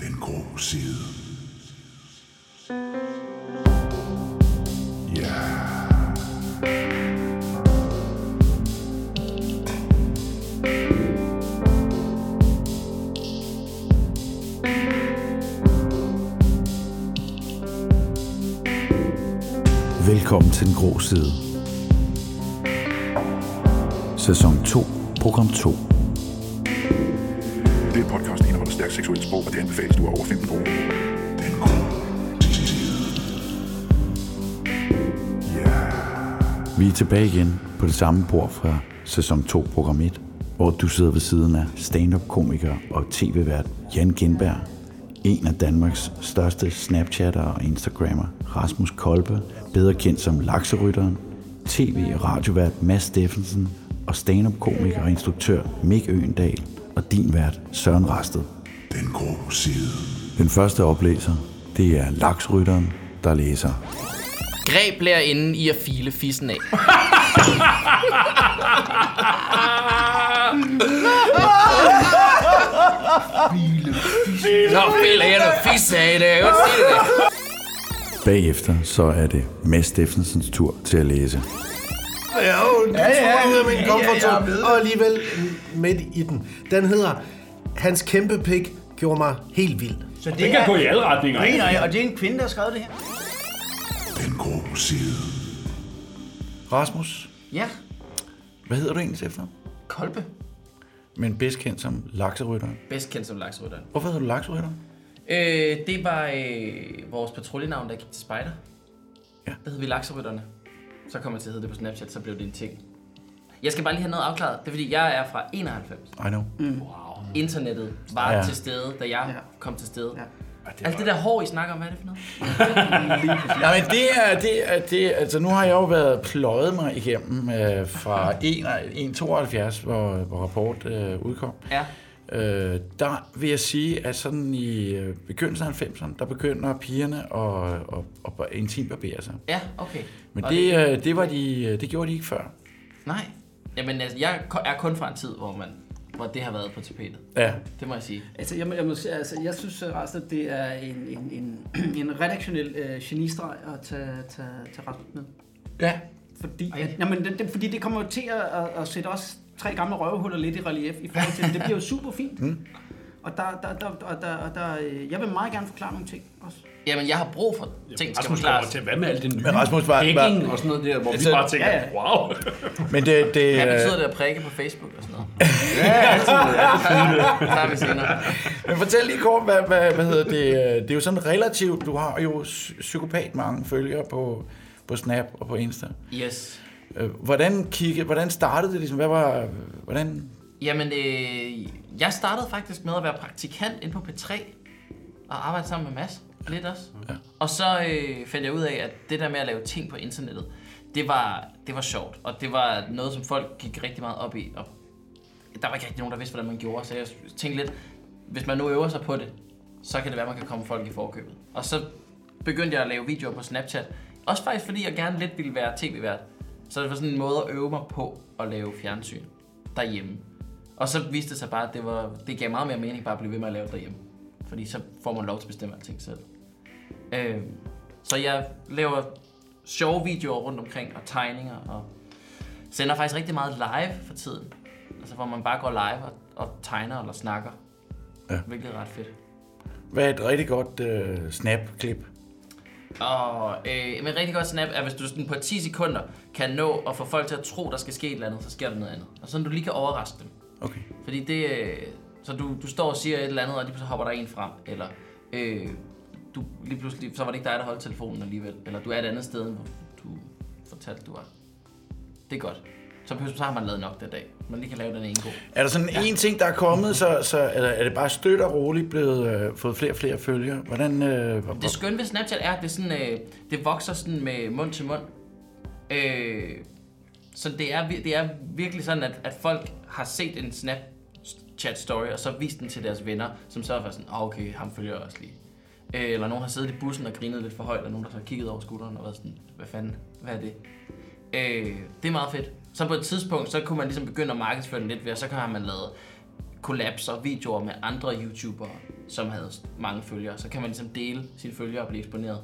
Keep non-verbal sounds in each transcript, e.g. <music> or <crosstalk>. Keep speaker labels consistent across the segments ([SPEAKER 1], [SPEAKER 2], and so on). [SPEAKER 1] Den grå side. Ja.
[SPEAKER 2] Velkommen til Den Grå Side. Sæson 2, program 2.
[SPEAKER 3] Det podcast indeholder stærkt seksuelt sprog, og det anbefales du er over 15 år.
[SPEAKER 1] Den grå side. Ja.
[SPEAKER 2] Vi er tilbage igen på det samme bord fra sæson 2, program 1, hvor du sidder ved siden af stand-up-komiker og tv-vært Jan Gindberg, en af Danmarks største Snapchatter og Instagrammer, Rasmus Kolbe, bedre kendt som Lakserytteren, tv- og radiovært Mads Steffensen og stand-up-komiker og instruktør Mik Øendal og din vært Søren Rasted.
[SPEAKER 1] Den grå side.
[SPEAKER 2] Den første oplæser, det er Laksrytteren, der læser.
[SPEAKER 4] Greb lærerinden i at file fissen af. Nå, filer jeg noget fis af det. Jeg kan godt sige det.
[SPEAKER 2] Bagefter så er det Mads Steffensens tur til at læse.
[SPEAKER 5] Ja, jo, ja, ja, ud af min komfortzone, ja, ja, og alligevel midt i den. Den hedder, hans kæmpe pik gjorde mig helt vild.
[SPEAKER 6] Så det, det kan er... gå i alle retninger.
[SPEAKER 7] Nej, nej, og det er en kvinde, der har skrevet det her.
[SPEAKER 1] Den grå side.
[SPEAKER 2] Rasmus,
[SPEAKER 4] Ja,
[SPEAKER 2] hvad hedder du egentlig efter?
[SPEAKER 4] kolbe.
[SPEAKER 2] Men bedst kendt som lakserytteren.
[SPEAKER 4] Bedst kendt som lakserytteren.
[SPEAKER 2] Hvorfor hedder du lakserytteren?
[SPEAKER 4] Øh, det var øh, vores patruljenavn, der gik til spejder.
[SPEAKER 2] Ja.
[SPEAKER 4] Der hed vi lakserytterne. Så kom jeg til at hedde det på Snapchat, så blev det en ting. Jeg skal bare lige have noget afklaret. Det er fordi, jeg er fra 91.
[SPEAKER 2] I know. Mm.
[SPEAKER 4] Internettet var
[SPEAKER 2] Ja.
[SPEAKER 4] ja. til stede, da jeg
[SPEAKER 7] Ja.
[SPEAKER 4] ja. kom til stede. Ja.
[SPEAKER 7] Ja.
[SPEAKER 4] Det altså det der hår, I snakker om, hvad er det for noget?
[SPEAKER 2] Ja, men det er, det er, det er, altså nu har jeg jo været pløjet mig igennem øh, fra 172, hvor, hvor rapport øh, udkom.
[SPEAKER 4] Ja.
[SPEAKER 2] Øh, der vil jeg sige, at sådan i øh, begyndelsen af 90'erne, der begynder pigerne at, at, at, at intimbarbere sig.
[SPEAKER 4] Ja, okay.
[SPEAKER 2] Men
[SPEAKER 4] Og
[SPEAKER 2] det, øh, det, var de, øh, det gjorde de ikke før.
[SPEAKER 4] Nej. Jamen, altså, jeg ko- er kun fra en tid, hvor, man, hvor det har været på tapetet.
[SPEAKER 2] Ja,
[SPEAKER 4] Det må jeg sige.
[SPEAKER 7] Altså, jeg, må- jeg, må, sige, altså, jeg synes øh, resten, at det er en, en, en, <clears throat> en redaktionel øh, genistreg at tage, tage, tage Rasmus med.
[SPEAKER 2] ja.
[SPEAKER 7] Fordi, at, jamen, det, det, fordi det kommer jo til at, at, at sætte os tre gamle røvehuller lidt i relief i forhold til det. Det bliver jo super fint. Mm. Og der, der, der, og der, og der, øh, jeg vil meget gerne forklare nogle ting også.
[SPEAKER 4] Jamen, jeg har brug for ting, der skal
[SPEAKER 6] Rasmus kommer
[SPEAKER 4] forklares.
[SPEAKER 6] til, hvad med alt det nye?
[SPEAKER 2] Men Rasmus var-
[SPEAKER 6] Hacking og sådan noget der, hvor vi
[SPEAKER 2] Altså-
[SPEAKER 6] bare tænker,
[SPEAKER 7] Ja, ja.
[SPEAKER 6] wow.
[SPEAKER 2] Men det, det,
[SPEAKER 4] Hvad
[SPEAKER 2] øh,
[SPEAKER 4] betyder det at prikke på Facebook og sådan noget? Ja, altid. Der er vi senere.
[SPEAKER 2] men fortæl lige kort, hvad, hvad, hvad hedder det? øh, Det er jo sådan relativt, du har jo psy- psykopat mange følgere på, på Snap og på Insta.
[SPEAKER 4] Yes.
[SPEAKER 2] Øh, Hvordan, kigge, hvordan startede det ligesom? Hvad var, hvordan?
[SPEAKER 4] Jamen, øh, jeg startede faktisk med at være praktikant inde på P3 og arbejde sammen med Mads lidt også. Ja. Og så øh, fandt jeg ud af, at det der med at lave ting på internettet, det var, det var sjovt, og det var noget, som folk gik rigtig meget op i. Og der var ikke rigtig nogen, der vidste, hvordan man gjorde, så jeg tænkte lidt, hvis man nu øver sig på det, så kan det være, at man kan komme folk i forkøbet. Og så begyndte jeg at lave videoer på Snapchat. Også faktisk fordi, jeg gerne lidt ville være tv-vært. Så det var sådan en måde at øve mig på at lave fjernsyn derhjemme. Og så viste det sig bare, at det, var, det gav meget mere mening bare at blive ved med at lave det derhjemme. Fordi så får man lov til at bestemme alting selv. Øh, så jeg laver sjove videoer rundt omkring, og tegninger, og sender faktisk rigtig meget live for tiden. Altså hvor man bare går live og, og tegner eller snakker.
[SPEAKER 2] Ja.
[SPEAKER 4] Hvilket er ret fedt.
[SPEAKER 2] Hvad er et rigtig godt øh, Snap-klip?
[SPEAKER 4] Og øh, men et rigtig godt snap er, hvis du sådan på 10 sekunder kan nå at få folk til at tro, der skal ske et eller andet, så sker der noget andet. Og sådan du lige kan overraske dem.
[SPEAKER 2] Okay.
[SPEAKER 4] Fordi det... øh, Så du, du står og siger et eller andet, og lige pludselig hopper der en frem. Eller øh, du, lige pludselig, så var det ikke dig, der holdt telefonen alligevel. Eller du er et andet sted, end hvor du fortalte, du var. Det er godt. Så, behøver- så har man lavet nok den dag. Man lige kan lave den ene god.
[SPEAKER 2] Er der sådan en ting, der er kommet, så, så eller er det bare stødt og roligt blevet øh, fået flere og flere følgere? Hvordan, øh, hvor,
[SPEAKER 4] Det skønne ved Snapchat er, at det, er sådan, øh, det vokser sådan med mund til mund. Øh, så det er, vir- det er virkelig sådan, at, at folk har set en Snapchat-story, og så vist den til deres venner, som så er faktisk sådan, ah okay, ham følger jeg også lige. Øh, eller nogen har siddet i bussen og grinet lidt for højt, og nogen der så har kigget over skulderen og været sådan, hvad fanden, hvad er det? Øh, det er meget fedt. Så på et tidspunkt, så kunne man ligesom begynde at markedsføre den lidt ved, og så kan man lavet kollapser, videoer med andre YouTubere, som havde mange følgere. Så kan man ligesom dele sine følgere og blive eksponeret.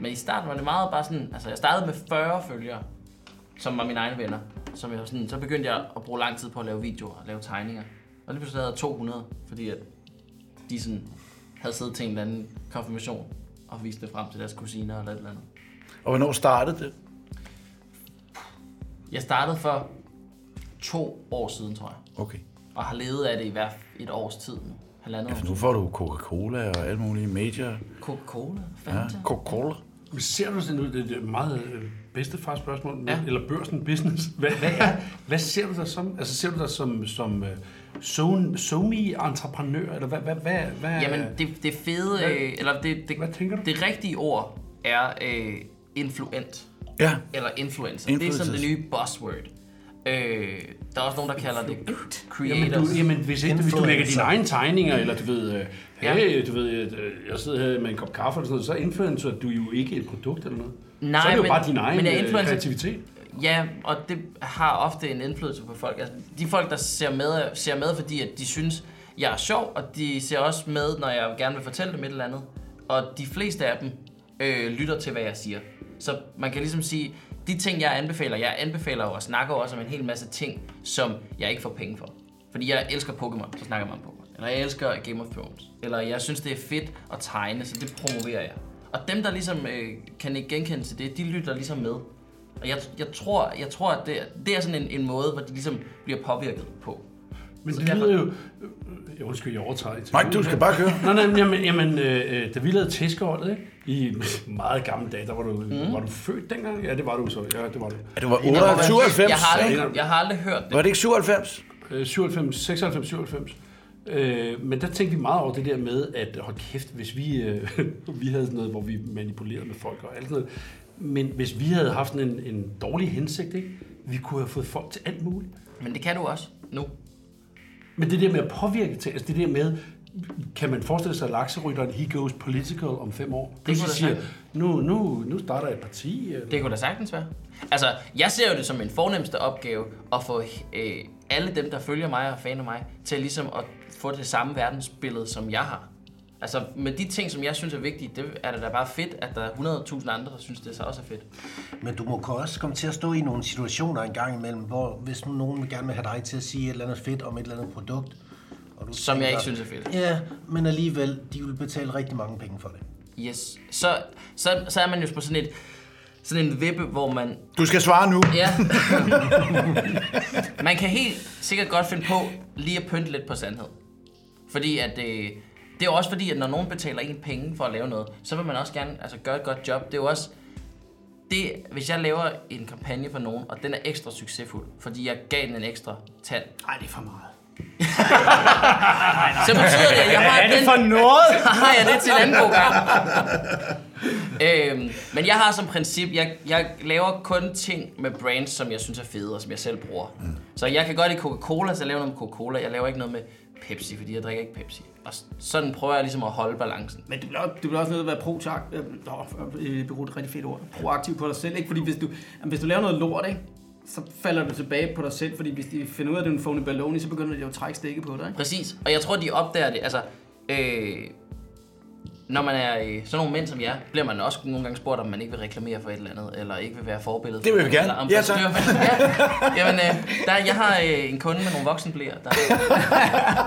[SPEAKER 4] Men i starten var det meget bare sådan, altså jeg startede med 40 følgere, som var mine egne venner. Som jeg var sådan, så begyndte jeg at bruge lang tid på at lave videoer og lave tegninger. Og lige pludselig havde jeg 200, fordi at de sådan havde siddet til en eller anden konfirmation og vist det frem til deres kusiner eller et eller andet.
[SPEAKER 2] Og hvornår startede det?
[SPEAKER 4] Jeg startede for to år siden, tror jeg.
[SPEAKER 2] Okay.
[SPEAKER 4] Og har levet af det i hvert et års tid nu. Halvandet
[SPEAKER 2] Altså, Nu
[SPEAKER 4] år.
[SPEAKER 2] får du Coca-Cola og alle mulige major.
[SPEAKER 4] Coca-Cola?
[SPEAKER 2] Ja,
[SPEAKER 4] Fanta?
[SPEAKER 2] Coca-Cola.
[SPEAKER 6] Men ser du sådan ud, det er et meget øh, bedstefars spørgsmål, men-
[SPEAKER 4] Ja.
[SPEAKER 6] eller børsen business. Hvad, hvad, er, hvad ser du dig som? Altså ser du dig som, som uh, somi-entreprenør, eller hvad, hvad, hvad, hvad
[SPEAKER 4] Jamen, det, det fede, øh, eller det, det,
[SPEAKER 6] hvad tænker du?
[SPEAKER 4] det rigtige ord er øh, influent.
[SPEAKER 2] Ja.
[SPEAKER 4] Eller influencer. Det er sådan det
[SPEAKER 2] Influencers.
[SPEAKER 4] nye buzzword. Øh, der er også nogen, der kalder det cr-
[SPEAKER 6] Jamen,
[SPEAKER 4] creators.
[SPEAKER 6] du, jamen hvis, ikke, hvis du lægger dine egne tegninger, eller du ved, øh,
[SPEAKER 4] Ja.
[SPEAKER 6] hey, du ved, øh, jeg sidder her med en kop kaffe eller sådan noget, så influencer du jo ikke et produkt eller noget.
[SPEAKER 4] Nej,
[SPEAKER 6] så er det jo
[SPEAKER 4] men-
[SPEAKER 6] bare din egen
[SPEAKER 4] men jeg
[SPEAKER 6] øh,
[SPEAKER 4] influencer-
[SPEAKER 6] kreativitet.
[SPEAKER 4] Ja, og det har ofte en indflydelse på folk. Altså, de folk, der ser med, ser med, fordi at de synes, jeg er sjov, og de ser også med, når jeg gerne vil fortælle dem et eller andet. Og de fleste af dem øh, lytter til, hvad jeg siger. Så man kan ligesom sige, de ting, jeg anbefaler, jeg anbefaler jo og snakker jo også om en hel masse ting, som jeg ikke får penge for. Fordi jeg elsker Pokémon, så snakker man om Pokémon. Eller jeg elsker Game of Thrones. Eller jeg synes, det er fedt at tegne, så det promoverer jeg. Og dem, der ligesom øh, kan ikke genkende til det, de lytter ligesom med. Og jeg, jeg, tror, jeg tror, at det, det er sådan en, en måde, hvor de ligesom bliver påvirket på.
[SPEAKER 6] Men
[SPEAKER 4] Så
[SPEAKER 6] det
[SPEAKER 4] derfor-
[SPEAKER 6] lyder jo... øh, Jeg undskyld, jeg overtager.
[SPEAKER 2] Nej, du skal bare køre.
[SPEAKER 6] Nå, nej, men jamen, jamen øh, øh, da vi lavede tæskeholdet, ikke? I meget gamle dage, der var du, mm. var du født dengang? Ja, det var du så. Ja, det var du.
[SPEAKER 2] Ja, det var 98, 97.
[SPEAKER 4] Jeg har
[SPEAKER 2] ikke?
[SPEAKER 4] aldrig, jeg har aldrig hørt det.
[SPEAKER 2] Var det ikke 97?
[SPEAKER 6] Øh, 97, 96, 97. Øh, men der tænkte vi meget over det der med, at hold kæft, hvis vi, øh, <laughs> vi havde sådan noget, hvor vi manipulerede med folk og alt sådan noget. Men hvis vi havde haft sådan en, en dårlig hensigt, ikke? vi kunne have fået folk til alt muligt.
[SPEAKER 4] Men det kan du også nu.
[SPEAKER 6] Men det der med at påvirke ting, altså det der med, kan man forestille sig, at lakserytteren, he goes political om fem år? Det
[SPEAKER 4] kunne
[SPEAKER 6] så
[SPEAKER 4] da
[SPEAKER 6] siger,
[SPEAKER 4] sagtens.
[SPEAKER 6] nu, nu, nu starter et parti. øh." Eller?
[SPEAKER 4] Det kunne da sagtens være. Altså, jeg ser jo det som min fornemmeste opgave at få øh, alle dem, der følger mig og er fan af mig, til ligesom at få det samme verdensbillede, som jeg har. Altså, med de ting, som jeg synes er vigtige, det er det da bare fedt, at der er 100.000 andre, der synes, det så også er fedt.
[SPEAKER 5] Men du må kunne også komme til at stå i nogle situationer en gang imellem, hvor hvis nu nogen vil gerne vil have dig til at sige et eller andet fedt om et eller andet produkt, og du
[SPEAKER 4] Som jeg ikke synes er fedt.
[SPEAKER 5] Ja, men alligevel, de vil betale rigtig mange penge for det.
[SPEAKER 4] Yes. Så, så, så er man jo på sådan et sådan en vippe, hvor man
[SPEAKER 2] Du skal svare nu.
[SPEAKER 4] Ja. <laughs> Man kan helt sikkert godt finde på lige at pynte lidt på sandhed. Fordi at øh, det er jo også fordi, at når nogen betaler en penge for at lave noget, så vil man også gerne altså, gøre et godt job. Det er jo også det, hvis jeg laver en kampagne for nogen, og den er ekstra succesfuld, fordi jeg gav den en ekstra tand,
[SPEAKER 7] Nej, det er for meget.
[SPEAKER 4] så betyder det, at jeg har den,
[SPEAKER 7] noget?
[SPEAKER 4] <laughs> har jeg det til en anden god gang. øhm, men jeg har som princip, jeg, jeg laver kun ting med brands, som jeg synes er fede, og som jeg selv bruger. Mm. Så jeg kan godt lide Coca-Cola, så jeg laver noget med Coca-Cola. Jeg laver ikke noget med Pepsi, fordi jeg drikker ikke Pepsi. Og s- sådan prøver jeg ligesom at holde balancen.
[SPEAKER 7] Men du bliver, også- du bliver også nødt til at være pro øh, øh, bruge et rigtig fedt ord. Proaktiv på dig selv, ikke? Fordi hvis du, jamen, hvis du laver noget lort, ikke? så falder du tilbage på dig selv, fordi hvis de finder ud af, at det er en phony balloni, så begynder de jo at trække stikke på dig. Ikke?
[SPEAKER 4] Præcis, og jeg tror, de opdager det. Altså, øh, når man er øh, sådan nogle mænd som jer, bliver man også nogle gange spurgt, om man ikke vil reklamere for et eller andet, eller ikke vil være forbillede.
[SPEAKER 2] Det vil vi
[SPEAKER 4] for-
[SPEAKER 2] gerne.
[SPEAKER 4] eller om-
[SPEAKER 2] Ja, tak.
[SPEAKER 4] Ja.
[SPEAKER 2] <laughs>
[SPEAKER 4] Jamen, øh, der, jeg har øh, en kunde med nogle voksenblæer, der,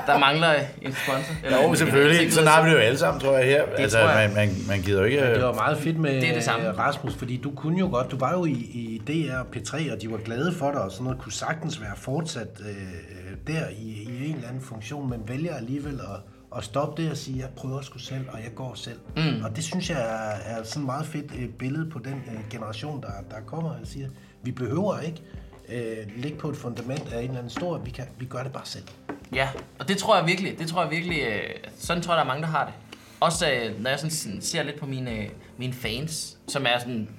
[SPEAKER 4] der mangler øh, en sponsor. Eller
[SPEAKER 2] Jo,
[SPEAKER 4] en-
[SPEAKER 2] selvfølgelig.
[SPEAKER 4] en-
[SPEAKER 2] Sådan har vi det jo alle sammen, tror jeg, her. altså,
[SPEAKER 4] tror jeg.
[SPEAKER 2] Man, man, man gider jo ikke... øh.
[SPEAKER 5] Det var meget fedt med
[SPEAKER 4] Det er det samme.
[SPEAKER 5] Rasmus, fordi du kunne jo godt, du var jo i, i DR og P3, og de var glade for dig, og sådan noget kunne sagtens være fortsat øh, der i, i en eller anden funktion, men vælger alligevel at, at stoppe det og sige, jeg prøver sgu selv, og jeg går selv. Mm. Og det synes jeg er, er sådan et meget fedt øh, billede på den øh, generation, der, der kommer og siger, vi behøver ikke øh, ligge på et fundament af en eller anden stor, vi, kan, vi gør det bare selv.
[SPEAKER 4] Ja, og det tror jeg virkelig, det tror jeg virkelig, øh, sådan tror jeg, der er mange, der har det. Også øh, når jeg sådan, sådan ser lidt på mine, øh, mine fans, som er sådan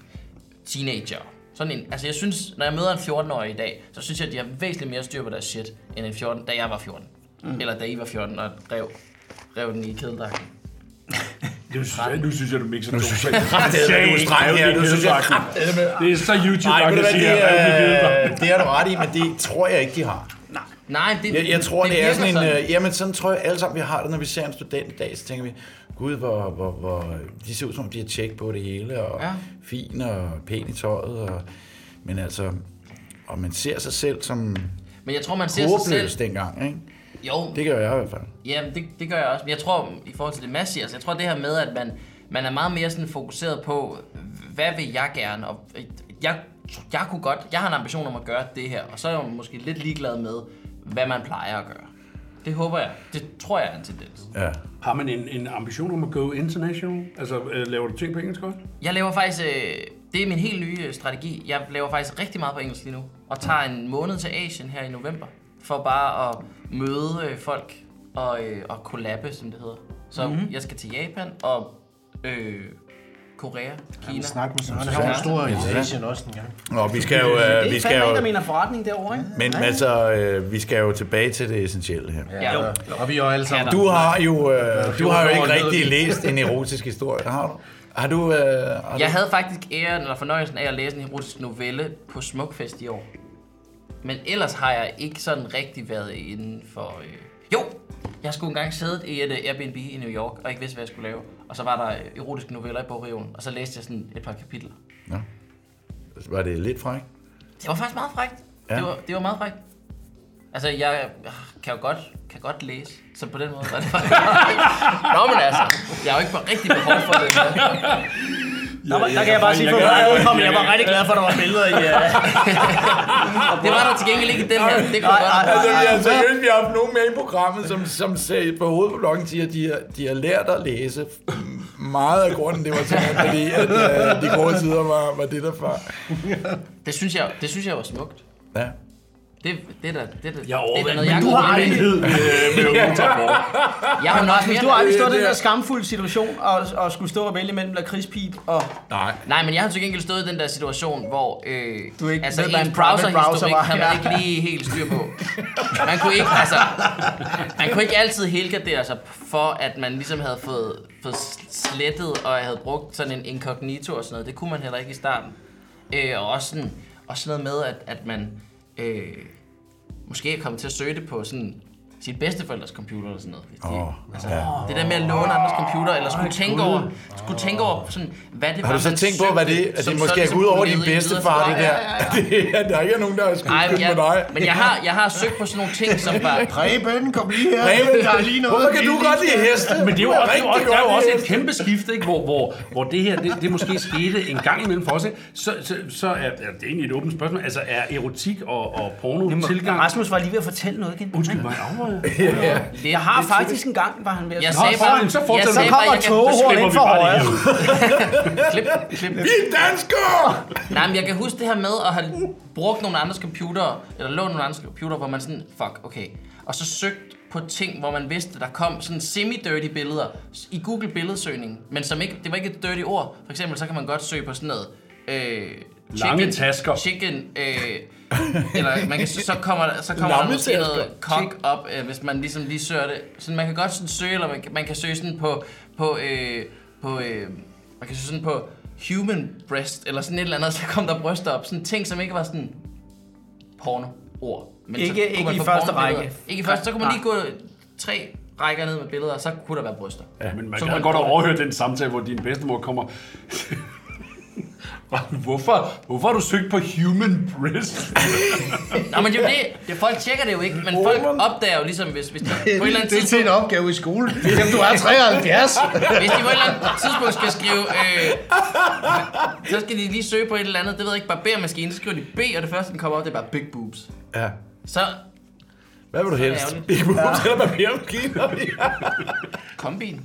[SPEAKER 4] teenager. Sådan en, altså jeg synes, når jeg møder en 14-årig i dag, så synes jeg, at de har væsentligt mere styr på deres shit, end en 14, da jeg var 14. Mm. Eller da I var 14 og rev, rev den i kedeldragten.
[SPEAKER 6] Nu synes, jeg, nu synes jeg, du mixer nu <laughs> synes jeg,
[SPEAKER 2] kraftedeme, du streger her. Nu synes jeg kraftedeme.
[SPEAKER 6] Det øh, er så YouTube,
[SPEAKER 2] Nej,
[SPEAKER 6] der
[SPEAKER 2] ved du
[SPEAKER 6] kan
[SPEAKER 2] hvad,
[SPEAKER 6] sige,
[SPEAKER 2] det
[SPEAKER 6] at
[SPEAKER 2] er,
[SPEAKER 6] jeg
[SPEAKER 2] det er du ret i, men det tror jeg ikke, de har.
[SPEAKER 7] Nej.
[SPEAKER 4] Nej, det,
[SPEAKER 2] Jeg, jeg tror, det, det er
[SPEAKER 4] virker
[SPEAKER 2] sådan en... Øh, jamen, sådan tror jeg alle sammen, vi har det, når vi ser en student i dag, så tænker vi, gud, hvor, hvor, hvor de ser ud, som om de har tjek på det hele, og ja.
[SPEAKER 4] Ja.
[SPEAKER 2] fin og pæn i tøjet, og, men altså... Og man ser sig selv som
[SPEAKER 4] Men jeg tror, man ser sig
[SPEAKER 2] håbløs
[SPEAKER 4] selv...
[SPEAKER 2] dengang, ikke?
[SPEAKER 4] Jo,
[SPEAKER 2] Det gør jeg i hvert fald.
[SPEAKER 4] Jamen, det, det gør jeg også. Men jeg tror, i forhold til det Mads siger, altså, jeg tror det her med, at man, man er meget mere sådan fokuseret på, hvad vil jeg gerne? Og øh, jeg, jeg kunne godt, jeg har en ambition om at gøre det her, og så er jeg jo måske lidt ligeglad med, hvad man plejer at gøre. Det håber jeg. Det tror jeg er en tendens.
[SPEAKER 2] Ja.
[SPEAKER 6] Har man en, en ambition om at go international? Altså, øh, laver du ting på engelsk også?
[SPEAKER 4] Jeg laver faktisk, øh, det er min helt nye øh, strategi. Jeg laver faktisk rigtig meget på engelsk lige nu, og tager en måned til Asien her i november, for bare at møde øh, folk og, øh, og kollabe, som det hedder. Så mm-hmm. jeg skal til Japan og øh, Korea, Kina.
[SPEAKER 5] Snak med Søren. Han har jo en stor i Asien også en gang.
[SPEAKER 2] Nå, vi skal jo... Øh,
[SPEAKER 7] Det
[SPEAKER 2] vi
[SPEAKER 7] er
[SPEAKER 2] skal
[SPEAKER 7] fandme en, der
[SPEAKER 2] jo
[SPEAKER 7] mener forretning derovre, ikke?
[SPEAKER 2] men altså, øh, vi skal jo tilbage til det essentielle her.
[SPEAKER 4] Ja, jo.
[SPEAKER 5] Og vi er jo alle sammen.
[SPEAKER 6] <laughs>
[SPEAKER 2] Du har jo, øh, du har jo ikke
[SPEAKER 5] Fjorten år nede.
[SPEAKER 2] rigtig læst en erotisk historie, har du? Har du... Øh, har
[SPEAKER 4] Jeg
[SPEAKER 2] du?
[SPEAKER 4] havde faktisk æren eller fornøjelsen af at læse en erotisk novelle på Smukfest i år. Men ellers har jeg ikke sådan rigtig været inden for... Øh... Jo, jeg skulle engang sidde i et øh, Airbnb i New York og ikke vidste, hvad jeg skulle lave. Og så var der øh, erotiske noveller i bogreolen, og så læste jeg sådan et par kapitler.
[SPEAKER 2] Var det lidt frækt?
[SPEAKER 4] Det var faktisk meget frækt.
[SPEAKER 2] Ja.
[SPEAKER 4] Ja. Det, var, det var meget frækt. Altså, jeg øh, kan jo godt, kan godt læse, så på den måde var det
[SPEAKER 7] <laughs>
[SPEAKER 4] faktisk... Nå, men altså, jeg har jo ikke på rigtig behov for det.
[SPEAKER 7] Der, var, der kan jeg bare sige, for
[SPEAKER 6] jeg
[SPEAKER 7] mig
[SPEAKER 6] kan-
[SPEAKER 7] udkommende, jeg var rigtig glad for, at der var billeder i... Uh...
[SPEAKER 4] <laughs> Det var der til gengæld ikke i den her. Det kunne jeg godt.
[SPEAKER 2] Altså, vi har seriøst, vi har haft nogen med i programmet, som, som sagde på hovedblokken siger, at de har, de har lært at læse. Meget af grunden, det var simpelthen fordi, at øh, de gode tider var, var det der var.
[SPEAKER 4] Det synes jeg, det synes jeg var smukt.
[SPEAKER 2] Ja.
[SPEAKER 4] Det, det er da, det er da,
[SPEAKER 6] Jeg
[SPEAKER 4] det er da
[SPEAKER 6] overvejede,
[SPEAKER 4] noget,
[SPEAKER 6] men
[SPEAKER 4] jeg
[SPEAKER 6] du
[SPEAKER 4] kunne
[SPEAKER 6] har
[SPEAKER 4] rulle med.
[SPEAKER 6] enighed med, øh, <laughs> med, med Ungdomsrapport.
[SPEAKER 4] Jeg har nok mere...
[SPEAKER 7] Du har aldrig stået i den
[SPEAKER 2] Øh, det
[SPEAKER 7] der
[SPEAKER 2] er-
[SPEAKER 7] skamfulde situation og, og skulle stå og vælge mellem lakridspip og...
[SPEAKER 2] Nej.
[SPEAKER 4] Nej, men jeg har til gengæld stået i den der situation, hvor øh,
[SPEAKER 7] Du ikke
[SPEAKER 4] altså
[SPEAKER 7] ved, hvad
[SPEAKER 4] ens
[SPEAKER 7] en private browser
[SPEAKER 4] browserhistorik
[SPEAKER 7] var.
[SPEAKER 4] kan man
[SPEAKER 7] Ja.
[SPEAKER 4] ikke lige helt styr på. Man kunne ikke, altså, man kunne ikke altid helgardere sig for, at man ligesom havde fået, fået slettet, og havde brugt sådan en incognito og sådan noget. Det kunne man heller ikke i starten. Øh, og også sådan, også sådan noget med, at, at man øh, måske er kommet til at søge det på sådan sine bedsteforældres computer eller sådan noget. hvis de-
[SPEAKER 2] Åh,
[SPEAKER 4] altså,
[SPEAKER 2] ja.
[SPEAKER 4] Det der med at låne andres computer, eller skulle tænke over, skulle tænke over sådan, hvad det
[SPEAKER 2] Har du så tænkt på, hvad det er? At det måske er
[SPEAKER 6] ligesom
[SPEAKER 2] gået ud over din bedstefar, det der? <laughs> Det er, der ikke er nogen, der har skudt
[SPEAKER 4] Nej, men,
[SPEAKER 2] på dig.
[SPEAKER 4] jeg, men jeg, har, jeg har søgt på sådan nogle ting, som
[SPEAKER 2] <laughs>
[SPEAKER 4] var...
[SPEAKER 5] Preben, kom lige her.
[SPEAKER 2] Preben,
[SPEAKER 5] der er lige
[SPEAKER 2] <laughs>
[SPEAKER 5] noget.
[SPEAKER 2] Hvorfor kan du godt lide heste?
[SPEAKER 6] Men det er jo også, det er jo også, der er jo også et
[SPEAKER 2] et...
[SPEAKER 6] kæmpe skift, ikke? Hvor, hvor, hvor det her, det, det måske skete en gang imellem for os. Ikke? Så, så, så er, ja, det er egentlig et åbent spørgsmål. Altså er erotik og, og porno tilgang...
[SPEAKER 7] Rasmus var lige ved at fortælle noget igen.
[SPEAKER 6] Undskyld, var jeg afrøget?
[SPEAKER 7] Jeg har faktisk en gang, var han ved at
[SPEAKER 4] Jeg
[SPEAKER 7] sige.
[SPEAKER 4] sagde
[SPEAKER 6] for
[SPEAKER 4] bare...
[SPEAKER 6] en, så fortsæt.
[SPEAKER 4] jeg
[SPEAKER 6] Så
[SPEAKER 4] sagde
[SPEAKER 6] kommer
[SPEAKER 4] bare, jeg kan-
[SPEAKER 7] tog-
[SPEAKER 6] Slipper
[SPEAKER 7] ind
[SPEAKER 6] vi
[SPEAKER 7] for
[SPEAKER 6] bare
[SPEAKER 7] højre.
[SPEAKER 6] lige ud.
[SPEAKER 4] Klip, klip.
[SPEAKER 2] Vi er danskere!
[SPEAKER 4] Nej, men jeg kan huske det her med at have brugt nogle andres computer, eller lånt nogle andres computer, hvor man sådan, fuck, okay. Og så søgt på ting, hvor man vidste, der kom sådan semi-dirty billeder i Google billedsøgning, men som ikke, det var ikke et dirty ord. For eksempel, så kan man godt søge på sådan noget, øh,
[SPEAKER 6] Lange tasker.
[SPEAKER 4] Chicken, øh, eller man kan, så kommer der, så kommer der
[SPEAKER 2] Lamme
[SPEAKER 4] måske
[SPEAKER 2] tasker.
[SPEAKER 4] noget cock op, øh, hvis man ligesom lige søger det. Så man kan godt sådan søge, eller man kan, man kan søge sådan på, på, øh, på øh, man kan søge sådan på human breast, eller sådan et eller andet, <laughs> så kom der bryster op. Sådan ting, som ikke var sådan porno-ord. Men så
[SPEAKER 7] Ikke-
[SPEAKER 4] kunne
[SPEAKER 7] ikke
[SPEAKER 4] man
[SPEAKER 7] i
[SPEAKER 4] få
[SPEAKER 7] første
[SPEAKER 4] pornobilleder.
[SPEAKER 7] række.
[SPEAKER 4] Ikke i første, så kunne man
[SPEAKER 7] Nej.
[SPEAKER 4] lige gå tre rækker ned med billeder, og så kunne der være bryster.
[SPEAKER 6] Ja, men man
[SPEAKER 4] Så
[SPEAKER 6] kan
[SPEAKER 4] man-
[SPEAKER 6] godt overhøre den samtale, hvor din bedstemor kommer... <laughs> hvorfor, hvorfor har du søgt på human breast?
[SPEAKER 4] Nå, men det er jo det. det. Folk tjekker det jo ikke, men folk opdager jo ligesom, hvis,
[SPEAKER 7] <laughs>
[SPEAKER 4] hvis de på et eller andet
[SPEAKER 5] Det er til
[SPEAKER 4] tidspunkt...
[SPEAKER 5] en opgave i skolen. Jamen, du er 73.
[SPEAKER 4] Hvis de på et eller andet tidspunkt skal skrive, øh, så skal de lige søge på et eller andet, det ved jeg ikke, barbermaskine, så skriver de B, og det første, den kommer op, det er bare big boobs.
[SPEAKER 2] Ja.
[SPEAKER 4] Så
[SPEAKER 2] Hvad vil du helst?
[SPEAKER 4] ærgerligt.
[SPEAKER 2] Big boobs eller papirmaskiner?
[SPEAKER 7] <laughs>
[SPEAKER 4] kombin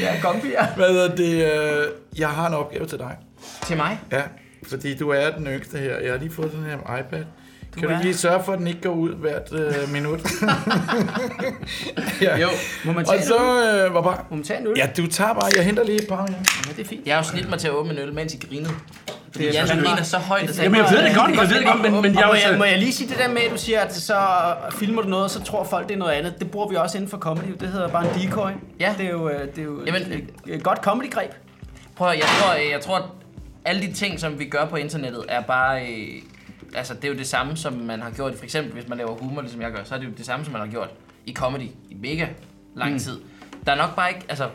[SPEAKER 7] Ja, kom vi er.
[SPEAKER 2] Hvad er det? øh, Jeg har en opgave til dig.
[SPEAKER 4] til mig.
[SPEAKER 2] Ja, fordi du er den yngste her. Jeg har lige fået den her iPad. Du kan du
[SPEAKER 7] er-
[SPEAKER 2] ikke lige sørge for, at den ikke går ud hvert øh,
[SPEAKER 7] <laughs>
[SPEAKER 2] minut? ja.
[SPEAKER 7] Jo, må man
[SPEAKER 2] Og
[SPEAKER 7] tage,
[SPEAKER 2] så... Øh, hvor bare...
[SPEAKER 7] må man tage en øl?
[SPEAKER 2] Ja, du tager bare. Jeg henter lige et par. Ja.
[SPEAKER 7] Ja, det er fint.
[SPEAKER 4] Jeg har jo snit mig til at åbne en øl, mens I grinede. Fordi
[SPEAKER 7] Det er
[SPEAKER 4] jeg
[SPEAKER 7] sådan
[SPEAKER 4] griner
[SPEAKER 7] lidt-
[SPEAKER 4] så højt, at
[SPEAKER 6] Jamen jeg ved det godt, jeg ved det godt, men, men jeg
[SPEAKER 7] Og
[SPEAKER 6] er
[SPEAKER 7] må,
[SPEAKER 6] jo
[SPEAKER 7] jeg, må
[SPEAKER 6] så...
[SPEAKER 7] jeg lige sige det der med, at du siger, at så øh, filmer du noget, og så tror folk, det er noget andet. Det bruger vi også inden for comedy. Det hedder bare en decoy.
[SPEAKER 4] Ja.
[SPEAKER 7] Det er jo, øh, det er jo
[SPEAKER 4] Jamen,
[SPEAKER 7] et, et godt comedy-greb.
[SPEAKER 4] Prøv at, høre, jeg tror, øh, jeg tror, at alle de ting, som vi gør på internettet, er bare øh, altså, det er jo det samme, som man har gjort, for eksempel hvis man laver humor, ligesom jeg gør, så er det jo det samme, som man har gjort i comedy i mega lang tid. Der er nok bare ikke, altså,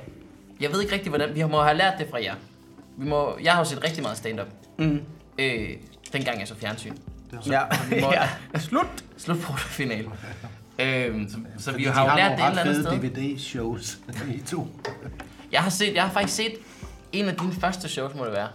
[SPEAKER 4] jeg ved ikke rigtig, hvordan, vi må have lært det fra jer. Vi må, jeg har jo set rigtig meget stand-up,
[SPEAKER 7] Mm.
[SPEAKER 4] øh, dengang jeg så fjernsyn.
[SPEAKER 7] Ja.
[SPEAKER 4] Vi må,
[SPEAKER 7] <laughs> ja.
[SPEAKER 4] Slut! Slut på
[SPEAKER 5] <laughs>
[SPEAKER 4] finale. Øhm, så, så vi
[SPEAKER 5] Fordi
[SPEAKER 4] har
[SPEAKER 5] de
[SPEAKER 4] jo lært det et
[SPEAKER 5] nogle
[SPEAKER 4] eller andet sted.
[SPEAKER 5] ret fede DVD-shows, i to.
[SPEAKER 4] Jeg har, set, jeg har faktisk set en af dine første shows, må det være.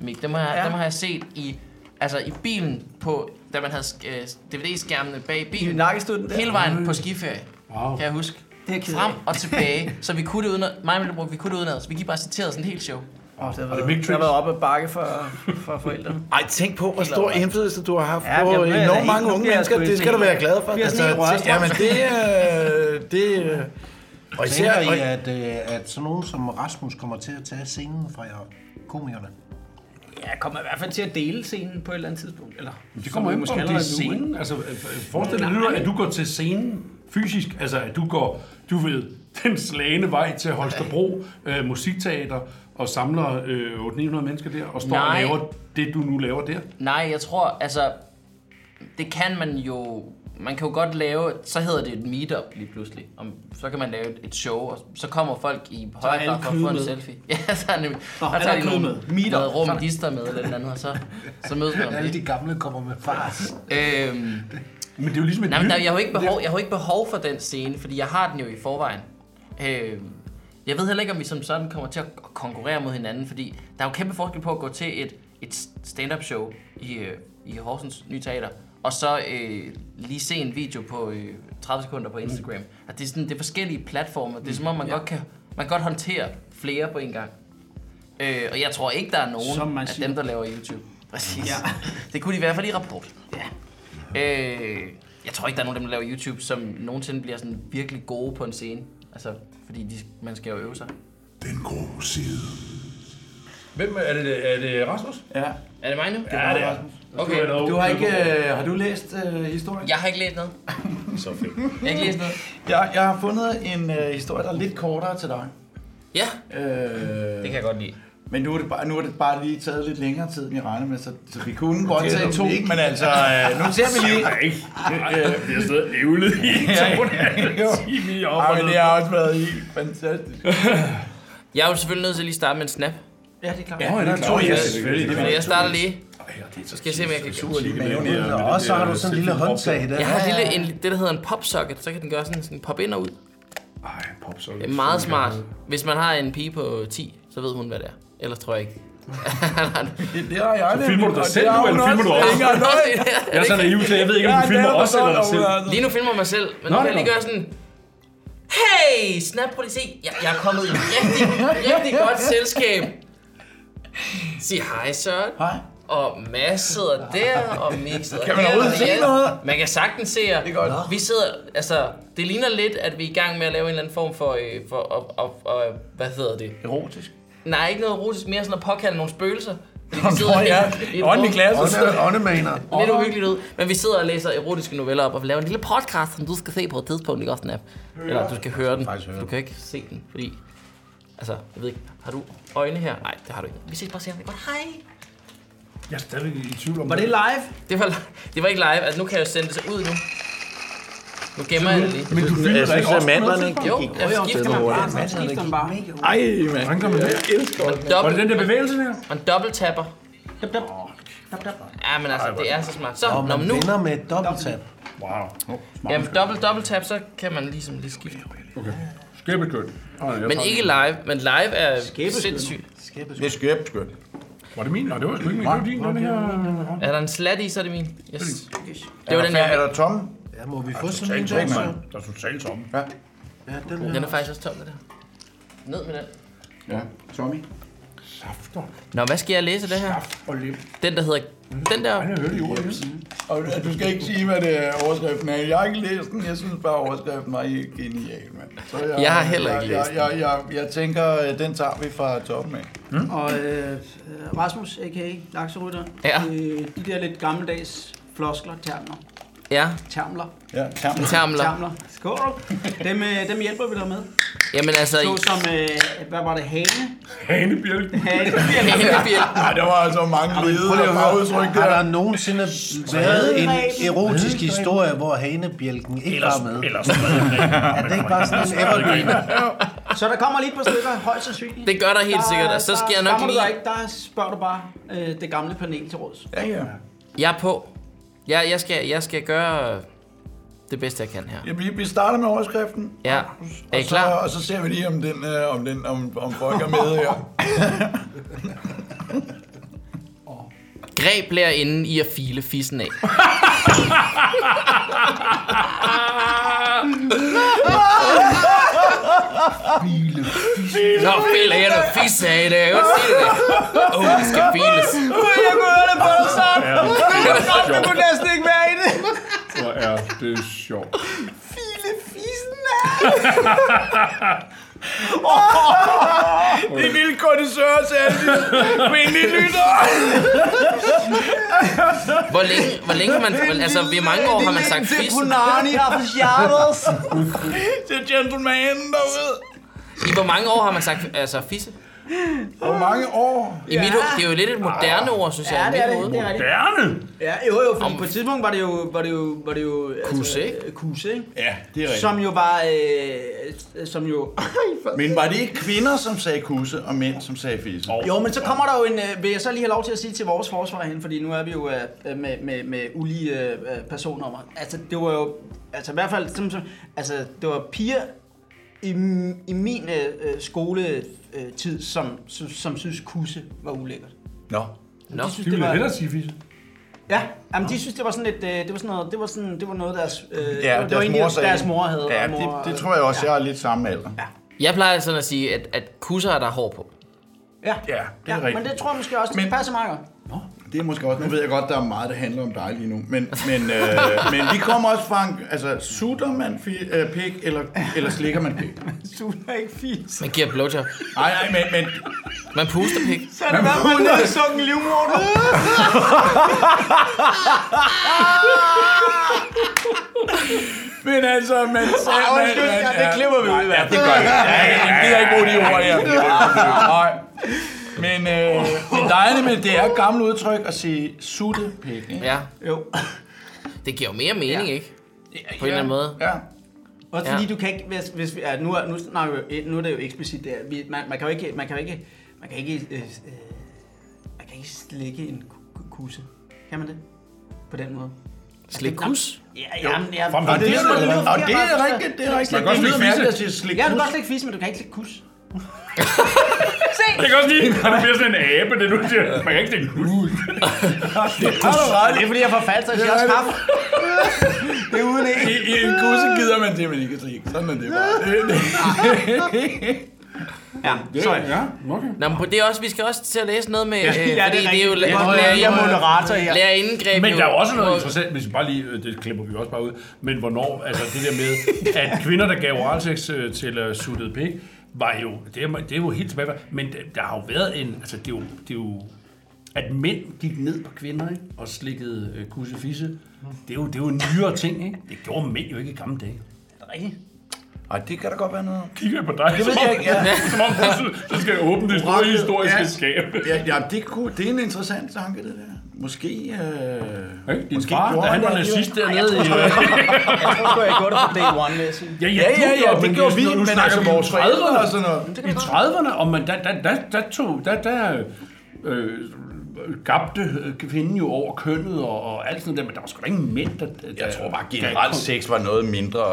[SPEAKER 4] Mik, dem har, ja.
[SPEAKER 7] Ja.
[SPEAKER 4] dem har jeg set i, altså i bilen, på, da man havde øh, DVD-skærmene bag
[SPEAKER 7] I
[SPEAKER 4] bilen.
[SPEAKER 7] nakkestunden der.
[SPEAKER 4] Hele vejen på skiferie,
[SPEAKER 6] Wow.
[SPEAKER 4] kan jeg huske.
[SPEAKER 7] Det er jeg ked af.
[SPEAKER 4] Frem og tilbage, så vi kunne det uden mig og Møllebrug, vi kunne det uden Vi gik bare citeret sådan et helt show.
[SPEAKER 7] Åh, det har
[SPEAKER 6] det
[SPEAKER 7] været, det
[SPEAKER 6] Big
[SPEAKER 7] har
[SPEAKER 6] Trees?
[SPEAKER 7] været op ad bakke for, for forældrene.
[SPEAKER 2] Ej, tænk på, hvor stor indflydelse du har haft
[SPEAKER 7] Ja,
[SPEAKER 2] ja, på
[SPEAKER 7] jeg bliver da
[SPEAKER 2] enormt
[SPEAKER 7] helt-
[SPEAKER 2] mange
[SPEAKER 7] nu
[SPEAKER 2] unge
[SPEAKER 7] bliver jeg
[SPEAKER 2] mennesker.
[SPEAKER 7] sgu
[SPEAKER 2] Det
[SPEAKER 7] helt
[SPEAKER 2] skal du
[SPEAKER 7] sådan
[SPEAKER 2] være glad for.
[SPEAKER 7] bliver sådan helt
[SPEAKER 2] det, jamen, det, øh, det,
[SPEAKER 7] <laughs>
[SPEAKER 2] øh, og især,
[SPEAKER 5] Tænker I,
[SPEAKER 2] og,
[SPEAKER 5] at, øh, at sådan nogen som Rasmus kommer til at tage scenen fra jer komikerne?
[SPEAKER 7] <laughs> Ja, jeg kommer i hvert fald til at dele scenen på et eller andet tidspunkt. Eller,
[SPEAKER 6] Det kommer
[SPEAKER 7] som vi allerede
[SPEAKER 6] ind på, om det er
[SPEAKER 7] nu, ikke?
[SPEAKER 6] scenen. Altså, øh, forestil dig nu, at du går til scenen fysisk. Altså, at du går, du ved, den slagende vej til Holstebro øh, Musikteater og samler øh, 800-900 mennesker der og står
[SPEAKER 4] Nej.
[SPEAKER 6] og laver det, du nu laver der.
[SPEAKER 4] Nej, jeg tror, altså, det kan man jo, man kan jo godt lave, så hedder det et meetup lige pludselig. Om, så kan man lave et- et show, og så kommer folk i højre
[SPEAKER 7] alle
[SPEAKER 4] grad for at
[SPEAKER 7] kød
[SPEAKER 4] få en
[SPEAKER 7] med.
[SPEAKER 4] selfie. <laughs> Ja, så er nemlig.
[SPEAKER 7] Nå,
[SPEAKER 4] der
[SPEAKER 7] alle
[SPEAKER 4] tager
[SPEAKER 7] er
[SPEAKER 4] de
[SPEAKER 7] kød
[SPEAKER 4] nogle
[SPEAKER 7] med.
[SPEAKER 4] meetup. Noget rum,
[SPEAKER 7] Sådan.
[SPEAKER 4] dister med eller et eller andet, og så, så mødes man om
[SPEAKER 5] Alle de
[SPEAKER 4] det.
[SPEAKER 5] gamle kommer med fars.
[SPEAKER 4] Øhm,
[SPEAKER 6] Men det er jo ligesom et
[SPEAKER 4] Nej, men
[SPEAKER 6] nyt-
[SPEAKER 4] der, jeg, har jo ikke behov, jeg har jo ikke behov for den scene, fordi jeg har den jo i forvejen. Øh, jeg ved heller ikke, om vi som sådan kommer til at konkurrere mod hinanden, fordi der er jo kæmpe forskel på at gå til et, et stand-up show i, øh, i Horsens Nye Teater, og så øh, lige se en video på øh, 30 sekunder
[SPEAKER 7] Mm.
[SPEAKER 4] på Instagram. At det, er sådan, det er forskellige platforme. Det er som om, man, godt, kan, man kan godt håndtere flere på en gang. Øh, og jeg tror ikke, der er
[SPEAKER 7] Som
[SPEAKER 4] nogen
[SPEAKER 7] man
[SPEAKER 4] af
[SPEAKER 7] siger.
[SPEAKER 4] dem, der laver YouTube. Præcis.
[SPEAKER 7] Ja.
[SPEAKER 4] Ja. <laughs> Det kunne de i hvert fald i rapport.
[SPEAKER 7] Ja.
[SPEAKER 4] Øh, jeg tror ikke, der er nogen af dem, der laver YouTube, som nogensinde bliver sådan virkelig gode på en scene. Altså, fordi de, man skal jo øve sig.
[SPEAKER 1] Den grå side.
[SPEAKER 6] Hvem er- er det? Er det Rasmus?
[SPEAKER 7] ja.
[SPEAKER 4] Er det mig nu?
[SPEAKER 6] Ja, det er
[SPEAKER 4] Okay.
[SPEAKER 7] Du har ikke, øh, har du læst øh, historien?
[SPEAKER 4] Jeg har ikke læst
[SPEAKER 6] <laughs>
[SPEAKER 4] noget.
[SPEAKER 2] så fedt.
[SPEAKER 4] Jeg har ikke læst noget.
[SPEAKER 2] Jeg, jeg har fundet en øh, historie, der er lidt kortere til dig.
[SPEAKER 4] Ja,
[SPEAKER 2] Øh,
[SPEAKER 4] det kan jeg godt lide.
[SPEAKER 2] Men nu er, det bare, nu er det bare lige taget lidt længere tid, end jeg regnede med, så, så vi kunne godt tage to, ikke? men altså, <laughs>
[SPEAKER 6] <laughs>
[SPEAKER 2] øh, nu ser vi lige.
[SPEAKER 6] ikke. Øh, vi har siddet og ævlet i to og en <laughs> halv time i op
[SPEAKER 2] Ej,
[SPEAKER 6] og
[SPEAKER 2] men
[SPEAKER 6] ned.
[SPEAKER 2] det har også været helt fantastisk.
[SPEAKER 4] Jeg er jo selvfølgelig nødt til at lige starte med en snap.
[SPEAKER 7] <laughs> Ja, det er klart.
[SPEAKER 6] Nå, er det klart? Ja, selvfølgelig. Det
[SPEAKER 4] Men jeg starter lige.
[SPEAKER 6] Ej, det er så
[SPEAKER 4] Skal jeg se, om jeg kan...
[SPEAKER 6] super lige
[SPEAKER 5] Maven
[SPEAKER 6] med-
[SPEAKER 5] ud,
[SPEAKER 6] med
[SPEAKER 5] og
[SPEAKER 6] det
[SPEAKER 5] også så
[SPEAKER 6] der
[SPEAKER 5] har du sådan en lille
[SPEAKER 6] selfie-pop
[SPEAKER 5] håndtag i den.
[SPEAKER 4] Jeg har et lille, en, det, der hedder en popsocket, så kan den gøre sådan, sådan pop ind og ud.
[SPEAKER 6] der. Ej, pop så
[SPEAKER 4] Det er meget smart. Hvis man har en pige på 10, så ved hun, hvad det er. Ellers tror jeg ikke. <laughs>
[SPEAKER 2] Det, det har jeg
[SPEAKER 6] Så filmer du dig selv nu, eller filmer du os? Jeg er så naiv, så jeg ved ikke, om du filmer os eller dig selv.
[SPEAKER 4] Lige nu filmer jeg mig selv, men nu
[SPEAKER 6] Nå,
[SPEAKER 4] kan jeg
[SPEAKER 6] nå.
[SPEAKER 4] lige gøre sådan... Hey, snap, prøv lige at se. Jeg, jeg er kommet i et rigtig, rigtig godt selskab. Sig hej, Søren.
[SPEAKER 2] Hej.
[SPEAKER 4] Og Mads sidder der, og Mik sidder
[SPEAKER 2] Kan man
[SPEAKER 4] der,
[SPEAKER 2] overhovedet
[SPEAKER 4] og
[SPEAKER 2] se
[SPEAKER 4] Jan-
[SPEAKER 2] noget?
[SPEAKER 4] Man kan sagtens se jer. Det
[SPEAKER 2] er godt.
[SPEAKER 4] Vi sidder, altså, det ligner lidt, at vi er i gang med at lave en eller anden form for, øh, for og, og, og, hvad hedder det?
[SPEAKER 2] Erotisk.
[SPEAKER 4] Nej, ikke noget erotisk, mere sådan at påkalde nogle spøgelser. Fordi vi
[SPEAKER 2] Nå,
[SPEAKER 4] i-
[SPEAKER 2] ja.
[SPEAKER 4] i et
[SPEAKER 2] Åndelig
[SPEAKER 4] rum.
[SPEAKER 2] klasse.
[SPEAKER 5] Ånde- Åndemaner.
[SPEAKER 4] Lidt uhyggeligt ud. Men vi sidder og læser erotiske noveller op og laver en lille podcast, som du skal se på et tidspunkt, ikke også, Nap? Eller du skal høre den.
[SPEAKER 5] faktisk høre
[SPEAKER 4] Du
[SPEAKER 5] den.
[SPEAKER 4] kan ikke se den, fordi... Altså, jeg ved ikke, har du øjne her? Nej, det har du ikke. Vi ses bare senere. Det er Godt, hej!
[SPEAKER 6] Jeg er stadigvæk i tvivl om
[SPEAKER 7] Var det live?
[SPEAKER 4] Det var, det var ikke live. Altså, nu kan jeg jo sende det så ud nu. Nu gemmer jeg det lige.
[SPEAKER 6] Men du filmer dig ikke også?
[SPEAKER 4] Jo, jeg skifter mig bare.
[SPEAKER 7] Ja, så skifter den bare.
[SPEAKER 2] Ej, mand.
[SPEAKER 6] Hvordan gør man det? Var det
[SPEAKER 4] Dobbelt,
[SPEAKER 6] den der bevægelse der?
[SPEAKER 4] og en dobbelt tapper.
[SPEAKER 7] Dab, dab. Dab, dab.
[SPEAKER 4] Ja, men altså, det er så smart. Så,
[SPEAKER 5] Og
[SPEAKER 4] når
[SPEAKER 5] man
[SPEAKER 4] nu...
[SPEAKER 5] vender med et dobbelttab.
[SPEAKER 6] Wow.
[SPEAKER 4] Jamen, dobbelt, dobbelt tap, så kan man ligesom lige skifte.
[SPEAKER 6] Skæbekødt.
[SPEAKER 4] Men ikke live, men live er
[SPEAKER 7] Skæbeskønt.
[SPEAKER 4] sindssygt.
[SPEAKER 2] Det er skøbt, skøbt.
[SPEAKER 6] Var det min? Nej, det var sgu ikke min. Det var din, den her.
[SPEAKER 4] Er der en slat i, så er det min. Yes. Det var den, jeg
[SPEAKER 2] Er der tomme?
[SPEAKER 5] Ja, må vi få sådan en der?
[SPEAKER 2] ikke, mand.
[SPEAKER 5] så?
[SPEAKER 6] Der er totalt tomme.
[SPEAKER 2] Ja.
[SPEAKER 5] Ja, den der.
[SPEAKER 4] Den er faktisk også tom, det der. Ned med den.
[SPEAKER 2] Ja. Tommy.
[SPEAKER 6] Safter.
[SPEAKER 4] Nå, hvad skal jeg læse det her?
[SPEAKER 6] Og lem.
[SPEAKER 4] Den der hedder... Den der...
[SPEAKER 6] Ej, jeg hørte i ordet.
[SPEAKER 2] Og du skal ikke sige, hvad det er, overskriften er. Jeg har ikke læst den. Jeg synes bare, overskriften var helt genial, mand. Så
[SPEAKER 4] Jeg har heller ikke
[SPEAKER 2] jeg,
[SPEAKER 4] læst den.
[SPEAKER 2] jeg, jeg, jeg, jeg tænker, øh, den tager vi fra toppen af.
[SPEAKER 7] Og øh, øh, Rasmus, a.k.a. Lakserytter.
[SPEAKER 4] Ja.
[SPEAKER 7] Øh, de der lidt gammeldags floskler, termer.
[SPEAKER 4] Ja,
[SPEAKER 7] Termler.
[SPEAKER 8] Ja, termen.
[SPEAKER 4] termler.
[SPEAKER 7] Termler. Skål. Dem, øh, dem hjælper vi dig med.
[SPEAKER 4] Jamen altså,
[SPEAKER 7] Så som, øh, hvad var det, hane?
[SPEAKER 8] Hanebjælken.
[SPEAKER 7] Hane.
[SPEAKER 8] Nej, der var altså mange
[SPEAKER 5] Prøv
[SPEAKER 8] lede
[SPEAKER 5] lige
[SPEAKER 8] og
[SPEAKER 5] at høre,
[SPEAKER 8] fagudtryk
[SPEAKER 5] har
[SPEAKER 8] der.
[SPEAKER 5] der nogensinde været en erotisk historie, hvor hanebjælken ikke var med?
[SPEAKER 8] Ellers
[SPEAKER 5] Er det ikke bare sådan en evergreen?
[SPEAKER 7] Så der kommer lige et par stykker, højst sandsynligt.
[SPEAKER 4] Det gør der helt sikkert, og så skal jeg nok
[SPEAKER 7] der, lige... Der,
[SPEAKER 4] lige-
[SPEAKER 7] ikke, der spørger du bare øh, det gamle panel til råds.
[SPEAKER 8] Ja, ja.
[SPEAKER 4] jeg er på. Jeg, jeg, skal, jeg skal gøre det bedste, jeg kan her.
[SPEAKER 8] ja vi, vi starter med overskriften.
[SPEAKER 4] Ja, er I
[SPEAKER 8] og
[SPEAKER 4] klar?
[SPEAKER 8] Så, og så ser vi lige, om, den, øh, om, den, om, om folk er med her.
[SPEAKER 4] Greb lærerinden i at file fissen af. Nå, filer jeg noget fisk af det. Jeg kan godt se det. Åh, oh, det skal files.
[SPEAKER 7] Jeg kunne høre det på dig sådan. Det kunne næsten ikke være i det.
[SPEAKER 9] Hvor er det sjovt.
[SPEAKER 7] File fisen
[SPEAKER 8] Det er lille kondisør, sagde Kvindelig lytter.
[SPEAKER 4] Hvor længe, hvor længe man... hvor- Altså, hvor mange år har man sagt fis?
[SPEAKER 7] Punani aficionados.
[SPEAKER 4] <laughs>
[SPEAKER 8] Det er gentleman derude.
[SPEAKER 4] I hvor mange år har man sagt altså, fisse?
[SPEAKER 8] Hvor mange år?
[SPEAKER 4] I mit, hoved- det er jo lidt et moderne ord, synes jeg.
[SPEAKER 7] Ja,
[SPEAKER 4] i
[SPEAKER 7] det
[SPEAKER 4] mit
[SPEAKER 7] er
[SPEAKER 4] hoved.
[SPEAKER 7] det. det er
[SPEAKER 8] Berne.
[SPEAKER 7] rigtigt. Ja, jo, jo, for på et tidspunkt var det jo... Var det jo, var det jo altså,
[SPEAKER 4] Kuse, ikke?
[SPEAKER 7] øh, Kuse, ikke?
[SPEAKER 8] Ja, det er rigtigt.
[SPEAKER 7] Som jo var... Øh, som jo...
[SPEAKER 8] Men var det ikke kvinder, som sagde kusse, og mænd, som sagde fisse? Oh.
[SPEAKER 7] Jo, men så kommer der jo en, øh, vil jeg så lige have lov til at sige til vores forsvar hen, fordi nu er vi jo øh, med, med, med ulige øh, øh, personnummer. Altså, det var jo, altså i hvert fald, som, som, altså, det var piger i, m- i min øh, øh, skoletid, som, som, som synes kusse var ulækkert.
[SPEAKER 8] Nå.
[SPEAKER 4] Nå,
[SPEAKER 7] de synes,
[SPEAKER 6] Det
[SPEAKER 7] det
[SPEAKER 6] ville jeg
[SPEAKER 7] var,
[SPEAKER 6] hellere sige, Fisse.
[SPEAKER 7] ja, jamen, de synes, det var sådan lidt, øh, det var sådan noget, det var, sådan, det var noget, deres, øh, det var-
[SPEAKER 8] Ja,
[SPEAKER 7] det var egentlig, deres mor havde.
[SPEAKER 8] Ja,
[SPEAKER 7] og mor,
[SPEAKER 8] det, det tror jeg også, jeg er lidt samme alder. Ja,
[SPEAKER 4] Jeg plejer sådan at sige, at, at kusser er der hår på.
[SPEAKER 7] Ja, ja,
[SPEAKER 8] ja det er
[SPEAKER 7] ja
[SPEAKER 8] rigtigt.
[SPEAKER 7] men det tror jeg måske også, det
[SPEAKER 8] Men-
[SPEAKER 7] passer meget godt.
[SPEAKER 8] Det er måske også, nu ved jeg godt, der er meget, der handler om dig lige nu, men, men, <laughs> øh, men vi kommer også fra en, altså, sutter man fi, øh, pik, eller, eller slikker man pik?
[SPEAKER 7] Sutter ikke fis.
[SPEAKER 4] Man giver blowjob.
[SPEAKER 8] Nej, nej, men, men
[SPEAKER 4] Man puster pik.
[SPEAKER 7] Så er det i hvert fald, at sukke en livmor ud.
[SPEAKER 8] Men altså, man sagde...
[SPEAKER 7] Ej, undskyld, ja, det klipper vi ud,
[SPEAKER 8] Ja, det gør vi. Ja, ja, ja, gider ikke bruge de ord her. Nej. Men, øh, men dejligt med det er et gammelt udtryk at sige sutte pik, ikke?
[SPEAKER 4] Ja,
[SPEAKER 7] Jo.
[SPEAKER 4] det giver jo mere mening, ikke? På en
[SPEAKER 8] ja.
[SPEAKER 4] eller anden måde.
[SPEAKER 8] Ja.
[SPEAKER 7] Også
[SPEAKER 4] Ja.
[SPEAKER 7] fordi du kan ikke, hvis, hvis vi, ja, nu, er, nu, snakker vi, jo- nu er det jo eksplicit der. Vi, man, man kan jo ikke, man kan jo ikke, man kan ikke, øh, øh, man kan ikke slikke en ku- ku- kusse. Kan man det? På den måde. Altså,
[SPEAKER 4] Slik kus.
[SPEAKER 7] Ja, jamen, ja,
[SPEAKER 8] Og det,
[SPEAKER 7] lyder-
[SPEAKER 8] er,
[SPEAKER 7] lyder
[SPEAKER 8] og det
[SPEAKER 7] forkert,
[SPEAKER 8] er
[SPEAKER 7] bare-
[SPEAKER 8] rigtigt, det er rigtigt.
[SPEAKER 9] Man kan også
[SPEAKER 8] Det lyder
[SPEAKER 9] lige fisse.
[SPEAKER 8] mærkeligt at sige slik
[SPEAKER 7] Ja, du kan
[SPEAKER 8] kus.
[SPEAKER 7] godt slikke fisse, men du kan ikke slikke
[SPEAKER 4] <laughs>
[SPEAKER 7] kus.
[SPEAKER 9] Jeg kan også lide, når det bliver sådan en abe, det du siger. Man kan ikke tænke, uh,
[SPEAKER 8] Har du ret?
[SPEAKER 7] Det er fordi, jeg får fat, så jeg
[SPEAKER 8] er
[SPEAKER 7] har
[SPEAKER 8] det.
[SPEAKER 7] skaffe. Det er uden en.
[SPEAKER 8] I, i en kusse gider man det, man ikke at slikke. Sådan er det bare. Det- det-
[SPEAKER 7] Ja,
[SPEAKER 9] det,
[SPEAKER 7] sorry.
[SPEAKER 9] ja, okay.
[SPEAKER 4] Nå, men på det er også, vi skal også til at læse noget med... Øh, fordi
[SPEAKER 7] Ja, det er
[SPEAKER 4] jo
[SPEAKER 7] rigtigt. Jeg
[SPEAKER 4] lærer-
[SPEAKER 7] tror, jeg- jeg er moderator her.
[SPEAKER 4] lærer indgreb.
[SPEAKER 6] Men der er jo også noget interessant, hvis vi bare lige, øh, det klipper vi også bare ud, men hvornår, altså det der med, at kvinder, der gav oralsex øh, til uh, suttet pik, var jo, det er, det er jo helt tilbage, fra- men der, der har jo været en, altså det er jo, det er jo at mænd gik ned på kvinder, ikke? og slikkede øh, kussefisse, det er, jo, det er jo en nyere ting, ikke? Det gjorde mænd jo ikke i gamle dage.
[SPEAKER 8] Ej, det kan da godt være noget.
[SPEAKER 9] Kigger jeg på dig, det
[SPEAKER 8] ved
[SPEAKER 9] som,
[SPEAKER 8] jeg
[SPEAKER 9] om,
[SPEAKER 8] ikke,
[SPEAKER 6] <laughs>
[SPEAKER 8] ja.
[SPEAKER 9] som om du sy- så skal jeg åbne det store
[SPEAKER 8] Oraklet,
[SPEAKER 9] historiske
[SPEAKER 8] ja.
[SPEAKER 9] skab.
[SPEAKER 8] Ja, ja det, kunne, det er en interessant tanke, det der. Måske... Øh,
[SPEAKER 9] Ikke? Din
[SPEAKER 8] Måske
[SPEAKER 6] Far,
[SPEAKER 8] gjorde
[SPEAKER 6] da han
[SPEAKER 8] han
[SPEAKER 6] var
[SPEAKER 8] det
[SPEAKER 6] nazist dernede i... øh,
[SPEAKER 7] Jeg tror, sgu, jeg gjorde det på day one, vil jeg sige.
[SPEAKER 6] Ja,
[SPEAKER 8] Ja, ja,
[SPEAKER 6] du
[SPEAKER 8] ja, det
[SPEAKER 6] men
[SPEAKER 8] gjorde vi,
[SPEAKER 6] nu
[SPEAKER 8] men
[SPEAKER 6] snakker
[SPEAKER 8] altså
[SPEAKER 6] vi i
[SPEAKER 8] vores forældre
[SPEAKER 6] 30'erne.
[SPEAKER 8] og sådan noget.
[SPEAKER 6] I 30'erne, og man, der, der, der, der tog, der, der øh, gabte øh, kvinden jo over kønnet og, og alt sådan noget der, men der var sgu da ingen mænd, der... der
[SPEAKER 8] Jeg tror bare,
[SPEAKER 6] der-
[SPEAKER 8] generelt sex var noget mindre...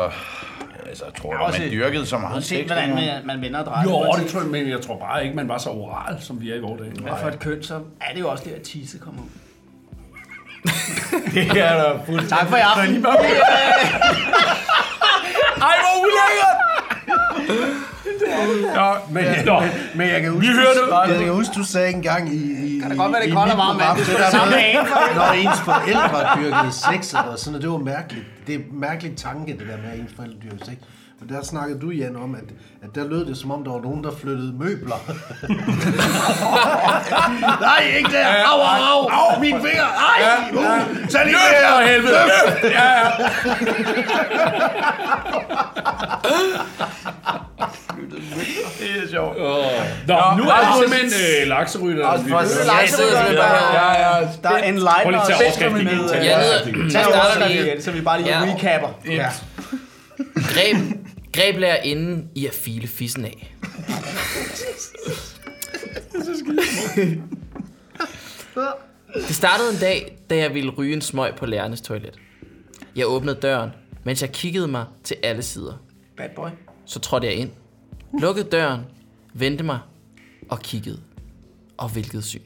[SPEAKER 8] Altså, jeg tror,
[SPEAKER 7] også-
[SPEAKER 8] at man dyrkede så meget
[SPEAKER 7] Uanset
[SPEAKER 8] sex.
[SPEAKER 7] hvordan
[SPEAKER 8] dengang.
[SPEAKER 7] man, man vender og drejer.
[SPEAKER 6] Jo,
[SPEAKER 7] uanset-
[SPEAKER 6] det tror jeg, men jeg tror bare ikke, man var så oral, som vi er i vores dage.
[SPEAKER 7] Hvad for
[SPEAKER 8] <laughs>
[SPEAKER 7] et køn, så er det jo også der, at tisse kommer ud.
[SPEAKER 8] Det er da fuldstændig...
[SPEAKER 7] Tak for i aften. <laughs>
[SPEAKER 8] Ej, hvor ulækkert!
[SPEAKER 6] Ja, men, ja, nå,
[SPEAKER 5] Men jeg kan
[SPEAKER 6] vi
[SPEAKER 5] huske,
[SPEAKER 6] hørte...
[SPEAKER 5] jeg kan huske du sagde engang i, i, kan
[SPEAKER 7] det godt være, det
[SPEAKER 5] i
[SPEAKER 7] er koldt
[SPEAKER 5] mit
[SPEAKER 7] og varmt,
[SPEAKER 5] program,
[SPEAKER 7] mand?
[SPEAKER 5] det der
[SPEAKER 7] Samme
[SPEAKER 5] med,
[SPEAKER 7] dag.
[SPEAKER 5] når ens forældre dyrkede sex og sådan noget, det var mærkeligt. Det er en mærkelig tanke, det der med, at ens forældre dyrkede sex. For der snakkede du, Jan, om, at, at der lød det, som om der var nogen, der flyttede møbler. Nej, ikke der! Au, au, au! Au, mine fingre! Ej! Uh, tag lige det her!
[SPEAKER 8] helvede! Det er sjovt.
[SPEAKER 9] Nå, nu er det
[SPEAKER 8] Rasmus.
[SPEAKER 9] simpelthen øh, lakserytterne. vi
[SPEAKER 8] For
[SPEAKER 9] hører.
[SPEAKER 8] satan,
[SPEAKER 10] Ja, ja,
[SPEAKER 8] ja, ja.
[SPEAKER 10] Der er en light,
[SPEAKER 9] Prøv lige at tage overskriften igen.
[SPEAKER 7] øh,
[SPEAKER 9] Tag
[SPEAKER 4] Jeg
[SPEAKER 9] overskriften igen.
[SPEAKER 4] hedder,
[SPEAKER 10] Tag
[SPEAKER 4] jeg starter
[SPEAKER 10] overskriften
[SPEAKER 4] lige.
[SPEAKER 10] igen, så vi bare lige
[SPEAKER 4] Ja.
[SPEAKER 10] recapper.
[SPEAKER 5] Ja.
[SPEAKER 4] Greb, greb lærer inden i at file fissen af. Det startede en dag, da jeg ville ryge en smøg på lærernes toilet. Jeg åbnede døren, mens jeg kiggede mig til alle sider.
[SPEAKER 7] Bad boy.
[SPEAKER 4] Så trådte jeg ind, lukkede døren, vendte mig og kiggede. Og hvilket syn.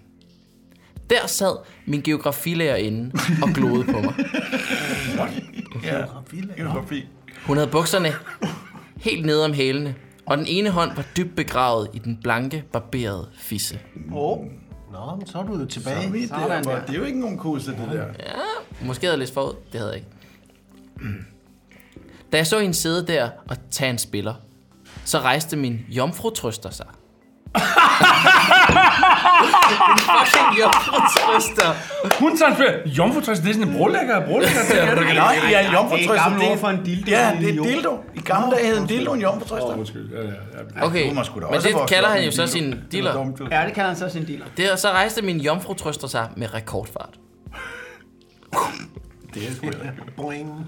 [SPEAKER 4] Der sad min geografilærer inde og gloede på mig. Hun havde bukserne helt nede om hælene, og den ene hånd var dybt begravet i den blanke, barberede fisse.
[SPEAKER 5] Nå, men så er du jo tilbage.
[SPEAKER 7] Sådan der.
[SPEAKER 10] Det er jo ikke nogen kusse, det der.
[SPEAKER 4] Måske havde jeg læst forud. Det havde jeg ikke. Da jeg så hende sidde der og tage en spiller, så rejste min jomfrutrøster
[SPEAKER 8] <laughs>
[SPEAKER 4] sig. en fucking jomfrutrøster.
[SPEAKER 8] Altså,
[SPEAKER 9] Hun tager en fjer. Jomfru-trøst, det er sådan en brolægger. Brolægger, det er det.
[SPEAKER 8] Nej, ja, en
[SPEAKER 10] Det er
[SPEAKER 8] jomfrutrøster.
[SPEAKER 10] gammel ord for en dildo.
[SPEAKER 8] Ja, det er en dildo. I gamle dage hed en dildo en jomfrutrøster.
[SPEAKER 9] Undskyld. Ja, ja, ja.
[SPEAKER 4] Okay,
[SPEAKER 8] Du må sgu da
[SPEAKER 4] men
[SPEAKER 8] også
[SPEAKER 4] det
[SPEAKER 8] vokse
[SPEAKER 4] kalder
[SPEAKER 8] op
[SPEAKER 4] han
[SPEAKER 8] med
[SPEAKER 4] jo så
[SPEAKER 8] dildo.
[SPEAKER 4] sin dealer.
[SPEAKER 8] Dumt, du.
[SPEAKER 7] Ja, det kalder han så sin dealer.
[SPEAKER 4] Det, og så rejste min jomfrutrøster sig med rekordfart.
[SPEAKER 5] Boing.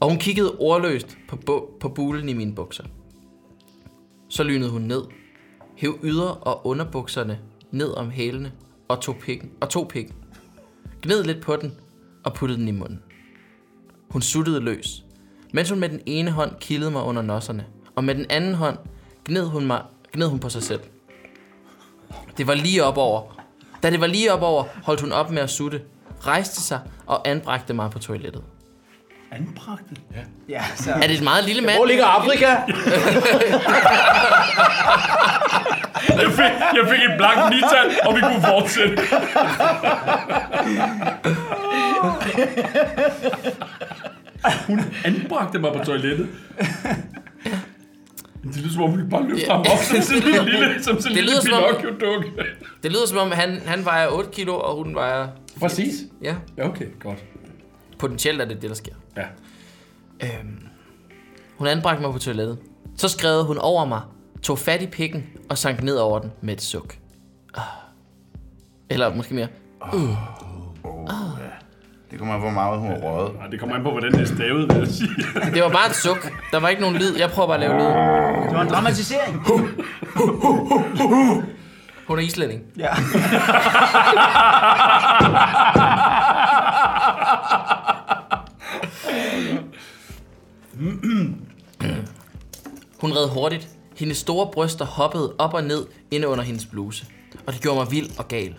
[SPEAKER 4] Og hun kiggede ordløst på, bu- på bulen i mine bukser. Så lynede hun ned, hæv yder og underbukserne ned om hælene og tog pikken, og tog pikken. Gned lidt på den og puttede den i munden. Hun suttede løs, mens hun med den ene hånd kildede mig under nosserne, og med den anden hånd gned hun, mig, gned hun på sig selv. Det var lige op over. Da det var lige op over, holdt hun op med at sutte, rejste sig og anbragte mig på toilettet.
[SPEAKER 10] Ja, så.
[SPEAKER 4] Er det et meget lille mand?
[SPEAKER 10] Hvor ligger Afrika?
[SPEAKER 9] Jeg fik, jeg fik et blankt nital, og vi kunne fortsætte.
[SPEAKER 6] Anbragte mig på toilettet.
[SPEAKER 9] Det lyder som om, vi bare løb
[SPEAKER 4] Ja.
[SPEAKER 9] frem op som sådan en lille,
[SPEAKER 4] <laughs>
[SPEAKER 9] som sådan en
[SPEAKER 4] Det
[SPEAKER 9] lille
[SPEAKER 4] lyder som om-
[SPEAKER 9] Pinocchio-dukke.
[SPEAKER 4] Det lyder som om, han, han vejer 8 kilo, og hun vejer...
[SPEAKER 6] Præcis.
[SPEAKER 4] Ja,
[SPEAKER 6] Ja, okay, godt.
[SPEAKER 4] potentielt er det det, der sker.
[SPEAKER 6] Ja.
[SPEAKER 4] Øhm, hun anbragte mig på toilettet. Så skred hun over mig, tog fat i pikken og sank ned over den med et suk. Ah. Eller måske mere.
[SPEAKER 8] Det kommer an på, hvor meget hun har røget.
[SPEAKER 9] Nej, det kommer an på, hvordan det er stavet, vil jeg sige.
[SPEAKER 4] Det var bare et suk. Der var ikke nogen lyd. Jeg prøver bare at lave lyd.
[SPEAKER 10] Det var en dramatisering.
[SPEAKER 4] Hun er islænding.
[SPEAKER 10] Ja.
[SPEAKER 4] Hun red hurtigt. Hendes store bryster hoppede op og ned inde under hendes bluse. Og det gjorde mig vild og gal.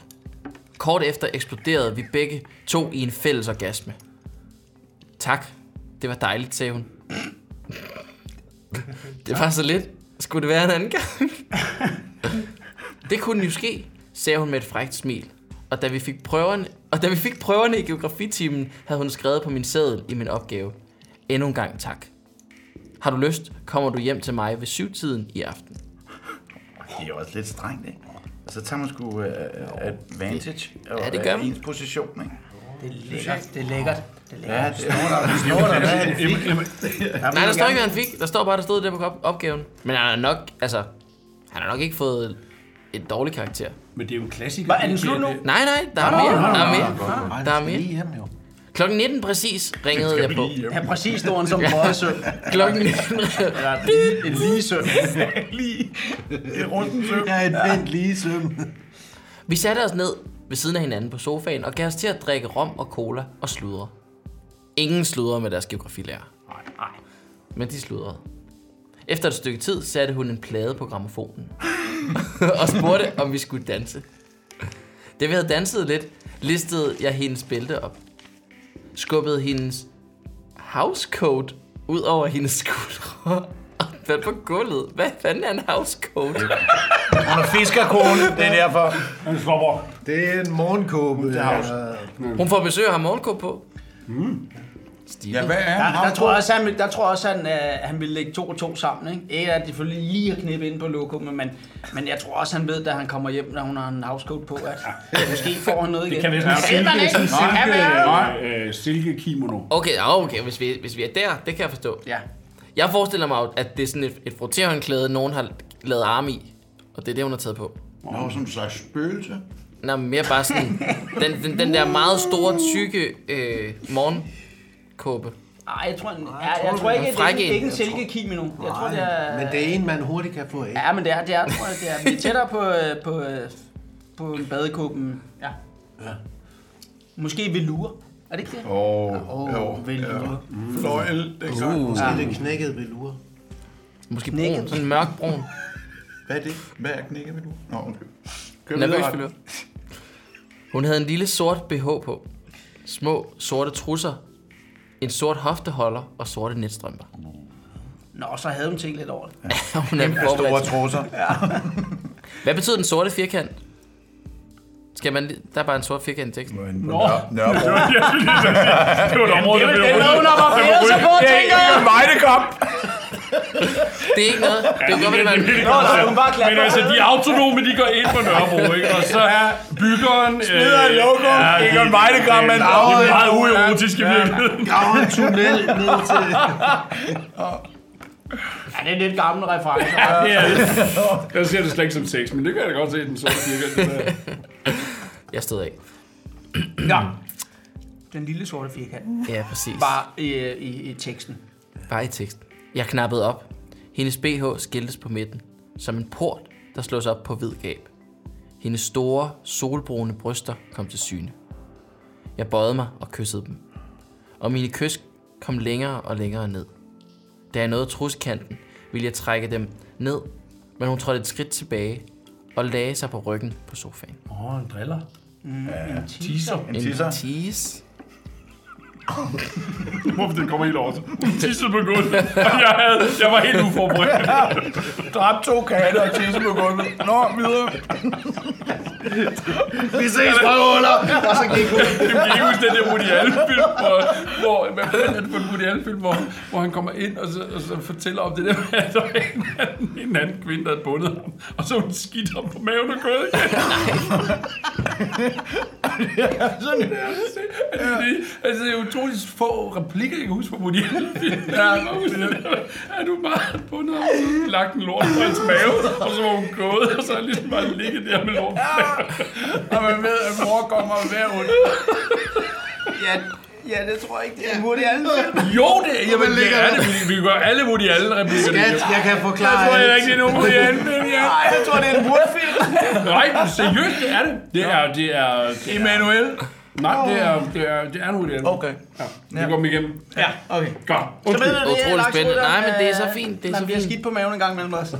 [SPEAKER 4] Kort efter eksploderede vi begge to i en fælles orgasme. Tak. Det var dejligt, sagde hun. Det var så lidt. Skulle det være en anden gang? Det kunne jo ske, sagde hun med et frækt smil. Og da vi fik prøverne, og da vi fik prøverne i geografitimen, havde hun skrevet på min seddel i min opgave. Endnu en gang tak. Har du lyst, kommer du hjem til mig ved syvtiden i aften.
[SPEAKER 8] Det er jo også lidt strengt, ikke? Og så tager man sgu uh, advantage af
[SPEAKER 4] Ja, det gør man.
[SPEAKER 8] ens position, ikke?
[SPEAKER 7] Det er lækkert. Det er lækkert. Det er lækkert.
[SPEAKER 8] Ja, det står der.
[SPEAKER 4] Nej, der står ikke, hvad han fik. Der står bare, der stod der på op- opgaven. Men han har nok, altså, han har nok ikke fået en dårlig karakter.
[SPEAKER 6] Men det er jo en klassiker.
[SPEAKER 10] Var- er den slut nu?
[SPEAKER 4] Nej, nej, der er mere. Der er mere.
[SPEAKER 5] Ej,
[SPEAKER 4] Der er
[SPEAKER 5] vi skal
[SPEAKER 4] mere.
[SPEAKER 5] lige hjem, jo.
[SPEAKER 4] Klokken 19 præcis ringede jeg på.
[SPEAKER 10] Ja, præcis storen som brødsøm.
[SPEAKER 4] Klokken 19.
[SPEAKER 10] En lige
[SPEAKER 5] <laughs>
[SPEAKER 10] søm.
[SPEAKER 5] Ja, et vendt lige søm.
[SPEAKER 4] Vi satte os ned ved siden af hinanden på sofaen og gav os til at drikke rom og cola og sludre. Ingen sludrer med deres geografilærer. Nej, Men de sludrede. Efter et stykke tid satte hun en plade på <laughs> gramofonen og spurgte, om vi skulle danse. Da vi havde danset lidt, listede jeg hendes bælte op. Skubbede hendes housecoat ud over hendes skuldre og fandt på gulvet. Hvad fanden er en housecoat?
[SPEAKER 8] Hun er fiskerkone, det er derfor.
[SPEAKER 9] Han stopper.
[SPEAKER 5] Det er en morgenkåbe. øh, Det
[SPEAKER 4] Hun får besøg og har morgenkåb på.
[SPEAKER 11] Stil.
[SPEAKER 2] Mm. Ja, hvad er
[SPEAKER 7] Der,
[SPEAKER 2] ham?
[SPEAKER 7] der, tror jeg også, han, vil- der tror jeg også, han, øh, han vil lægge to og to sammen. Ikke, ikke at det selvfølgelig lige at knippe ind på lokummet, men, men jeg tror også, han ved, da han kommer hjem, når hun har en housecoat på, at måske får han noget igen.
[SPEAKER 9] Det kan vist være
[SPEAKER 11] ved man
[SPEAKER 9] silke,
[SPEAKER 11] ikke.
[SPEAKER 9] sådan
[SPEAKER 11] Ja,
[SPEAKER 9] silke,
[SPEAKER 2] nej.
[SPEAKER 9] øh, øh, silke kimono.
[SPEAKER 4] Okay, ja, okay hvis, vi, hvis vi er der, det kan jeg forstå.
[SPEAKER 9] øh,
[SPEAKER 7] Ja.
[SPEAKER 4] Jeg forestiller mig, jo, at det er sådan et, et frottéhåndklæde, nogen har lavet arme i. Og det er det, hun har taget på.
[SPEAKER 2] Nå, som en slags spøgelse.
[SPEAKER 4] Nå, men mere
[SPEAKER 2] <laughs>
[SPEAKER 4] bare sådan, den, den, den der meget store, tykke øh, morgenkåbe.
[SPEAKER 7] Nej, jeg tror, han, jeg, jeg, tror ikke,
[SPEAKER 4] er
[SPEAKER 7] det er, en- det er
[SPEAKER 4] fræk
[SPEAKER 7] ikke
[SPEAKER 4] en.
[SPEAKER 7] en silkekig nu. Jeg tror, det er...
[SPEAKER 5] Men det er en, man hurtigt kan få af.
[SPEAKER 7] Ja, men det er, det er, tror jeg, det er. Vi er tættere på, øh, på, øh, på en badekåben. Ja. ja. Måske velure. Er det ikke det?
[SPEAKER 2] Åh,
[SPEAKER 7] Åh,
[SPEAKER 2] jo.
[SPEAKER 7] velure.
[SPEAKER 2] Fløjl, det er klart.
[SPEAKER 5] Måske lidt knækket velure.
[SPEAKER 4] Måske
[SPEAKER 7] Knækket.
[SPEAKER 4] brun, sådan mørkbrun.
[SPEAKER 2] <laughs> Hvad er det? Hvad er knækket ved du? Nå, undskyld. Kør
[SPEAKER 4] Nervøs
[SPEAKER 2] videre.
[SPEAKER 4] forløb. Hun havde en lille sort BH på. Små sorte trusser. En sort hofteholder og sorte netstrømper. <laughs>
[SPEAKER 7] Nå, så havde hun tænkt lidt over det.
[SPEAKER 4] Hun er
[SPEAKER 2] Store
[SPEAKER 4] forberedt. <laughs>
[SPEAKER 2] trusser.
[SPEAKER 4] Hvad betyder den sorte firkant? Skal man lige- Der er bare en sort firkant i teksten.
[SPEAKER 2] Nå. Nørrebro.
[SPEAKER 9] Det var et område, der blev
[SPEAKER 7] Hun har bare bedre sig på, tænker jeg!
[SPEAKER 2] Vejdekamp!
[SPEAKER 4] Det er ikke noget. Det
[SPEAKER 2] <laughs>
[SPEAKER 4] er jo godt, at det var en...
[SPEAKER 7] Nå, så hun bare
[SPEAKER 9] Men altså, de autonome, de går ind på Nørrebro, ikke? Og så er byggeren...
[SPEAKER 2] Smider en logo, ikke en vejdekamp, men
[SPEAKER 9] øh, Det er meget uerotisk i virkeligheden.
[SPEAKER 5] Graver en tunnel ned til...
[SPEAKER 7] Ja, det er lidt gammel reference.
[SPEAKER 9] Ja, det- Jeg ser det slet ikke som sex, men det kan jeg da godt se, den sorte firkant. det der.
[SPEAKER 4] Jeg stod af.
[SPEAKER 7] Ja. Den lille sorte firkant.
[SPEAKER 4] Ja, præcis.
[SPEAKER 7] Bare i, i, i teksten.
[SPEAKER 4] Bare i teksten. Jeg knappede op. Hendes BH skiltes på midten, som en port, der slås op på hvid gab. Hendes store, solbrune bryster kom til syne. Jeg bøjede mig og kyssede dem. Og mine kys kom længere og længere ned. Da jeg nåede truskanten, ville jeg trække dem ned, men hun trådte et skridt tilbage og lagde sig på ryggen på sofaen.
[SPEAKER 6] Åh, en driller.
[SPEAKER 2] En tisser.
[SPEAKER 4] tease.
[SPEAKER 9] Hvorfor den kommer helt over? Tisset på gulvet. Og jeg, havde, jeg var helt uforberedt.
[SPEAKER 2] Dræb to katte og tisse på gulvet. Nå, videre.
[SPEAKER 5] Vi ses, røvhuller! Og så gik hun.
[SPEAKER 9] Det kan ikke huske den der Woody Allen-film, hvor, hvor, hvad fanden er det for en Woody Allen-film, hvor, hvor han kommer ind og så, og så fortæller om det der, med, at der er en, anden- en anden kvinde, der havde bundet ham, og så har hun skidt ham på maven og gået igen.
[SPEAKER 2] Sådan.
[SPEAKER 9] Altså, det, altså, det er utroligt få replikker, jeg kan huske fra Woody Allen-film. Ja, jeg kan huske det. Er du bare bundet ham, lagt en lort på hans mave, og så var hun gået, og så er han ligesom bare ligget der med lort.
[SPEAKER 2] Og man ved, at mor kommer hver uge.
[SPEAKER 7] Ja, ja det tror jeg ikke, det er hurtigt alle film.
[SPEAKER 9] Jo, det er, jamen, det er det. Vi, vi gør alle Woody Allen-replikkerne.
[SPEAKER 5] Skat, jeg kan
[SPEAKER 9] Jeg
[SPEAKER 5] forklare
[SPEAKER 9] tror
[SPEAKER 5] alt.
[SPEAKER 9] jeg ikke, det er nogen
[SPEAKER 5] <laughs>
[SPEAKER 9] Woody Allen-film, ja.
[SPEAKER 7] Nej, jeg tror, det er en hurtfilm.
[SPEAKER 9] Nej, seriøst, det er det. Det er, det er... Det er
[SPEAKER 2] Emanuel.
[SPEAKER 9] nej, det er, det er, det er en Woody Allen.
[SPEAKER 2] Okay.
[SPEAKER 9] Ja, det går dem igennem.
[SPEAKER 7] Ja, okay.
[SPEAKER 9] Godt.
[SPEAKER 7] Så ved
[SPEAKER 9] Undskyld.
[SPEAKER 7] du det,
[SPEAKER 4] Utrolig
[SPEAKER 7] Lars
[SPEAKER 4] spændende.
[SPEAKER 7] Ulrik,
[SPEAKER 4] Nej, men det er så
[SPEAKER 7] øh,
[SPEAKER 4] fint, det er
[SPEAKER 7] man
[SPEAKER 4] så
[SPEAKER 7] bliver
[SPEAKER 4] fint.
[SPEAKER 7] skidt på maven en gang imellem os.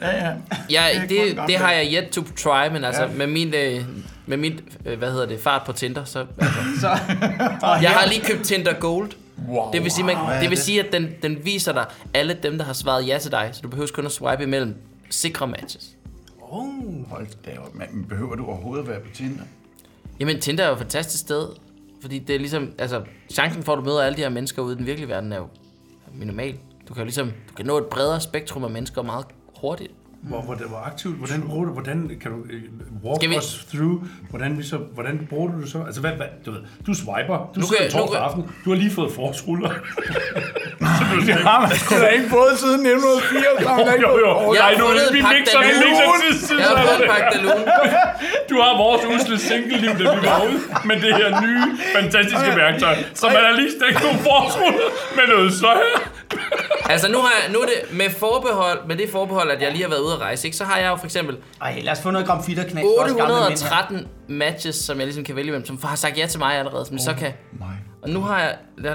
[SPEAKER 2] Ja, ja.
[SPEAKER 4] Ja,
[SPEAKER 2] Det er kun
[SPEAKER 4] det,
[SPEAKER 2] gammel.
[SPEAKER 4] det har jeg yet to try, men altså ja. med min, øh, med min øh, hvad hedder det, fart på Tinder,
[SPEAKER 2] <laughs>
[SPEAKER 4] så... Altså,
[SPEAKER 7] Så,
[SPEAKER 4] jeg har lige købt Tinder Gold.
[SPEAKER 2] Wow.
[SPEAKER 4] Det vil sige, man, det vil sige at den, den viser dig alle dem, der har svaret ja til dig, så du behøver kun at swipe imellem sikre matches.
[SPEAKER 2] Hold da op, mand. Men Behøver du overhovedet at være på Tinder?
[SPEAKER 4] Jamen, Tinder er jo et fantastisk sted, fordi det er ligesom, altså, chancen for, at du møder alle de her mennesker ude i den virkelige verden, er jo minimal. Du kan jo ligesom, du kan nå et bredere spektrum af mennesker meget hurtigt.
[SPEAKER 6] Hvor, hvor, hvor aktivt, hvordan bruger du, hvordan kan du øh, walk
[SPEAKER 4] Skal vi-
[SPEAKER 6] us through, hvordan, vi så, hvordan bruger du det så? Altså, hvad, hvad, du, ved, du swiper, du
[SPEAKER 4] Nu
[SPEAKER 6] sidder
[SPEAKER 4] kan- nu
[SPEAKER 6] torsdag
[SPEAKER 4] kan-
[SPEAKER 6] aften, du har lige fået
[SPEAKER 4] <laughs>
[SPEAKER 6] forårsruller.
[SPEAKER 2] Det har
[SPEAKER 9] <laughs>
[SPEAKER 2] man sgu da ikke fået siden 1980. har man da ikke
[SPEAKER 9] Jo, jo.
[SPEAKER 2] fået.
[SPEAKER 4] Jeg
[SPEAKER 9] Nej,
[SPEAKER 4] har
[SPEAKER 9] nu
[SPEAKER 4] fundet en
[SPEAKER 9] vi
[SPEAKER 4] pakke
[SPEAKER 9] mixer, vi
[SPEAKER 4] Danone.
[SPEAKER 9] mixer til siden.
[SPEAKER 4] Jeg har fået en pakke Dalun.
[SPEAKER 9] Du har vores usle single-liv, da vi var ude med det her nye, fantastiske værktøj. Så man har lige stegt nogle forårsruller med noget soja.
[SPEAKER 4] Altså, nu, har jeg, nu er det med forbehold, med det forbehold, at jeg lige har været ude at rejse, ikke? så har jeg jo for eksempel
[SPEAKER 7] ej, lad os få noget gram fitterknæk.
[SPEAKER 4] 813 matches, som jeg ligesom kan vælge imellem, som har sagt ja til mig allerede, som oh så kan... Og nu har jeg... Der,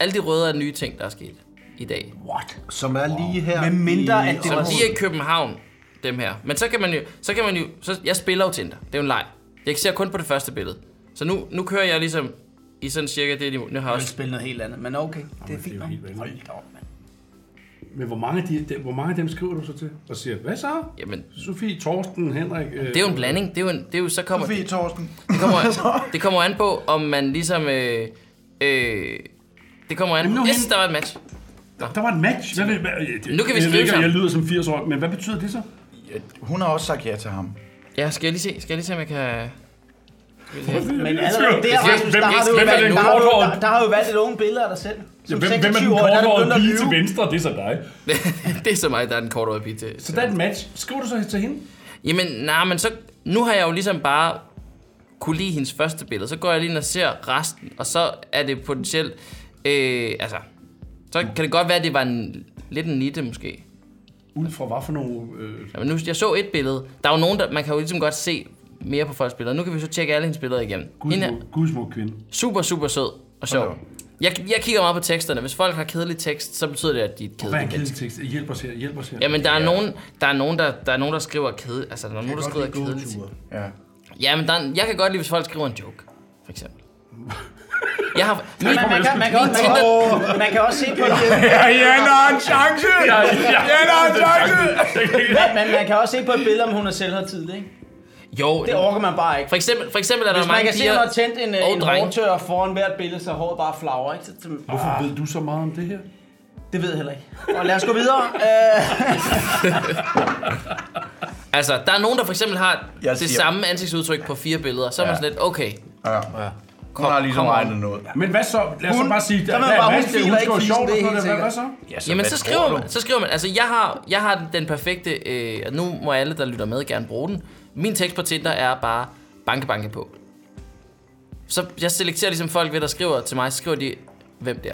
[SPEAKER 4] alle de røde er nye ting, der er sket i dag.
[SPEAKER 7] What?
[SPEAKER 5] Som er lige her.
[SPEAKER 7] Med mindre,
[SPEAKER 5] i-
[SPEAKER 7] at det
[SPEAKER 4] Som
[SPEAKER 7] var
[SPEAKER 4] de er i København, dem her. Men så kan man jo... Så kan man jo så, jeg spiller jo Tinder. Det er jo en leg. Jeg ser kun på det første billede. Så nu, nu kører jeg ligesom i sådan cirka det niveau. Nu har jeg
[SPEAKER 7] Jeg vil
[SPEAKER 4] også...
[SPEAKER 7] spille noget helt andet, men okay, det er fint. nok. Hold da op, mand.
[SPEAKER 6] Men hvor mange, af de, de, hvor mange af dem skriver du så til? Og siger, hvad så?
[SPEAKER 4] Jamen,
[SPEAKER 6] Sofie, Torsten, Henrik... Øh,
[SPEAKER 4] det er jo en blanding. Det er jo, en, det er jo så kommer...
[SPEAKER 2] Fie Torsten.
[SPEAKER 5] <laughs>
[SPEAKER 4] Det kommer, det kommer an på, om man ligesom... Øh, øh, Det kommer an.
[SPEAKER 6] Jamen, nu
[SPEAKER 4] Nu
[SPEAKER 6] hen-
[SPEAKER 4] yes, der var et match.
[SPEAKER 6] Der, der var et match. Hvad, vil- hvad,
[SPEAKER 4] Nu kan vi
[SPEAKER 6] jeg,
[SPEAKER 4] skrive
[SPEAKER 6] jeg, jeg,
[SPEAKER 4] sammen.
[SPEAKER 6] jeg lyder som 80 år, men hvad betyder det så?
[SPEAKER 5] Hun har også sagt ja til ham.
[SPEAKER 4] Ja, skal jeg lige se, skal jeg lige se om jeg kan... <laughs>
[SPEAKER 7] Men allerede der, Rasmus, der har du jo
[SPEAKER 9] hvem er
[SPEAKER 7] valgt,
[SPEAKER 9] den
[SPEAKER 7] der har du,
[SPEAKER 9] korthårede?
[SPEAKER 7] der, der har du valgt et unge billede af dig selv.
[SPEAKER 9] Ja,
[SPEAKER 7] Som
[SPEAKER 9] hvem, hvem er den
[SPEAKER 7] 26 år, der er det begyndt
[SPEAKER 9] korthårede
[SPEAKER 7] at
[SPEAKER 9] pige til
[SPEAKER 7] lyve.
[SPEAKER 9] venstre? Det er så dig.
[SPEAKER 4] det er så mig, der er den kortere pige til.
[SPEAKER 6] Så der er et match. Skriver du så til hende?
[SPEAKER 4] Jamen, nej, men så... Nu har jeg jo ligesom bare kunne lide hendes første billede. Så går jeg lige ind og ser resten, og så er det potentielt... Øh, altså, så kan det godt være, at det var en, lidt en nitte måske.
[SPEAKER 6] Ud fra hvad for nogle... Øh,
[SPEAKER 4] Jamen, nu, jeg så et billede. Der er jo nogen, der... Man kan jo ligesom godt se mere på folks billeder. Nu kan vi så tjekke alle hendes billeder igennem. Hende her,
[SPEAKER 6] gudsmuk, gudsmuk kvinde.
[SPEAKER 4] super, super sød og sjov. Jeg, jeg kigger meget på teksterne. Hvis folk har kedelig tekst, så betyder det, at de er et
[SPEAKER 6] Hvad er en
[SPEAKER 4] kedeligt
[SPEAKER 6] kedelig tekst? Hjælp os her, hjælp os her.
[SPEAKER 4] Jamen, der er, nogen, der er nogen, der, der, er nogen, der skriver kede, altså, der er nogen, der skriver kedeligt.
[SPEAKER 5] Ja.
[SPEAKER 4] Jamen, der er, jeg kan godt lide, hvis folk skriver en joke, for eksempel. Jeg har...
[SPEAKER 7] Man, man, man, kan, man, kan også, man, kan også, man kan også se på de,
[SPEAKER 5] Ja, ja, der er en chance! Ja, der er en chance!
[SPEAKER 7] man, man, man kan også se på et billede, om hun er selvhøjtidlig, ikke?
[SPEAKER 4] Jo,
[SPEAKER 7] Det orker man bare ikke.
[SPEAKER 4] for eksempel, for eksempel er der
[SPEAKER 7] Hvis man
[SPEAKER 4] mange
[SPEAKER 7] kan se, at hun har tændt en, øh,
[SPEAKER 4] og
[SPEAKER 7] en
[SPEAKER 4] drenge.
[SPEAKER 7] hårdtør foran hvert billede, så håret bare flagrer, ikke? Så, så-
[SPEAKER 6] Hvorfor ved du så meget om det her?
[SPEAKER 7] det ved jeg heller ikke. Og lad os gå videre.
[SPEAKER 6] <laughs>
[SPEAKER 7] Øh,
[SPEAKER 4] Altså, der er nogen, der for eksempel har
[SPEAKER 5] Jeg
[SPEAKER 4] det
[SPEAKER 5] siger-
[SPEAKER 4] samme ansigtsudtryk på fire billeder. Så er man sådan lidt, okay,
[SPEAKER 5] Hun har ligesom
[SPEAKER 4] Kom on.
[SPEAKER 5] regnet noget.
[SPEAKER 6] Men hvad så? Lad os så bare sige, der,
[SPEAKER 7] man
[SPEAKER 6] der er
[SPEAKER 7] bare
[SPEAKER 6] match,
[SPEAKER 7] huske,
[SPEAKER 6] det
[SPEAKER 7] filer ikke
[SPEAKER 6] er
[SPEAKER 7] fisen,
[SPEAKER 6] sjovt.
[SPEAKER 7] det er
[SPEAKER 6] og
[SPEAKER 7] helt
[SPEAKER 6] sådan noget. Hvad så?
[SPEAKER 5] Ja,
[SPEAKER 4] Jamen,
[SPEAKER 5] Altså, hvad
[SPEAKER 4] så
[SPEAKER 5] tror
[SPEAKER 4] skriver,
[SPEAKER 5] du?
[SPEAKER 4] man, så skriver man. Altså, jeg har, jeg har den perfekte, øh, og nu må alle, der lytter med, gerne bruge den. Min tekst på Tinder er bare banke, banke på. Så jeg selekterer ligesom folk ved, der skriver til mig, så skriver de, hvem der.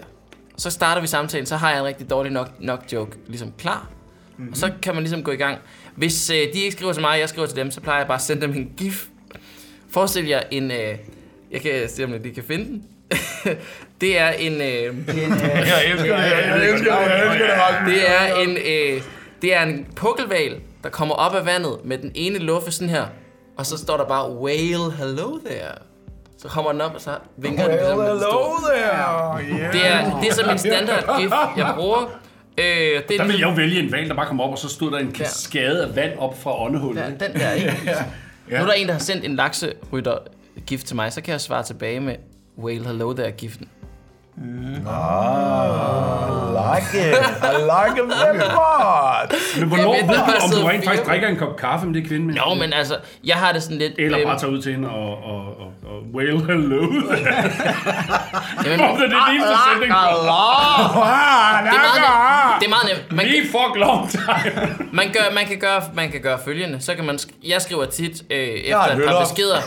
[SPEAKER 4] Så starter vi samtalen, så har jeg en rigtig dårlig nok, nok joke ligesom klar. Mm-hmm. Og så
[SPEAKER 5] Mhm.
[SPEAKER 4] kan man ligesom gå i gang. Hvis øh, de ikke skriver til mig, og jeg skriver til dem, så plejer jeg bare at sende dem en gif. Forestil jer en... Øh, jeg kan se, om jeg lige kan finde den. <laughs> det er en... Øh,
[SPEAKER 5] Jeg elsker det, jeg elsker det, jeg elsker det, Rasmus.
[SPEAKER 4] det er en, øh, det er en pukkelval, der kommer op af vandet med den ene luffe sådan her. Og så står der bare, whale, hello there. Så kommer den op, og så vinker den ligesom, med den store.
[SPEAKER 5] Hello there!
[SPEAKER 4] Det er, det er som en standard gif, jeg bruger. Øh, det er
[SPEAKER 6] Der ville jeg
[SPEAKER 4] ligesom,
[SPEAKER 6] jo vælge en valg, der bare kom op, og så stod der en kaskade af vand op fra åndehullet.
[SPEAKER 4] ja,
[SPEAKER 6] ikke?
[SPEAKER 4] den der, ikke? Nu er der en, der har sendt en lakserytter gif til mig, så kan jeg svare tilbage med whale, hello there giften.
[SPEAKER 5] Like it! I like it very much!
[SPEAKER 6] Men hvornår
[SPEAKER 4] Jeg ved
[SPEAKER 6] ved
[SPEAKER 4] bare,
[SPEAKER 6] du, om du
[SPEAKER 4] sidder
[SPEAKER 6] rent faktisk
[SPEAKER 4] fire-
[SPEAKER 6] drikker en kop kaffe med det kvinde?
[SPEAKER 4] Jo, men altså, jeg har det sådan lidt...
[SPEAKER 6] Eller
[SPEAKER 4] øhm,
[SPEAKER 6] bare tager ud til hende og, og, og, og whale hello.
[SPEAKER 4] jamen,
[SPEAKER 6] Hvorfor er det den
[SPEAKER 7] Ah,
[SPEAKER 6] eneste sætning? Ah,
[SPEAKER 4] det, er meget nemt. det er meget nemt. Man,
[SPEAKER 6] Me fuck long time.
[SPEAKER 4] Man, gør, man, kan gøre, man kan gøre følgende. Så kan man sk- jeg skriver tit øh, efter
[SPEAKER 5] har et
[SPEAKER 4] et par
[SPEAKER 5] høller.
[SPEAKER 4] beskeder.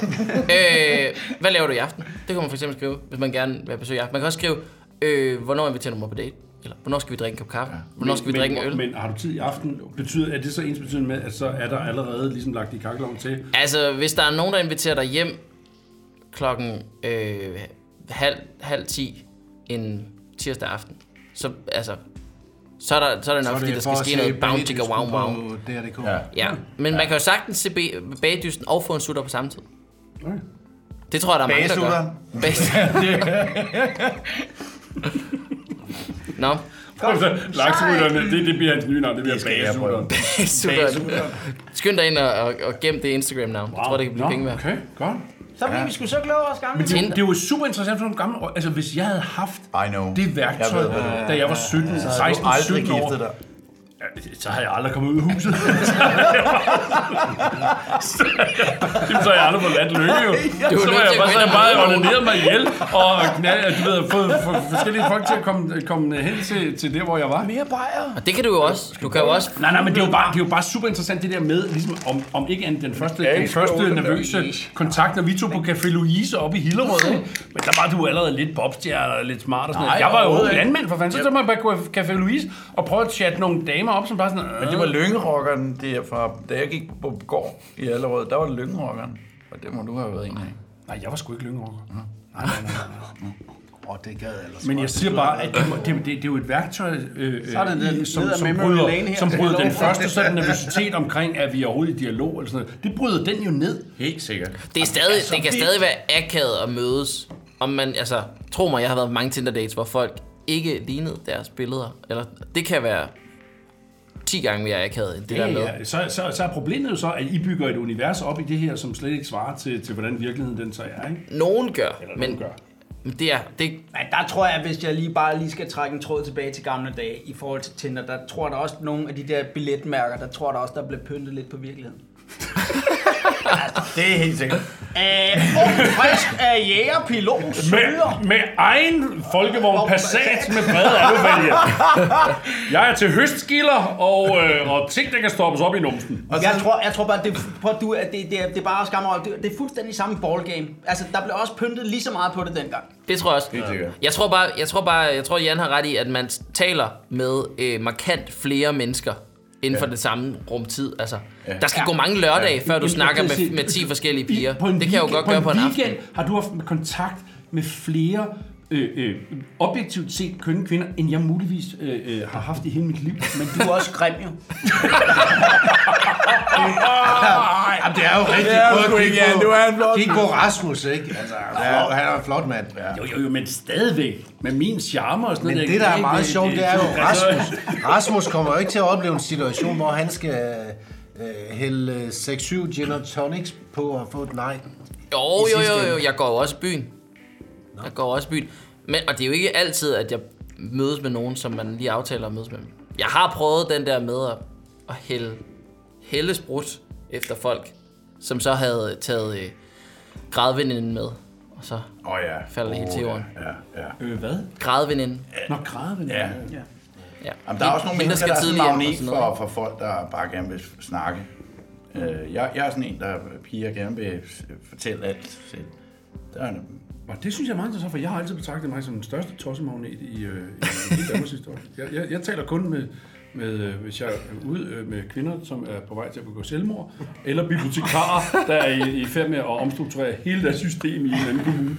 [SPEAKER 4] øh, hvad laver du i aften? Det kan man for eksempel skrive, hvis man gerne vil besøge i aften. Man kan også skrive, øh, hvornår inviterer du mig på date? Eller, hvornår skal vi drikke en kop kaffe? Hvornår skal vi drikke en øl?
[SPEAKER 6] Men har du tid i aften? Betyder, er det så ens betydende med, at så er der allerede ligesom lagt i kakkeloven til?
[SPEAKER 4] Altså, hvis der er nogen, der inviterer dig hjem klokken øh, halv, halv ti en tirsdag aften, så, altså, så er, der, så er det nok, fordi der skal ske noget bounty og wow wow.
[SPEAKER 12] Det er det kom.
[SPEAKER 5] Ja.
[SPEAKER 12] Ja.
[SPEAKER 4] Ja, men man kan jo sagtens se ba- bagdysten og få en sutter på samme tid.
[SPEAKER 6] Okay.
[SPEAKER 4] Det tror jeg, der er mange, der gør.
[SPEAKER 5] Bagesutter.
[SPEAKER 4] Bagesutter? Nå,
[SPEAKER 6] <laughs> Altså, lakserytterne, det, det bliver hans nye navn, det bliver
[SPEAKER 5] skal jeg
[SPEAKER 6] bagesutteren.
[SPEAKER 4] bagesutter. Skynd dig ind og, og, og gem det Instagram-navn. Jeg tror, det kan blive
[SPEAKER 6] Nå,
[SPEAKER 4] penge værd.
[SPEAKER 6] Okay, godt.
[SPEAKER 7] så bliver vi sgu så klogere og skamme.
[SPEAKER 6] Det, det er jo super interessant for nogle gamle år. Altså, hvis jeg havde haft
[SPEAKER 5] I know.
[SPEAKER 6] det værktøj,
[SPEAKER 5] Jeg ved, hvad det er.
[SPEAKER 6] da jeg var 17,
[SPEAKER 5] Jeg har
[SPEAKER 6] 16,
[SPEAKER 5] jo aldrig
[SPEAKER 6] 17 år,
[SPEAKER 5] giftet dig.
[SPEAKER 6] Ja, så har jeg aldrig kommet ud af huset. så havde jeg bare- så havde jeg- Jamen, så har jeg aldrig forladt lykke, jo.
[SPEAKER 4] Du er
[SPEAKER 6] Så
[SPEAKER 4] nødt
[SPEAKER 6] var jeg
[SPEAKER 4] til at
[SPEAKER 6] bare,
[SPEAKER 4] gå
[SPEAKER 6] så
[SPEAKER 4] ind
[SPEAKER 6] har
[SPEAKER 4] og
[SPEAKER 6] jeg bare
[SPEAKER 4] møde nogen.
[SPEAKER 6] ordineret mig ihjel, og knald, du ved, fået for, forskellige folk til at komme, komme hen til, til der, hvor jeg var.
[SPEAKER 7] Mere bajer.
[SPEAKER 4] Og det kan du jo også. Du kan jo også...
[SPEAKER 6] Nej, nej, men det er jo bare, det er jo bare super interessant det der med, ligesom om, om ikke andet den første, den første nervøse kontakt, når vi tog på Café Louise oppe i Hillerød. ikke? Men der var du allerede lidt popstjerne og lidt smart og sådan noget. Jeg var jo landmand for fanden, så tog man på Café Louise og prøvede at chatte nogle damer op, som bare sådan... "Øh."
[SPEAKER 5] Men det var lyngerokkeren, der fra, da jeg gik på gård i Allerød, der var det lyngerokkeren. Og det må du have været en af.
[SPEAKER 6] Nej, jeg var sgu ikke lyngerokker.
[SPEAKER 12] Og det gad jeg ellers.
[SPEAKER 6] Men jeg siger bare, at det, må- det, det, det er jo et værktøj, øh,
[SPEAKER 7] er det
[SPEAKER 6] øh,
[SPEAKER 7] den
[SPEAKER 6] som,
[SPEAKER 7] ned ad
[SPEAKER 6] som,
[SPEAKER 7] memory lane
[SPEAKER 6] bryder,
[SPEAKER 7] her.
[SPEAKER 6] som bryder den
[SPEAKER 7] Hello. <laughs>
[SPEAKER 6] første sådan nervøsitet omkring, at vi er overhovedet i dialog eller sådan noget. Det bryder den jo ned.
[SPEAKER 5] Helt sikkert.
[SPEAKER 4] Det, er stadig,
[SPEAKER 6] altså,
[SPEAKER 4] det kan stadig være akavet at mødes. Om man, altså, tro mig, jeg har været på mange Tinder-dates, hvor folk ikke lignede deres billeder. Eller, det kan være 10 gange mere akavet end det der med.
[SPEAKER 6] Ja, så, så, så er problemet jo så, at I bygger et univers op i det her, som slet ikke svarer til, til hvordan virkeligheden den så er. Ikke?
[SPEAKER 4] Nogen gør,
[SPEAKER 6] Eller nogen
[SPEAKER 4] men
[SPEAKER 6] gør.
[SPEAKER 4] Men det er... Det...
[SPEAKER 7] Men der tror jeg, hvis jeg lige bare lige skal trække en tråd tilbage til gamle dage i forhold til Tinder, der tror jeg der også nogle af de der billetmærker, der tror jeg der også, der blev pyntet lidt på
[SPEAKER 6] <laughs>
[SPEAKER 7] virkeligheden.
[SPEAKER 9] Det er helt sikkert.
[SPEAKER 7] Æh, ung, Øh, oh, frisk af jægerpilot, søger.
[SPEAKER 9] Med, med egen folkevogn Passat med brede
[SPEAKER 7] <laughs>
[SPEAKER 9] alufælge. Jeg er til høstskiller og, øh, og ting, der kan stoppes op i numsen.
[SPEAKER 7] Jeg tror, jeg tror bare, det, prøv, at du, at det, det, er- det er bare skammer. Det, det er fuldstændig samme ballgame. Altså, der blev også pyntet lige så meget på det dengang.
[SPEAKER 4] Det tror jeg også. Jeg tror bare, jeg tror bare, jeg tror Jan har ret i, at man taler med øh, markant flere mennesker inden for det samme rumtid. Altså, der skal
[SPEAKER 6] Ja.
[SPEAKER 4] gå mange lørdage,
[SPEAKER 6] Ja.
[SPEAKER 4] før du
[SPEAKER 6] Jamen,
[SPEAKER 4] snakker
[SPEAKER 6] jeg kan
[SPEAKER 4] med,
[SPEAKER 6] se-
[SPEAKER 4] med 10 forskellige
[SPEAKER 6] I-
[SPEAKER 4] piger. Det
[SPEAKER 6] på
[SPEAKER 4] kan
[SPEAKER 6] en
[SPEAKER 4] jeg jo
[SPEAKER 6] weekend-
[SPEAKER 4] godt gøre på en aften.
[SPEAKER 6] weekend har du haft kontakt med flere øh, øh, objektivt set kønne kvinder, end jeg muligvis øh, øh, har haft i hele mit liv. Men
[SPEAKER 7] du er også grim, jo.
[SPEAKER 5] Jamen, det er jo rigtigt.
[SPEAKER 6] Det er
[SPEAKER 5] Prøv at
[SPEAKER 6] sgu
[SPEAKER 5] kigge
[SPEAKER 6] ikke, Jan.
[SPEAKER 5] på-
[SPEAKER 6] Du er en flot
[SPEAKER 5] Kig
[SPEAKER 6] mand.
[SPEAKER 5] på Rasmus, ikke? Altså, flot, han er en flot mand. Ja.
[SPEAKER 6] Jo, jo, jo, men stadigvæk. Med min charme og sådan
[SPEAKER 5] Men
[SPEAKER 6] noget.
[SPEAKER 5] det, der er
[SPEAKER 6] ikke?
[SPEAKER 5] meget sjovt, det er jo
[SPEAKER 6] altså,
[SPEAKER 5] Rasmus. Rasmus kommer jo ikke til at opleve en situation, hvor han skal øh, hælde øh, 6-7 gin og tonics på og få et nej.
[SPEAKER 4] Jo,
[SPEAKER 5] i
[SPEAKER 4] jo,
[SPEAKER 5] sidste
[SPEAKER 4] jo, jo,
[SPEAKER 5] ende.
[SPEAKER 4] jeg går jo også i byen. Jeg går også i byen. Men, og det er jo ikke altid, at jeg mødes med nogen, som man lige aftaler at mødes med. Jeg har prøvet den der med at, at hælde, hælde sprut efter folk, som så havde taget øh, grædveninden med. Og så
[SPEAKER 2] Åh oh, ja.
[SPEAKER 4] falder det helt til jorden.
[SPEAKER 2] Ja, ja.
[SPEAKER 6] Øh, hvad?
[SPEAKER 4] Grædveninden.
[SPEAKER 6] Nå, grædven.
[SPEAKER 2] Ja.
[SPEAKER 4] Ja.
[SPEAKER 2] Jamen, der er også nogle mennesker, der er sådan en
[SPEAKER 4] tidligere og
[SPEAKER 2] magnet
[SPEAKER 4] sådan noget.
[SPEAKER 2] for, for folk, der bare gerne vil snakke. Øh, jeg, jeg er sådan en, der piger gerne vil s- fortælle alt selv. Der er en,
[SPEAKER 6] Og det synes jeg er meget interessant, for jeg har altid betragtet mig som den største tossemagnet i, øh, i, i Danmarks historie. Jeg, jeg, jeg taler kun med, med, øh, hvis jeg er ude øh, med kvinder, som er på vej til at begå selvmord, eller bibliotekarer, der er i, i færd med at omstrukturere hele deres system i en anden kommune.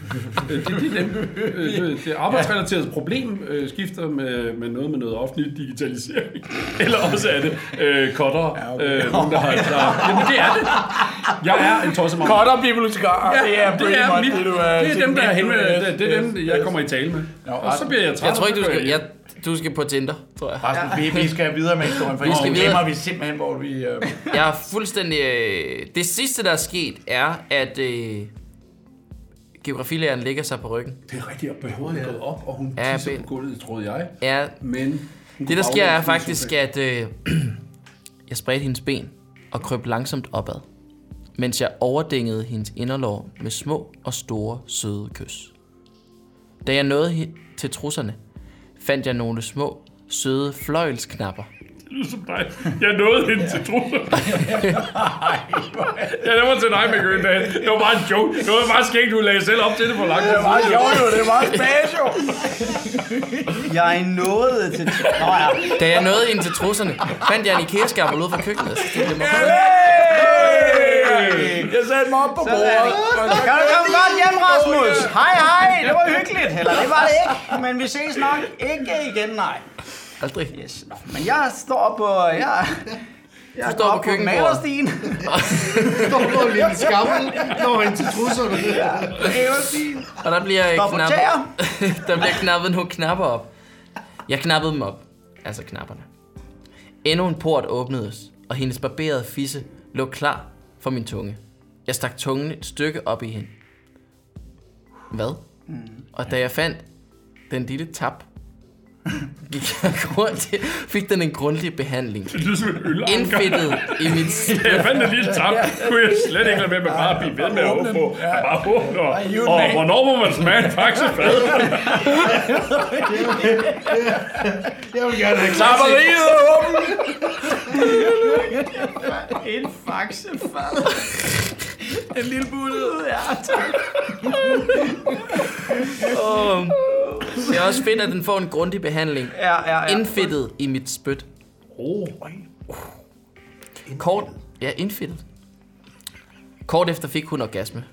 [SPEAKER 6] Øh, det, det, er dem. Øh, det, det arbejdsrelaterede problem øh, skifter med, med noget med noget offentlig digitalisering. <laughs> Eller også er det øh, cutter. Ja, okay. øh, nogen, der har, der, jamen det er det. Jeg er en tossemagnet.
[SPEAKER 2] Cutter bibliotekarer.
[SPEAKER 6] Ja, det er,
[SPEAKER 2] pretty much
[SPEAKER 6] mit,
[SPEAKER 2] du
[SPEAKER 6] det er dem, der er
[SPEAKER 2] mit, du
[SPEAKER 6] henvendt.
[SPEAKER 2] er.
[SPEAKER 6] Det, det er
[SPEAKER 2] Yes,
[SPEAKER 6] dem, jeg
[SPEAKER 2] yes.
[SPEAKER 6] kommer i tale med.
[SPEAKER 2] Nå,
[SPEAKER 6] Og så
[SPEAKER 2] Rasmus-
[SPEAKER 6] bliver jeg træt.
[SPEAKER 4] Jeg tror ikke, du
[SPEAKER 6] så går
[SPEAKER 4] skal,
[SPEAKER 6] jeg
[SPEAKER 4] jeg, <laughs> du skal på Tinder, tror jeg.
[SPEAKER 2] Rasmus, vi, vi skal videre med historien, for
[SPEAKER 4] Vi skal
[SPEAKER 2] vi glemmer
[SPEAKER 4] videre.
[SPEAKER 2] vi simpelthen, hvor vi... Øh,
[SPEAKER 4] Jeg er fuldstændig... Øh, det sidste, der er sket, er, at øh, geografilæreren ligger sig på ryggen.
[SPEAKER 6] Det er rigtigt, at behøver er gået op, og hun
[SPEAKER 4] Ja,
[SPEAKER 6] tisser
[SPEAKER 4] ben.
[SPEAKER 6] på gulvet, troede jeg.
[SPEAKER 4] Ja,
[SPEAKER 6] Men hun
[SPEAKER 4] det der
[SPEAKER 6] kunne
[SPEAKER 4] sker er
[SPEAKER 6] aflæse
[SPEAKER 4] faktisk,
[SPEAKER 6] sofaen.
[SPEAKER 4] at øh, <clears throat> jeg spredte hendes ben og krøb langsomt opad, mens jeg overdængede hendes inderlår med små og store søde kys. Da jeg nåede he- til trusserne, fandt jeg nogle små, søde fløjelsknapper.
[SPEAKER 9] Ligesom dig. Jeg nåede hende til
[SPEAKER 2] <laughs>
[SPEAKER 9] trusler. ja, det var til dig, McGreen, Det var bare en joke. Det var bare skægt, du lagde selv op til det for langt. Det var
[SPEAKER 2] jo, jo, det var spæs, jo.
[SPEAKER 7] Jeg nåede til... Nå, ja.
[SPEAKER 4] Da jeg nåede hende til trusserne, fandt jeg en IKEA-skammel ude fra køkkenet. Så det blev mig
[SPEAKER 2] Hey! Jeg satte mig op på bordet.
[SPEAKER 7] Kan du komme godt hjem, Rasmus? Hej, hej. Det var hyggeligt. Eller det var det ikke. Men vi ses nok ikke igen, nej.
[SPEAKER 4] aldrig.
[SPEAKER 7] Yes. Nå, men jeg står på... Jeg, jeg
[SPEAKER 4] Du står
[SPEAKER 7] går
[SPEAKER 4] på
[SPEAKER 7] op
[SPEAKER 4] køkkenbordet.
[SPEAKER 7] malerstien.
[SPEAKER 5] Står på en lille skammel, når han til trusserne.
[SPEAKER 7] Malerstien.
[SPEAKER 4] Og der bliver
[SPEAKER 7] Står på
[SPEAKER 4] knappet,
[SPEAKER 7] tæer.
[SPEAKER 4] <laughs> der bliver knappet nogle knapper op. Jeg knappede dem op. Altså knapperne. Endnu en port åbnedes, og hendes barberede fisse lå klar for min tunge. Jeg stak tungen et stykke op i hende. Hvad? Og da jeg fandt den lille tap, gik jeg hurtigt, fik den en grundig behandling.
[SPEAKER 9] Det lyder som en ølanker.
[SPEAKER 4] Indfittet i mit...
[SPEAKER 9] Jeg fandt en lille tam. Kunne jeg slet ikke lade være med bare at blive ved med at åbne. Jeg bare åbne. og- Og hvornår må man smage en faksefad?
[SPEAKER 5] Jeg vil gerne have klap.
[SPEAKER 2] Klapperiet er åbent.
[SPEAKER 7] En faksefad. En lille bulle. Ja, tak.
[SPEAKER 4] Det er også fedt, at den får en grundig behandling.
[SPEAKER 7] Ja, ja, ja.
[SPEAKER 4] Indfittet i mit spyt. Oh. Kort, ja, indfittet. Kort efter fik hun orgasme.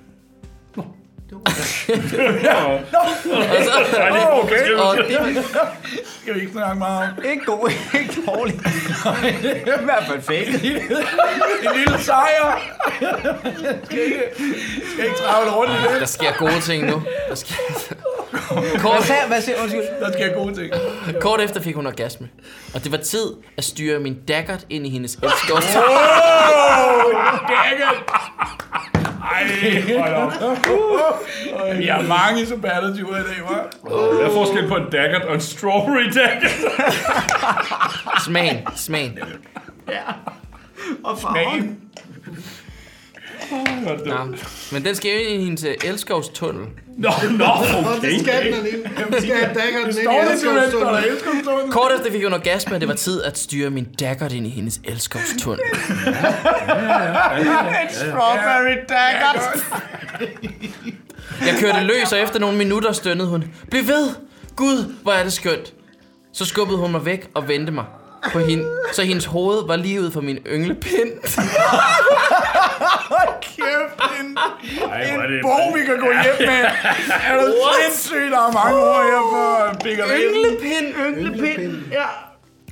[SPEAKER 9] Nej, det er okay.
[SPEAKER 4] Og det,
[SPEAKER 2] Skal vi ikke snakke meget om?
[SPEAKER 7] Ikke god, ikke <laughs> dårlig. I hvert fald fake.
[SPEAKER 2] En lille sejr. Skal ikke, skal ikke travle rundt i det.
[SPEAKER 4] der sker gode ting nu. Der sker... Kort,
[SPEAKER 7] Hvad, hvad siger undskyld?
[SPEAKER 2] Der sker gode ting.
[SPEAKER 4] kort efter fik hun orgasme. Og det var tid at styre min daggert ind i hendes elskede.
[SPEAKER 2] Åh, oh, dækket. Ej,
[SPEAKER 9] Ej, hold op.
[SPEAKER 1] Vi har mange superlativer i dag, hva'?
[SPEAKER 9] Der er forskel på en daggert og en strawberry daggert.
[SPEAKER 4] Smagen, smagen.
[SPEAKER 13] Og farven.
[SPEAKER 4] Nå. Men den skal jo ind i hendes øh, elskovstunnel.
[SPEAKER 9] Nå, nå, okay.
[SPEAKER 5] Det skal den ind. Det skal have daggeren ind i
[SPEAKER 1] Og
[SPEAKER 5] elskovstunden.
[SPEAKER 1] jeg elsker den
[SPEAKER 4] Kort efter fik hun orgasme, og det var tid at styre min dagger ind i hendes elskovstunnel.
[SPEAKER 1] Strawberry daggers.
[SPEAKER 4] Jeg kørte løs, og efter nogle minutter stønnede hun. Bliv ved! Gud, hvor er det skønt! Så skubbede hun mig væk og vendte mig. På hende, så hendes hoved var lige ud for min ynglepind.
[SPEAKER 1] Kæft, en,
[SPEAKER 9] Ej, hvor er det-
[SPEAKER 1] en bog, vi kan gå hjem med. Er du sindssygt, der er mange ord her for pikkeriet.
[SPEAKER 4] Ynglepind! Ynglepind! Ja.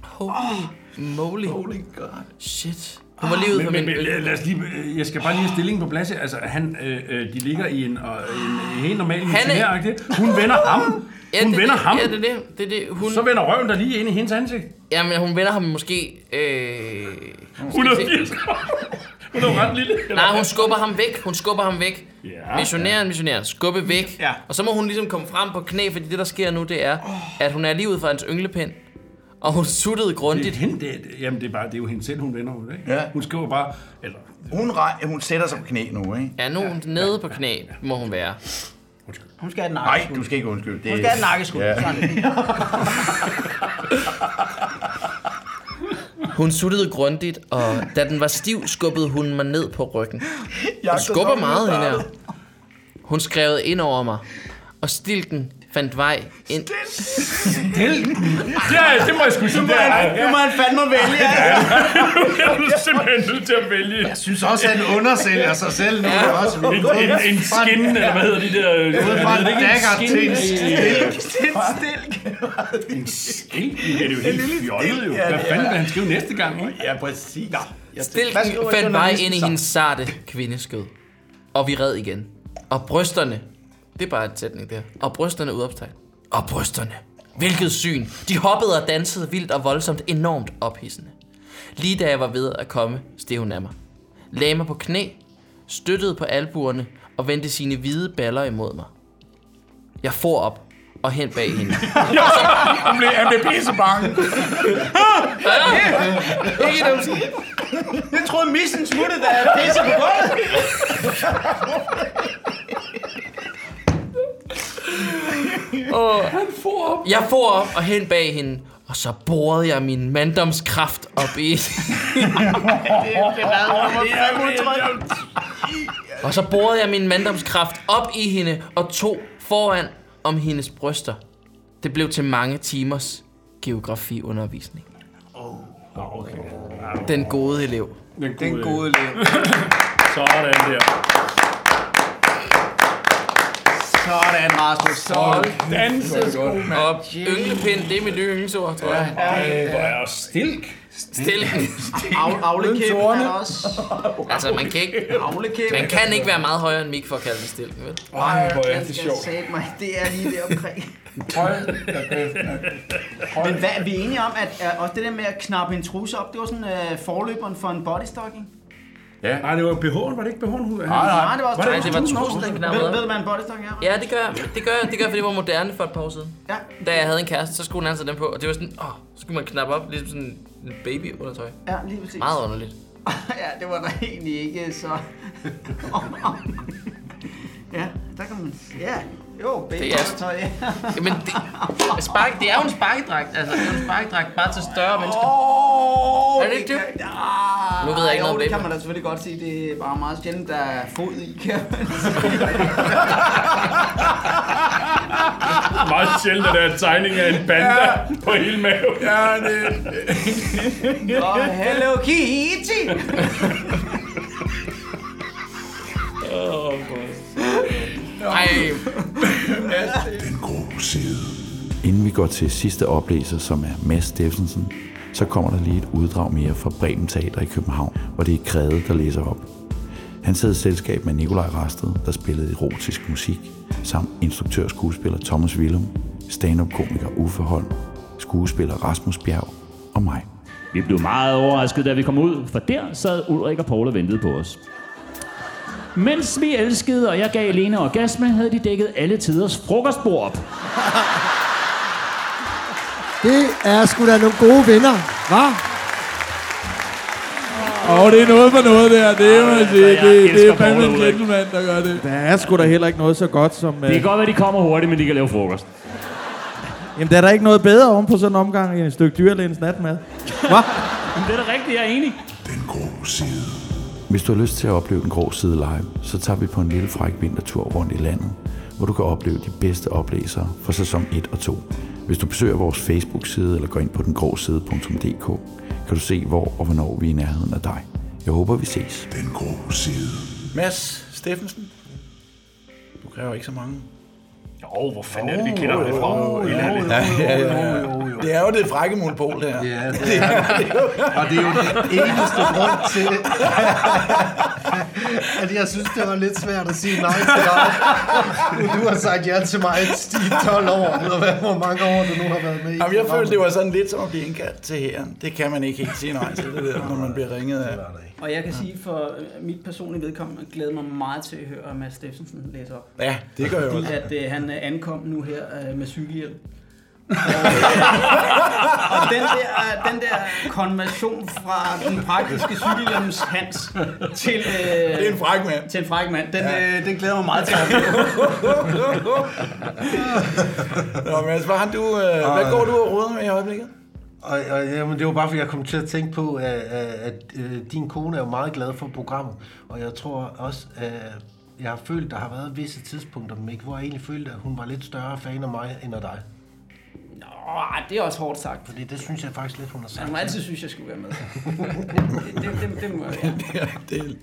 [SPEAKER 4] Holy moly. Holy god. Shit. Hun var lige ud for
[SPEAKER 6] Men, Ah,
[SPEAKER 4] min...
[SPEAKER 6] men, men lad lad os lige, øh, jeg skal bare lige have stillingen på plads. her. Altså, han, øh, øh, de ligger i en, og, en, en helt normal ingeniøragtig. Hun vender ham.
[SPEAKER 4] Ja,
[SPEAKER 6] Hun
[SPEAKER 4] det-
[SPEAKER 6] vender
[SPEAKER 4] det-
[SPEAKER 6] ham.
[SPEAKER 4] Ja, det er det. det, er det. Hun,
[SPEAKER 6] Så vender røven der lige ind i hendes ansigt.
[SPEAKER 4] Jamen, hun vender ham måske... Øh,
[SPEAKER 9] 180 Hun er jo ret lille. Eller?
[SPEAKER 4] nej, hun skubber ham væk. Hun skubber ham væk.
[SPEAKER 6] Ja.
[SPEAKER 4] Missionæren, missionæren, skubbe væk.
[SPEAKER 7] Ja.
[SPEAKER 4] Og så må hun ligesom komme frem på knæ, fordi det, der sker nu, det er, at hun er lige ud for hans ynglepind. Og hun suttede
[SPEAKER 6] Det,
[SPEAKER 4] grundigt.
[SPEAKER 6] er hende, det, det- jamen, det er, bare, det er jo hende selv, hun vender over det, ikke?
[SPEAKER 2] Ja.
[SPEAKER 6] Hun skriver bare, eller
[SPEAKER 2] Hun, rej, hun sætter sig på knæ nu, ikke?
[SPEAKER 4] Ja, nu er hun nede på knæ, må hun være.
[SPEAKER 7] Hun skal have den
[SPEAKER 2] Nej,
[SPEAKER 7] nakkeskud.
[SPEAKER 2] du skal ikke undskylde. Det
[SPEAKER 7] Hun skal have den nakkeskud.
[SPEAKER 2] Ja.
[SPEAKER 7] Sådan.
[SPEAKER 4] Hun suttede grundigt, og da den var stiv, skubbede hun mig ned på ryggen. Hun skubber meget, hende her. Hun skrev ind over mig, og stilken fandt vej ind.
[SPEAKER 9] Ja, det må jeg sgu sige. Det er,
[SPEAKER 7] Nu må han fandme vælge. altså.
[SPEAKER 9] jeg er simpelthen nødt til at vælge
[SPEAKER 5] Jeg synes også, at han undersælger sig selv nu. Ja. Også.
[SPEAKER 9] en, en, en skin, eller hvad hedder de der... øh,
[SPEAKER 5] Fra en dagger til en
[SPEAKER 6] en skil, det er jo helt fjollet jo. Hvad fanden vil han skrive næste gang, ikke?
[SPEAKER 2] Ja, præcis.
[SPEAKER 4] Stilken fandt vej ind i hendes sarte kvindeskød. Og vi red igen. Og brysterne. Det er bare en sætning der. Og brysterne udopstegn. Og brysterne. Hvilket syn. De hoppede og dansede vildt og voldsomt enormt ophidsende. Lige da jeg var ved at komme, steg hun af mig. Lagde mig på knæ, støttede på albuerne og vendte sine hvide baller imod mig. Jeg for op og hen bag
[SPEAKER 1] <laughs>
[SPEAKER 4] hende.
[SPEAKER 1] Han blev, han blev pisse
[SPEAKER 4] <laughs>
[SPEAKER 1] bange.
[SPEAKER 4] Ikke dem sådan.
[SPEAKER 7] Jeg troede, missen smuttede, da jeg pisse på gulvet.
[SPEAKER 4] Jeg for op og hen bag hende, og så borede jeg min manddomskraft op
[SPEAKER 9] <laughs>
[SPEAKER 4] i Og så borede jeg min manddomskraft op i hende og tog foran om hendes bryster. Det blev til mange timers geografiundervisning.
[SPEAKER 9] oh,
[SPEAKER 4] Den gode elev.
[SPEAKER 7] Den gode elev.
[SPEAKER 9] Sådan der.
[SPEAKER 7] Sådan, Rasmus. Sådan.
[SPEAKER 4] Og ynglepind, det er mit nye yndlingsord, tror jeg.
[SPEAKER 9] Hvor er jeg stilk?
[SPEAKER 4] Stille.
[SPEAKER 13] Af, Avlekæben er der også.
[SPEAKER 4] Altså, man kan ikke,
[SPEAKER 13] Avlekæben.
[SPEAKER 4] man kan ikke være meget højere end Mik for at kalde det stille. Vel?
[SPEAKER 1] Ej, hvor er
[SPEAKER 13] Jeg
[SPEAKER 1] det
[SPEAKER 13] skal
[SPEAKER 1] sjovt.
[SPEAKER 13] sætte mig. Det er lige det omkring.
[SPEAKER 1] <laughs> Hold da kæft, mand.
[SPEAKER 7] Men hvad er vi enige om, at at også det der med at knappe en trusse op, det var sådan øh, forløberen for en bodystocking?
[SPEAKER 6] Nej, det var BH'en, var det ikke BH'en? Hun, nej,
[SPEAKER 7] Nej, det var også
[SPEAKER 4] Nej, det var trusen, der
[SPEAKER 7] Ved, ved
[SPEAKER 4] knappede.
[SPEAKER 7] du, hvad en bodystocking er?
[SPEAKER 4] Ja, det gør, det gør, det gør, fordi det var moderne for et par år siden.
[SPEAKER 7] Ja.
[SPEAKER 4] Da jeg havde en kæreste, så skulle hun altså den på, og det var sådan, åh, så skulle man knappe op, ligesom sådan en baby undertøj.
[SPEAKER 7] Ja, lige præcis.
[SPEAKER 4] Meget underligt.
[SPEAKER 7] <laughs> ja, det var der egentlig ikke,
[SPEAKER 1] <laughs>
[SPEAKER 7] så... ja, der kan man... Ja, jo, baby
[SPEAKER 4] Det er-
[SPEAKER 7] tøj. Ja.
[SPEAKER 4] Jamen, det, <laughs> spark, det er jo en sparkedragt, altså. Det er jo en sparkedragt bare til større mennesker.
[SPEAKER 7] Åh,
[SPEAKER 4] <laughs> Er det ikke det?
[SPEAKER 7] kan- Ah,
[SPEAKER 4] Nu ved jeg ikke
[SPEAKER 7] jo,
[SPEAKER 4] noget om
[SPEAKER 7] det
[SPEAKER 4] det.
[SPEAKER 7] kan man da selvfølgelig godt sige. Det er bare meget sjældent, der er fod i, kan man sige.
[SPEAKER 9] Ah, Meget sjældent, at der er en tegning af en panda på hele maven.
[SPEAKER 1] Ja, det,
[SPEAKER 7] Og Hello Kitty!
[SPEAKER 4] Ej,
[SPEAKER 14] Den grå side.
[SPEAKER 2] Inden vi går til sidste oplæser, som er Mads Steffensen, så kommer der lige et uddrag mere fra Bremen Teater i København, hvor det er Kræde, der læser op. Han sad i selskab med Nikolaj Rasted, der spillede erotisk musik, samt instruktør og skuespiller Thomas Willum, stand-up-komiker Uffe Holm, skuespiller Rasmus Bjerg og mig.
[SPEAKER 15] Vi blev meget overrasket, da vi kom ud, for der sad Ulrik og Paul og ventede på os.
[SPEAKER 16] Mens vi elskede, og jeg gav Lene orgasme, havde de dækket alle tiders frokostbord op.
[SPEAKER 17] Det er sgu da nogle gode venner, hva'?
[SPEAKER 18] Og det er noget for noget der. Det er, man
[SPEAKER 16] altså,
[SPEAKER 18] sige.
[SPEAKER 16] jeg
[SPEAKER 18] Det, det er
[SPEAKER 16] elsker
[SPEAKER 18] fandme en
[SPEAKER 16] Paul Ulrik.
[SPEAKER 18] gentleman, der gør det.
[SPEAKER 16] Der
[SPEAKER 18] er sgu da heller ikke noget så godt som... øh,
[SPEAKER 16] Det kan godt være, de kommer hurtigt, men de kan lave frokost.
[SPEAKER 18] Jamen, der er der ikke noget bedre oven på sådan en omgang end et stykke dyrlægens natmad. Hva?
[SPEAKER 16] Men det er da rigtigt, jeg er enig.
[SPEAKER 2] Hvis du har lyst til at opleve den grå side live, så tager vi på en lille fræk vintertur rundt i landet, hvor du kan opleve de bedste oplæsere fra sæson 1 og 2. Hvis du besøger vores Facebook-side eller går ind på dengråside.dk, kan du se, hvor og hvornår vi er i nærheden af dig. Jeg håber, vi ses. Den grå side.
[SPEAKER 8] Mads Steffensen. Du kræver ikke så mange.
[SPEAKER 6] Jo, hvor fanden
[SPEAKER 8] er det,
[SPEAKER 6] vi kender det fra?
[SPEAKER 8] Jo,
[SPEAKER 6] Eller er
[SPEAKER 8] jo,
[SPEAKER 6] det-
[SPEAKER 8] ja, ja, ja. Det er jo det frække monopol, det her. Ja,
[SPEAKER 6] det er det.
[SPEAKER 8] Og det er jo det
[SPEAKER 5] eneste grund til, <laughs> at jeg synes, det var lidt svært at sige nej til dig. Du har sagt ja til mig i 12 år, eller hvad, hvor mange år du nu har været med i.
[SPEAKER 8] Jamen, jeg følte, det var sådan lidt som at blive indkaldt til hæren. Det kan man ikke helt sige nej til, det der, når man bliver ringet af.
[SPEAKER 7] Og jeg kan sige for øh, mit personlige vedkommende, glæder mig meget til at høre Mads Steffensen læse op.
[SPEAKER 8] Ja, det gør jeg
[SPEAKER 7] Fordi
[SPEAKER 8] også.
[SPEAKER 7] at øh, han øh, ankom nu her øh, med cykelhjelm. og, og den, der, den der konversion fra den praktiske cykelhjelms Hans til, øh,
[SPEAKER 8] Det er en fræk <laughs> mand.
[SPEAKER 7] til en fræk mand, den,
[SPEAKER 8] Ja.
[SPEAKER 7] ja. øh, den glæder jeg mig meget til. at høre.
[SPEAKER 8] Nå, men altså, hvad, har du, øh, hvad går du og råder med i øjeblikket?
[SPEAKER 5] Og, og, jamen, det var bare, fordi jeg kom til at tænke på, at, at, at øh, din kone er jo meget glad for programmet. Og jeg tror også, at jeg har følt, der har været visse tidspunkter, men ikke, hvor jeg egentlig følte, at hun var lidt større fan af mig end af dig.
[SPEAKER 7] Nå, det er også hårdt sagt.
[SPEAKER 5] Fordi det synes jeg faktisk lidt, hun har sagt.
[SPEAKER 7] Man må altid synes, jeg skulle være
[SPEAKER 8] <laughs>
[SPEAKER 7] med. det, det, det, det må jeg gerne.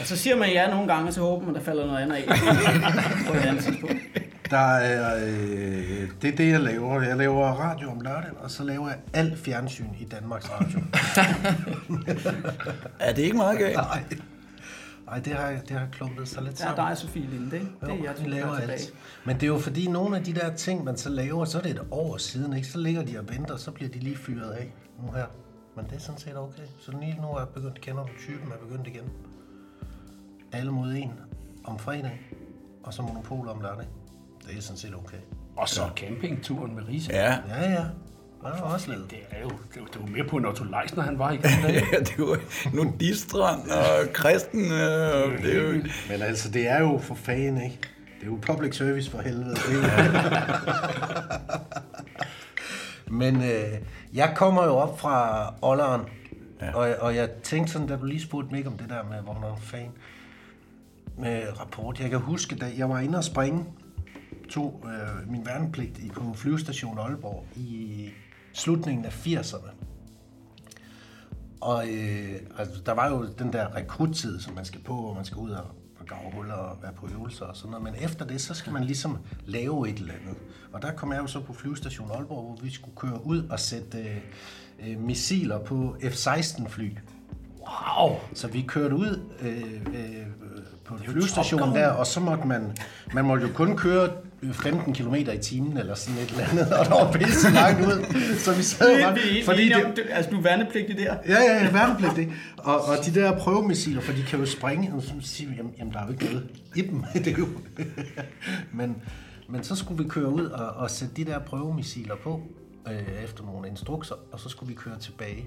[SPEAKER 7] Og så siger man ja nogle gange, og så håber man, der falder
[SPEAKER 8] <laughs>
[SPEAKER 7] noget andet af. På et andet tidspunkt.
[SPEAKER 5] Der er, øh, det er det, jeg laver. Jeg laver radio om lørdagen, og så laver jeg alt fjernsyn i Danmarks Radio.
[SPEAKER 8] <laughs> er det ikke meget galt?
[SPEAKER 5] Nej. Nej, det har, det har klumpet sig lidt
[SPEAKER 7] Der er
[SPEAKER 5] sammen.
[SPEAKER 7] dig, Sofie Linde, ikke? Det er jeg,
[SPEAKER 5] Vi
[SPEAKER 7] der
[SPEAKER 5] laver
[SPEAKER 7] laver
[SPEAKER 5] alt. Men det er jo fordi, nogle af de der ting, man så laver, så er det et år siden, ikke? Så ligger de og venter, så bliver de lige fyret af nu her. Men det er sådan set okay. Så lige nu er jeg begyndt at kende om typen, er begyndt igen. Alle mod en om fredag, og så monopol om lørdag. Det er sådan set okay.
[SPEAKER 6] Og så campingturen med Risa.
[SPEAKER 8] Ja. <laughs>
[SPEAKER 5] Ja, ja. Det er også lavet.
[SPEAKER 6] Det er jo det var, det var mere på en Otto Leisner, han var i gamle dage.
[SPEAKER 8] ja, det var nudistrand og kristen. Øh, det er jo...
[SPEAKER 5] Men altså, det er jo for fanden, ikke? Det er jo public service for helvede. Det er jo- <laughs> Men øh, jeg kommer jo op fra Olleren, ja. og, og jeg tænkte sådan, da du lige spurgte mig om det der med, hvor man er fan med rapport. Jeg kan huske, da jeg var inde og springe, tog øh, min værnepligt i, på flyvestation Aalborg i slutningen af 80'erne. Og øh, altså, der var jo den der rekruttid, som man skal på, og man skal ud og, og grave huller og være på øvelser og sådan noget. Men efter det, så skal man ligesom lave et eller andet. Og der kom jeg jo så på flyvestation Aalborg, hvor vi skulle køre ud og sætte øh, øh, missiler på F-16-fly. Wow! Så vi kørte ud øh, øh, på flyvestationen der, og så måtte man, man måtte jo kun køre 15 km i timen eller sådan et eller andet, og der var pisse langt ud. Så vi sad jo bare,
[SPEAKER 7] Fordi det... Du, altså, du er værnepligtig der.
[SPEAKER 5] Ja, ja, ja, værnepligt, ikke? Og, og de der prøvemissiler, for de kan jo springe, og så siger vi, jamen, jamen der er jo ikke noget i dem, <laughs> det er jo. men, men så skulle vi køre ud og, og sætte de der prøvemissiler på, øh, efter nogle instrukser, og så skulle vi køre tilbage.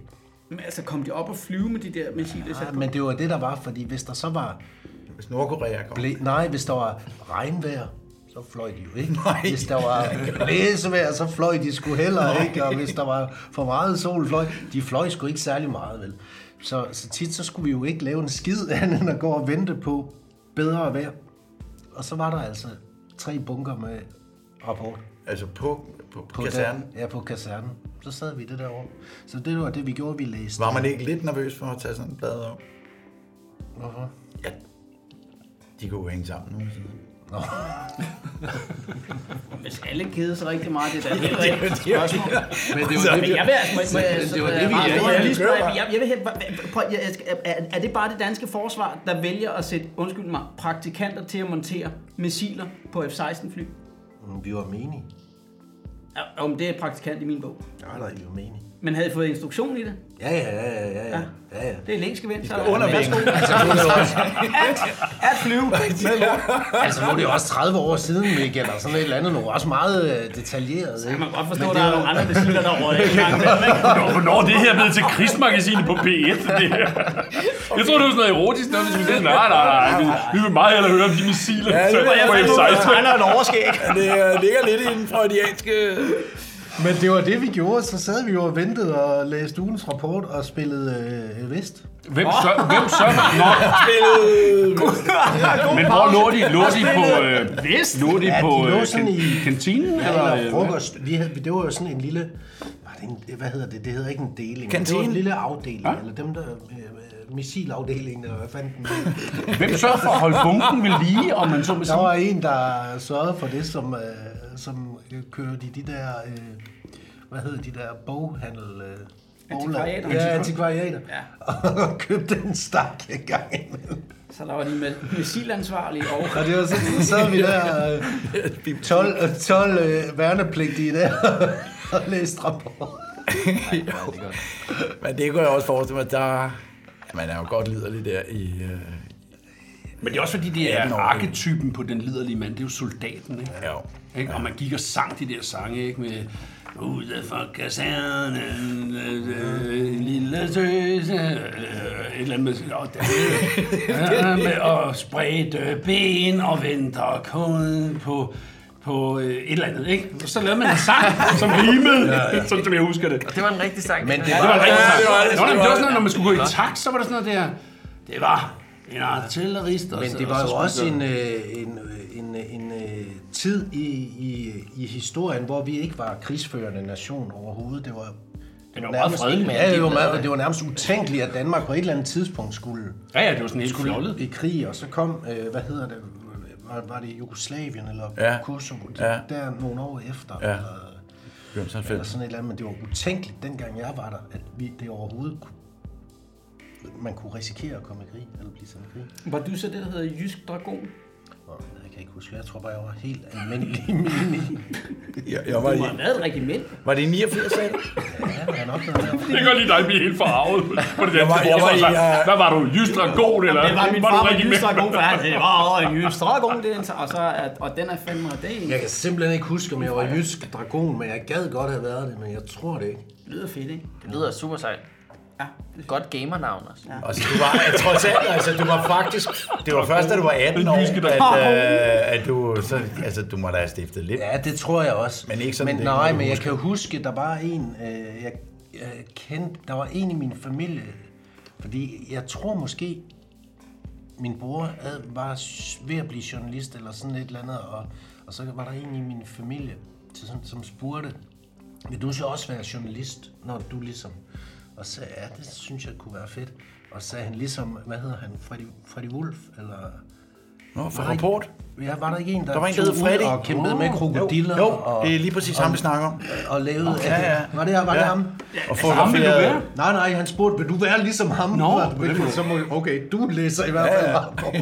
[SPEAKER 7] Men altså, kom de op og flyve med de der missiler?
[SPEAKER 5] Ja, men det var det, der var, fordi hvis der så var...
[SPEAKER 8] Hvis Nordkorea kom.
[SPEAKER 5] Ble, nej, hvis der var regnvejr, så fløj de jo ikke. Nej. Hvis der var blæsevejr, så fløj de sgu heller ikke. Og hvis der var for meget sol, fløj... De fløj sgu ikke særlig meget, vel? Så, så tit så skulle vi jo ikke lave en skid <laughs> andet end at gå og vente på bedre vejr. Og så var der altså tre bunker med rapport.
[SPEAKER 8] Altså på, på, på
[SPEAKER 5] der-
[SPEAKER 8] kasernen?
[SPEAKER 5] Ja, på kasernen. Så sad vi det derovre. Så det var det, vi gjorde, vi læste.
[SPEAKER 8] Var man ikke lidt nervøs for at tage sådan en plade op?
[SPEAKER 5] Hvorfor?
[SPEAKER 8] Ja, de kunne jo hænge sammen nu. Nå.
[SPEAKER 7] Hvis alle keder sig rigtig meget, det er
[SPEAKER 8] <laughs>
[SPEAKER 7] da
[SPEAKER 8] Ja,
[SPEAKER 7] et
[SPEAKER 8] det er jo
[SPEAKER 7] rigtigt
[SPEAKER 8] det, jeg siger.
[SPEAKER 7] spørgsmål. Men det
[SPEAKER 8] Så-
[SPEAKER 7] var det, jeg vil altså... må- må jeg-
[SPEAKER 8] Men det var det, vi-
[SPEAKER 7] så- øh,
[SPEAKER 8] ja,
[SPEAKER 7] må
[SPEAKER 8] ja,
[SPEAKER 7] jeg lige spørge,
[SPEAKER 8] kør bare.
[SPEAKER 7] jeg- jeg vil helt- hva- prøv, jeg- jeg skal- er- er- Er det bare det danske forsvar, der vælger at sætte, undskyld mig, praktikanter til at montere missiler på F-16-fly?
[SPEAKER 5] Vi var menige.
[SPEAKER 7] Ja, Om det er praktikant i min bog.
[SPEAKER 5] Nej, nej, vi var menige.
[SPEAKER 7] Men havde I fået instruktion i det?
[SPEAKER 5] Ja, ja, ja, ja, ja. ja, ja.
[SPEAKER 7] Det er længskevend, så er
[SPEAKER 5] skal
[SPEAKER 7] der
[SPEAKER 5] under
[SPEAKER 7] værsgo.
[SPEAKER 5] vingen. Altså,
[SPEAKER 7] Alt,
[SPEAKER 5] det er
[SPEAKER 7] alt flyve med lort.
[SPEAKER 5] Altså, nu er det jo også 30 år siden, Mikkel, og sådan et eller andet. Nu er også meget øh, detaljeret. Så kan
[SPEAKER 7] man godt
[SPEAKER 9] forstå, der er nogle andre missiler, der røg af i gang. Hvornår er det her blevet til krigsmagasinet på P1? Det her? Jeg tror det var sådan noget erotisk, der vi sagde, nej, nej, nej, vi, vi vil meget hellere høre om de missiler,
[SPEAKER 2] Ja,
[SPEAKER 9] så
[SPEAKER 2] det er
[SPEAKER 9] på F-16.
[SPEAKER 2] Det øh, ligger lidt i den freudianske...
[SPEAKER 5] Men det var det, vi gjorde. Så sad vi jo og ventede og læste ugens rapport og spillede øh, Vest.
[SPEAKER 6] Hvem så- hvem så- Nå.
[SPEAKER 5] Spillede...
[SPEAKER 6] Men hvor lå de? Lå de på, øh,
[SPEAKER 5] Vest?
[SPEAKER 6] lå de
[SPEAKER 5] ja,
[SPEAKER 6] på,
[SPEAKER 5] de
[SPEAKER 6] øh,
[SPEAKER 5] lå sådan
[SPEAKER 6] kan-
[SPEAKER 5] i...
[SPEAKER 6] kantinen,
[SPEAKER 5] Ja,
[SPEAKER 6] eller,
[SPEAKER 5] eller,
[SPEAKER 6] øh,
[SPEAKER 5] eller frokost. Vi havde, det var jo sådan en lille... Var det en, hvad hedder det? Det hedder ikke en deling. men Det var
[SPEAKER 2] Kantine?
[SPEAKER 5] en lille afdeling. Ja? Eller dem, der... Øh, øh, missilafdelingen, eller hvad fanden den <laughs> hed.
[SPEAKER 6] Hvem sørger for at holde bunken ved lige, om man så må
[SPEAKER 5] Der var en, der sørgede for det, som, øh, som øh, kørte i de der... Øh, hvad hedder de der boghandel... Øh, bogla-
[SPEAKER 7] Antikvariater.
[SPEAKER 5] Ja, antikvariater.
[SPEAKER 7] Ja.
[SPEAKER 5] <laughs> Og købte en stak en gang imellem.
[SPEAKER 7] Så der var de med missilansvarlige og...
[SPEAKER 5] Og det var så, så sad vi der <laughs> øh, 12, øh, 12 øh, værnepligtige der <laughs> og læste rapport.
[SPEAKER 2] Men det kunne jeg også forestille mig, der... Man er jo godt liderlig der i... Øh...
[SPEAKER 6] øh- Men det er også fordi, det er arketypen på den liderlige mand, det er jo soldaten, ikke? Ja. Ikke? Og man gik og sang de der sange, ikke? Med ude for kasernen, øh, øh, en lille søse, øh, et eller andet med, og, <laughs> der, øh, med og spredte ben og venter koden på på øh, et eller andet, ikke? Så lavede man en sang, som rimede,
[SPEAKER 9] Ja,
[SPEAKER 6] ja,
[SPEAKER 9] ja.
[SPEAKER 6] ja. som jeg husker det.
[SPEAKER 4] Det var en rigtig sang.
[SPEAKER 6] Men det var, ja, det var en rigtig sang. Ja, det, var, det, var, sådan noget, når man skulle gå i
[SPEAKER 5] Flot.
[SPEAKER 6] takt, så var der sådan noget der, det var en artillerist. og
[SPEAKER 5] Men
[SPEAKER 6] så-
[SPEAKER 5] det
[SPEAKER 6] og
[SPEAKER 5] var
[SPEAKER 6] så
[SPEAKER 5] jo
[SPEAKER 6] skulle
[SPEAKER 5] også
[SPEAKER 6] man-
[SPEAKER 5] en, øh, en, øh, en, øh, en øh, tid i, i, i historien, hvor vi ikke var krigsførende nation overhovedet. Det var, det
[SPEAKER 6] var meget fredeligt,
[SPEAKER 5] ja, det, var
[SPEAKER 6] det
[SPEAKER 5] meget,
[SPEAKER 6] var-
[SPEAKER 5] det var nærmest utænkeligt, at Danmark på et eller andet tidspunkt skulle,
[SPEAKER 6] Ja, ja, det var sådan helt
[SPEAKER 5] skulle
[SPEAKER 6] fjollet.
[SPEAKER 5] i krig. Og så kom, øh, hvad hedder det, var, var det Jugoslavien eller
[SPEAKER 19] Ja.
[SPEAKER 5] ja. Kosovo?
[SPEAKER 19] Ja.
[SPEAKER 5] Ja. Der nogle år efter.
[SPEAKER 19] Ja.
[SPEAKER 5] Eller, eller sådan et eller andet, men det var utænkeligt, dengang jeg var der, at vi, det overhovedet kunne, man kunne risikere at komme i krig, eller blive sendt i krig.
[SPEAKER 7] Var du så det, der hedder Jysk Dragon?
[SPEAKER 5] Jeg kan ikke huske, jeg tror bare, jeg var helt almindelig mini.
[SPEAKER 2] Jeg, jeg var
[SPEAKER 7] du
[SPEAKER 2] i-
[SPEAKER 7] må have været et regiment.
[SPEAKER 2] Var det i 89, sagde du?
[SPEAKER 9] Jeg kan godt lide dig blive helt forarvet på det
[SPEAKER 2] Jeg
[SPEAKER 9] danske
[SPEAKER 2] var- jeg var i,
[SPEAKER 9] forsvar.
[SPEAKER 2] øh,
[SPEAKER 9] Hvad var du, Jystragon, eller?
[SPEAKER 7] det var min
[SPEAKER 9] du
[SPEAKER 7] far, var
[SPEAKER 9] rigtig
[SPEAKER 7] Jysk
[SPEAKER 9] med?
[SPEAKER 7] Dragon, for han det var en Jysk Dragon, det er en, og, så er, og den er fandme, og det er en,
[SPEAKER 5] Jeg kan simpelthen ikke huske, om jeg var jysk dragon, men jeg gad godt have været det, men jeg tror det ikke.
[SPEAKER 7] det lyder fedt, ikke?
[SPEAKER 4] Det lyder super sejt.
[SPEAKER 7] Ja.
[SPEAKER 4] Godt gamernavn også. Ja.
[SPEAKER 2] Altså, du var, jeg, trods alt, altså, du var faktisk... Det var først, da du var 18 år, at, øh, at du... Så, altså, du må da have stiftet lidt.
[SPEAKER 5] Ja, det tror jeg også.
[SPEAKER 2] Men ikke sådan,
[SPEAKER 5] Men
[SPEAKER 2] det
[SPEAKER 5] nej,
[SPEAKER 2] du
[SPEAKER 5] men jeg
[SPEAKER 2] husker.
[SPEAKER 5] kan jo huske, der var en, øh, jeg, jeg kendte, der var en i min familie, fordi jeg tror måske, min bror havde, var s- ved at blive journalist eller sådan et eller andet, og, og så var der en i min familie, som, som spurgte, vil du så også være journalist, når du ligesom... Og så sagde jeg, ja, det synes jeg kunne være fedt. Og så sagde han ligesom, hvad hedder han, Freddy, Freddy Wolf, eller...
[SPEAKER 2] Nå, fra
[SPEAKER 5] Var der ikke-
[SPEAKER 2] Rapport.
[SPEAKER 5] Ja, var der ikke en, der,
[SPEAKER 2] Der var en, der
[SPEAKER 5] tog
[SPEAKER 2] hed Freddy.
[SPEAKER 5] ud og kæmpede med
[SPEAKER 2] Åh.
[SPEAKER 5] krokodiller?
[SPEAKER 2] Jo, jo,
[SPEAKER 5] og,
[SPEAKER 2] det er lige præcis ham, vi snakker om.
[SPEAKER 5] Og lavede...
[SPEAKER 2] Åh, ja, ja.
[SPEAKER 5] Var det, var det
[SPEAKER 2] Ja.
[SPEAKER 5] ham?
[SPEAKER 2] Ja, Og få- Altså, ham ville du være?
[SPEAKER 5] Nej, nej, han spurgte, vil du være ligesom ham? Nå, så må, okay, du læser i hvert fald ja,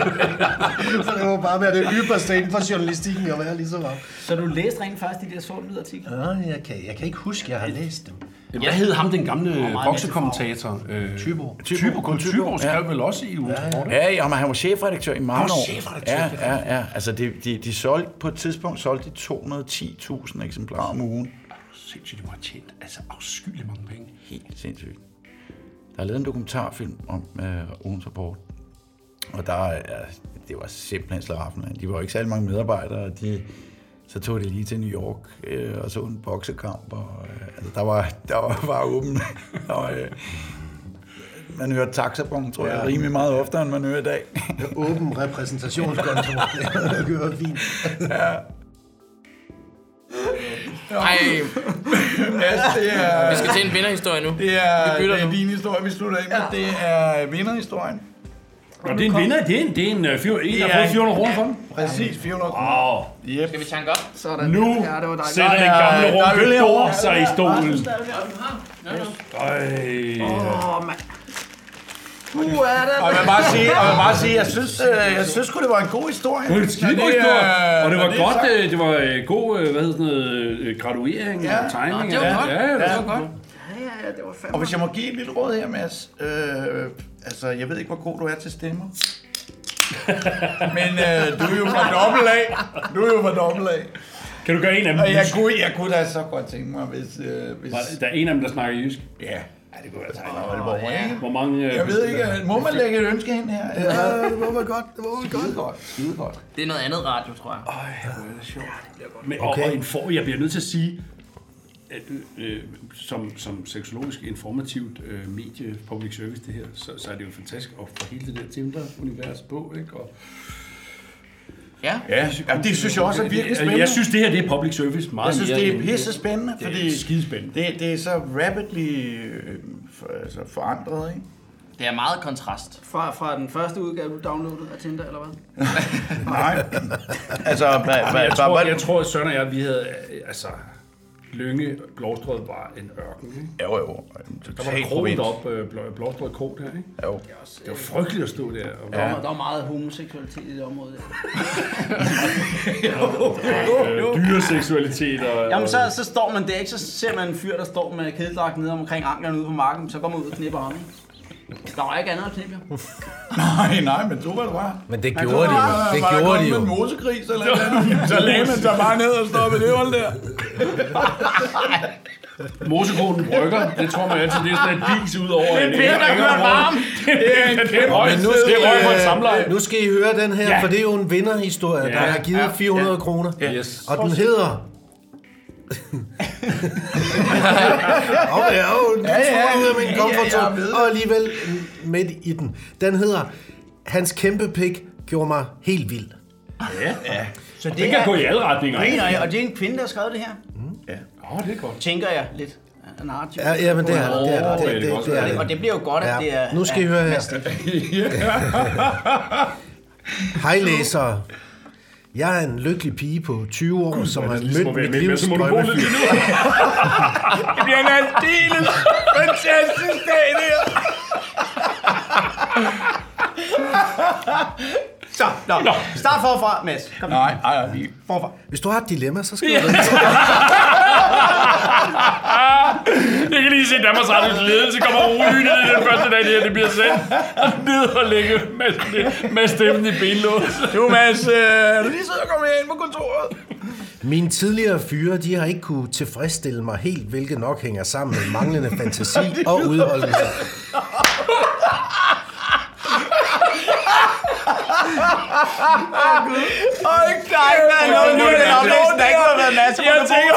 [SPEAKER 5] <laughs> Så det var bare være det ypperste inden for journalistikken at være ligesom ham.
[SPEAKER 7] Så du læste rent faktisk de der sort lyd artikler?
[SPEAKER 5] Ja, jeg kan, jeg kan ikke huske, jeg har læst dem.
[SPEAKER 6] Jamen, Hvad hed ham, den gamle
[SPEAKER 5] meget
[SPEAKER 6] boksekommentator? Øh,
[SPEAKER 5] Tybo.
[SPEAKER 6] Tybo, kun Tybo skrev vel også i ugen.
[SPEAKER 2] Ja, ja, men han var chefredaktør i mange
[SPEAKER 6] Han var
[SPEAKER 2] år.
[SPEAKER 6] chefredaktør, det er
[SPEAKER 2] ja, ja, ja. Altså, de, de, de solgte, på et tidspunkt solgte de 210.000 eksemplarer om ugen.
[SPEAKER 6] Sindssygt, de må have tjent altså afskyeligt mange penge.
[SPEAKER 2] Helt sindssygt. Der er lavet en dokumentarfilm om øh, Ugens Rapport, og der, øh, det var simpelthen slaraffen. mand. De var jo ikke særlig mange medarbejdere, og de, så tog de lige til New York øh, og så en boksekamp, og øh, altså, der var, der var bare åben. <laughs> og, øh, man hørte taxabong, tror jeg,
[SPEAKER 5] Ja.
[SPEAKER 2] rimelig meget oftere, end man hører i dag.
[SPEAKER 5] Åben <laughs> repræsentationskontor. Det kører fint.
[SPEAKER 2] Ja.
[SPEAKER 20] Ej.
[SPEAKER 2] Mads, det er...
[SPEAKER 20] Vi skal til en vinderhistorie nu.
[SPEAKER 2] Det er,
[SPEAKER 20] Vi bytter
[SPEAKER 2] det er
[SPEAKER 20] nu.
[SPEAKER 2] din historie, vi slutter af med. Ja. Det er vinderhistorien.
[SPEAKER 6] Og det er en vinder, det er en, det er en, øh, fyr- en der
[SPEAKER 2] Det
[SPEAKER 6] har
[SPEAKER 2] er
[SPEAKER 6] fået
[SPEAKER 2] en-
[SPEAKER 6] 400 kroner for den.
[SPEAKER 2] Præcis, 400
[SPEAKER 6] Åh,
[SPEAKER 2] yep.
[SPEAKER 4] Skal vi tanke op?
[SPEAKER 7] Sådan.
[SPEAKER 6] Nu
[SPEAKER 7] Ja, det var dejligt.
[SPEAKER 6] sætter den
[SPEAKER 7] Der er-
[SPEAKER 6] gamle
[SPEAKER 7] der er øl
[SPEAKER 6] Ronke
[SPEAKER 7] herovre.
[SPEAKER 6] Dorf sig i stolen.
[SPEAKER 2] Ej.
[SPEAKER 7] Åh, mand. Uh, er det?
[SPEAKER 2] Og jeg vil bare sige, og jeg, vil bare sige, jeg synes, øh, jeg synes sgu, det var en god historie.
[SPEAKER 6] Det var en skide
[SPEAKER 2] Når
[SPEAKER 6] god historie,
[SPEAKER 2] øh,
[SPEAKER 6] og det
[SPEAKER 2] når
[SPEAKER 6] var
[SPEAKER 2] er
[SPEAKER 6] godt,
[SPEAKER 2] sagt.
[SPEAKER 6] øh, det var øh, god, øh, hvad hedder sådan noget, øh, graduering og timing.
[SPEAKER 2] Nå, det var
[SPEAKER 6] og-
[SPEAKER 2] godt.
[SPEAKER 6] Ja, ja, det
[SPEAKER 2] Ja.
[SPEAKER 6] var godt.
[SPEAKER 21] ja, det var fandme...
[SPEAKER 5] Og hvis jeg må give et lille råd her, Mads. Øh, altså, jeg ved ikke, hvor god du er til
[SPEAKER 9] <laughs>
[SPEAKER 5] stemmer. Men øh, du er jo fra dobbelt af. Du er jo fra dobbelt af.
[SPEAKER 6] Kan du gøre en af dem
[SPEAKER 5] Og jeg
[SPEAKER 6] jysk?
[SPEAKER 5] kunne, jeg kunne da så godt tænke mig, hvis... Øh, hvis...
[SPEAKER 6] Var der- der er en af dem, der snakker jysk?
[SPEAKER 5] Ja.
[SPEAKER 6] Ja, det kunne være tegnet.
[SPEAKER 5] Aalborg, ikke?
[SPEAKER 6] Hvor mange... øh,
[SPEAKER 5] Jeg ved ikke, øh, må man lægge et ønske ind her?
[SPEAKER 4] Ja,
[SPEAKER 5] det må man godt. Det må man godt. godt. Skide godt.
[SPEAKER 4] Det er noget andet radio, tror jeg.
[SPEAKER 6] Øj, det er sjovt. Men, okay. og, og en for, jeg bliver nødt til at sige, at, øh, som, som seksologisk informativt øh, medie, public service det her, så, så er det jo fantastisk at få hele det der Tinder-univers på, ikke? Og,
[SPEAKER 4] Ja.
[SPEAKER 5] Ja, ja, det synes jeg også er virkelig spændende.
[SPEAKER 6] Jeg synes, det her det er public service meget
[SPEAKER 5] jeg synes,
[SPEAKER 6] mere
[SPEAKER 5] det er
[SPEAKER 6] end-
[SPEAKER 5] pisse spændende,
[SPEAKER 6] Det er
[SPEAKER 5] fordi
[SPEAKER 6] skidespændende.
[SPEAKER 5] Det, det er så rapidly øh, for, altså forandret, ikke?
[SPEAKER 4] Det er meget kontrast.
[SPEAKER 21] Fra, fra den første udgave, du downloadede af Tinder, eller hvad?
[SPEAKER 5] Nej. altså, hvad,
[SPEAKER 6] Jamen,
[SPEAKER 5] hvad,
[SPEAKER 6] jeg,
[SPEAKER 5] hvad,
[SPEAKER 6] tror,
[SPEAKER 5] hvad,
[SPEAKER 6] jeg tror, at Søren og jeg, vi havde, øh, altså, Lønge Blåstrød var en ørken, ikke?
[SPEAKER 5] Jo, jo.
[SPEAKER 6] Der var
[SPEAKER 5] total
[SPEAKER 6] krogen
[SPEAKER 5] provins.
[SPEAKER 6] deroppe, øh, Blå- Blåstrød Kro der, ikke?
[SPEAKER 5] Jo.
[SPEAKER 6] Det var frygteligt at stå der. Og
[SPEAKER 21] Der, var, der var meget homoseksualitet i det område.
[SPEAKER 6] jo. øh, Dyreseksualitet og...
[SPEAKER 7] Jamen, så, så står man der, ikke? Så ser man en fyr, der står med kædedragt nede omkring anklerne ude på marken, så går man ud og knipper ham, ikke? Der var ikke andet at knippe, jo.
[SPEAKER 5] Nej, nej, men du var det bare.
[SPEAKER 22] Men det
[SPEAKER 5] Han
[SPEAKER 22] gjorde
[SPEAKER 5] kunne
[SPEAKER 22] de jo.
[SPEAKER 5] bare-
[SPEAKER 22] Det
[SPEAKER 5] bare
[SPEAKER 22] gjorde
[SPEAKER 5] komme
[SPEAKER 22] de jo.
[SPEAKER 5] med en mosegris eller et eller andet. Så lagde man sig bare ned og stoppede det hold der.
[SPEAKER 6] Mosekonen brygger, det tror man altid, det er sådan et dis ud over
[SPEAKER 22] Det er
[SPEAKER 6] en
[SPEAKER 22] Peter, der
[SPEAKER 6] ære-
[SPEAKER 22] gør varm.
[SPEAKER 6] Det er en kæmpe høj,
[SPEAKER 22] Men nu
[SPEAKER 6] det
[SPEAKER 22] skal,
[SPEAKER 6] er røg for et
[SPEAKER 22] I,
[SPEAKER 6] samleje.
[SPEAKER 22] øh, nu skal I høre den her,
[SPEAKER 6] Ja.
[SPEAKER 22] ja. for det er jo en vinderhistorie,
[SPEAKER 6] Ja.
[SPEAKER 22] ja. der har givet
[SPEAKER 6] Ja.
[SPEAKER 22] 400
[SPEAKER 6] Ja.
[SPEAKER 22] kroner.
[SPEAKER 6] Yes.
[SPEAKER 22] Og den hedder... <laughs> Åh oh, ja, oh,
[SPEAKER 2] Ja,
[SPEAKER 22] ja,
[SPEAKER 2] ja.
[SPEAKER 22] ja. ud af min
[SPEAKER 2] Ja,
[SPEAKER 22] comfort
[SPEAKER 2] ja, jeg
[SPEAKER 22] zone,
[SPEAKER 2] ved det.
[SPEAKER 22] og alligevel midt i den. Den hedder, hans kæmpe pik gjorde mig helt vild.
[SPEAKER 6] Ja.
[SPEAKER 22] ja.
[SPEAKER 6] Så det kan gå i alle retninger.
[SPEAKER 7] Nej, nej, og det er en kvinde, der har skrevet det her.
[SPEAKER 6] Ja. Åh, oh, det er godt.
[SPEAKER 7] Tænker jeg lidt. af narrativ.
[SPEAKER 22] Ja, ja, men det er det, det er det, det, det, det er det.
[SPEAKER 7] Og det bliver jo godt, at det er...
[SPEAKER 22] Nu skal I høre her. <laughs> Hej læsere. Jeg er en lykkelig pige på 20 år, som har mødt mit livs drømmefyr.
[SPEAKER 2] Det bliver en aldeles fantastisk dag, det her.
[SPEAKER 7] Så, nå. Start forfra, Mads. Kom.
[SPEAKER 5] Nej, nej, nej.
[SPEAKER 22] Forfra. Hvis du har et dilemma, så skal du...
[SPEAKER 6] <laughs> Jeg kan lige se Danmarks Radios ledelse kommer roligt ned den første dag, det her det bliver sendt. Og ned og lægge med, med stemmen i benlås.
[SPEAKER 5] <laughs> Du, Mads, øh, er du lige sidder og kommer ind på kontoret?
[SPEAKER 22] Mine tidligere fyre, de har ikke kunne tilfredsstille mig helt, hvilket nok hænger sammen med manglende fantasi og udholdenhed.
[SPEAKER 2] Åh, nej, nej, nej, nu er det en oplæsning, der ikke har været Mads. Jeg tænker...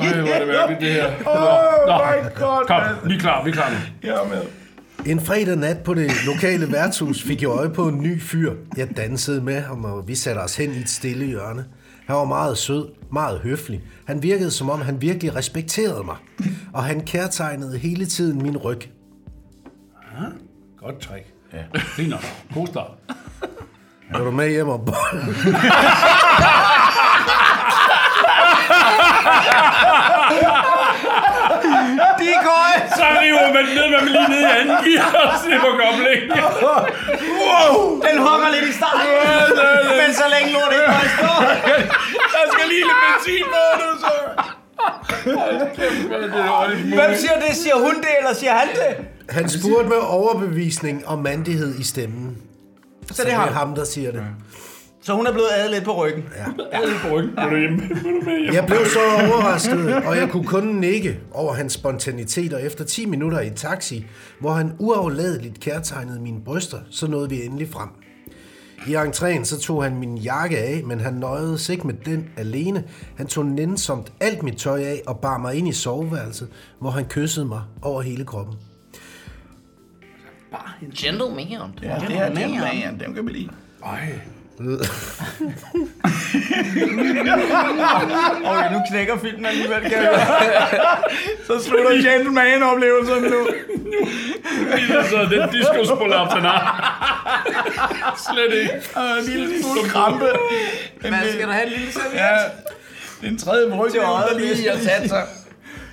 [SPEAKER 6] Nej, hvor er det mærkeligt, det her.
[SPEAKER 2] Oh my god,
[SPEAKER 6] Kom,
[SPEAKER 2] Mads.
[SPEAKER 6] vi er klar, vi er klar nu.
[SPEAKER 2] Jeg er med.
[SPEAKER 22] En fredag nat på det lokale værtshus fik jeg øje på en ny fyr. Jeg dansede med ham, og vi satte os hen i et stille hjørne. Han var meget sød, meget høflig. Han virkede som om, han virkelig respekterede mig. Og han kærtegnede hele tiden min ryg.
[SPEAKER 6] Godt træk. Ja. Fint nok. God start.
[SPEAKER 22] Er du med hjem om bolden?
[SPEAKER 2] De er gøj!
[SPEAKER 6] Så river man ned, man lige ned i anden gear og slipper koblingen.
[SPEAKER 2] Wow!
[SPEAKER 7] Den hopper lidt i starten, men så længe lort ikke holder stå.
[SPEAKER 2] Der skal lige lidt benzin på nu, så.
[SPEAKER 7] Hvem siger det? Siger hun det, eller siger han det?
[SPEAKER 22] Han spurgte med overbevisning og mandighed i stemmen. Så,
[SPEAKER 7] det er ham.
[SPEAKER 22] ham, der siger det.
[SPEAKER 7] Så hun er blevet adet lidt på ryggen.
[SPEAKER 22] Ja.
[SPEAKER 6] Adet på ryggen. Vil du hjemme? Vil du med
[SPEAKER 22] Jeg blev så overrasket, og jeg kunne kun nikke over hans spontanitet, og efter 10 minutter i en taxi, hvor han uafladeligt kærtegnede mine bryster, så nåede vi endelig frem. I entréen så tog han min jakke af, men han nøjede sig ikke med den alene. Han tog nænsomt alt mit tøj af og bar mig ind i soveværelset, hvor han kyssede mig over hele kroppen.
[SPEAKER 4] Gentleman.
[SPEAKER 5] Ja, det her gentleman, dem kan vi lide.
[SPEAKER 6] Ej.
[SPEAKER 7] Okay, nu knækker filmen alligevel, kan jeg
[SPEAKER 2] Så slutter gentleman-oplevelsen nu.
[SPEAKER 6] Viser så den diskusprolaps, han har. Slet ikke.
[SPEAKER 2] Og en lille smule krampe.
[SPEAKER 4] Mads, skal du have en lille serviet?
[SPEAKER 2] Ja. Det er en tredje brygge, der lige har sat sig.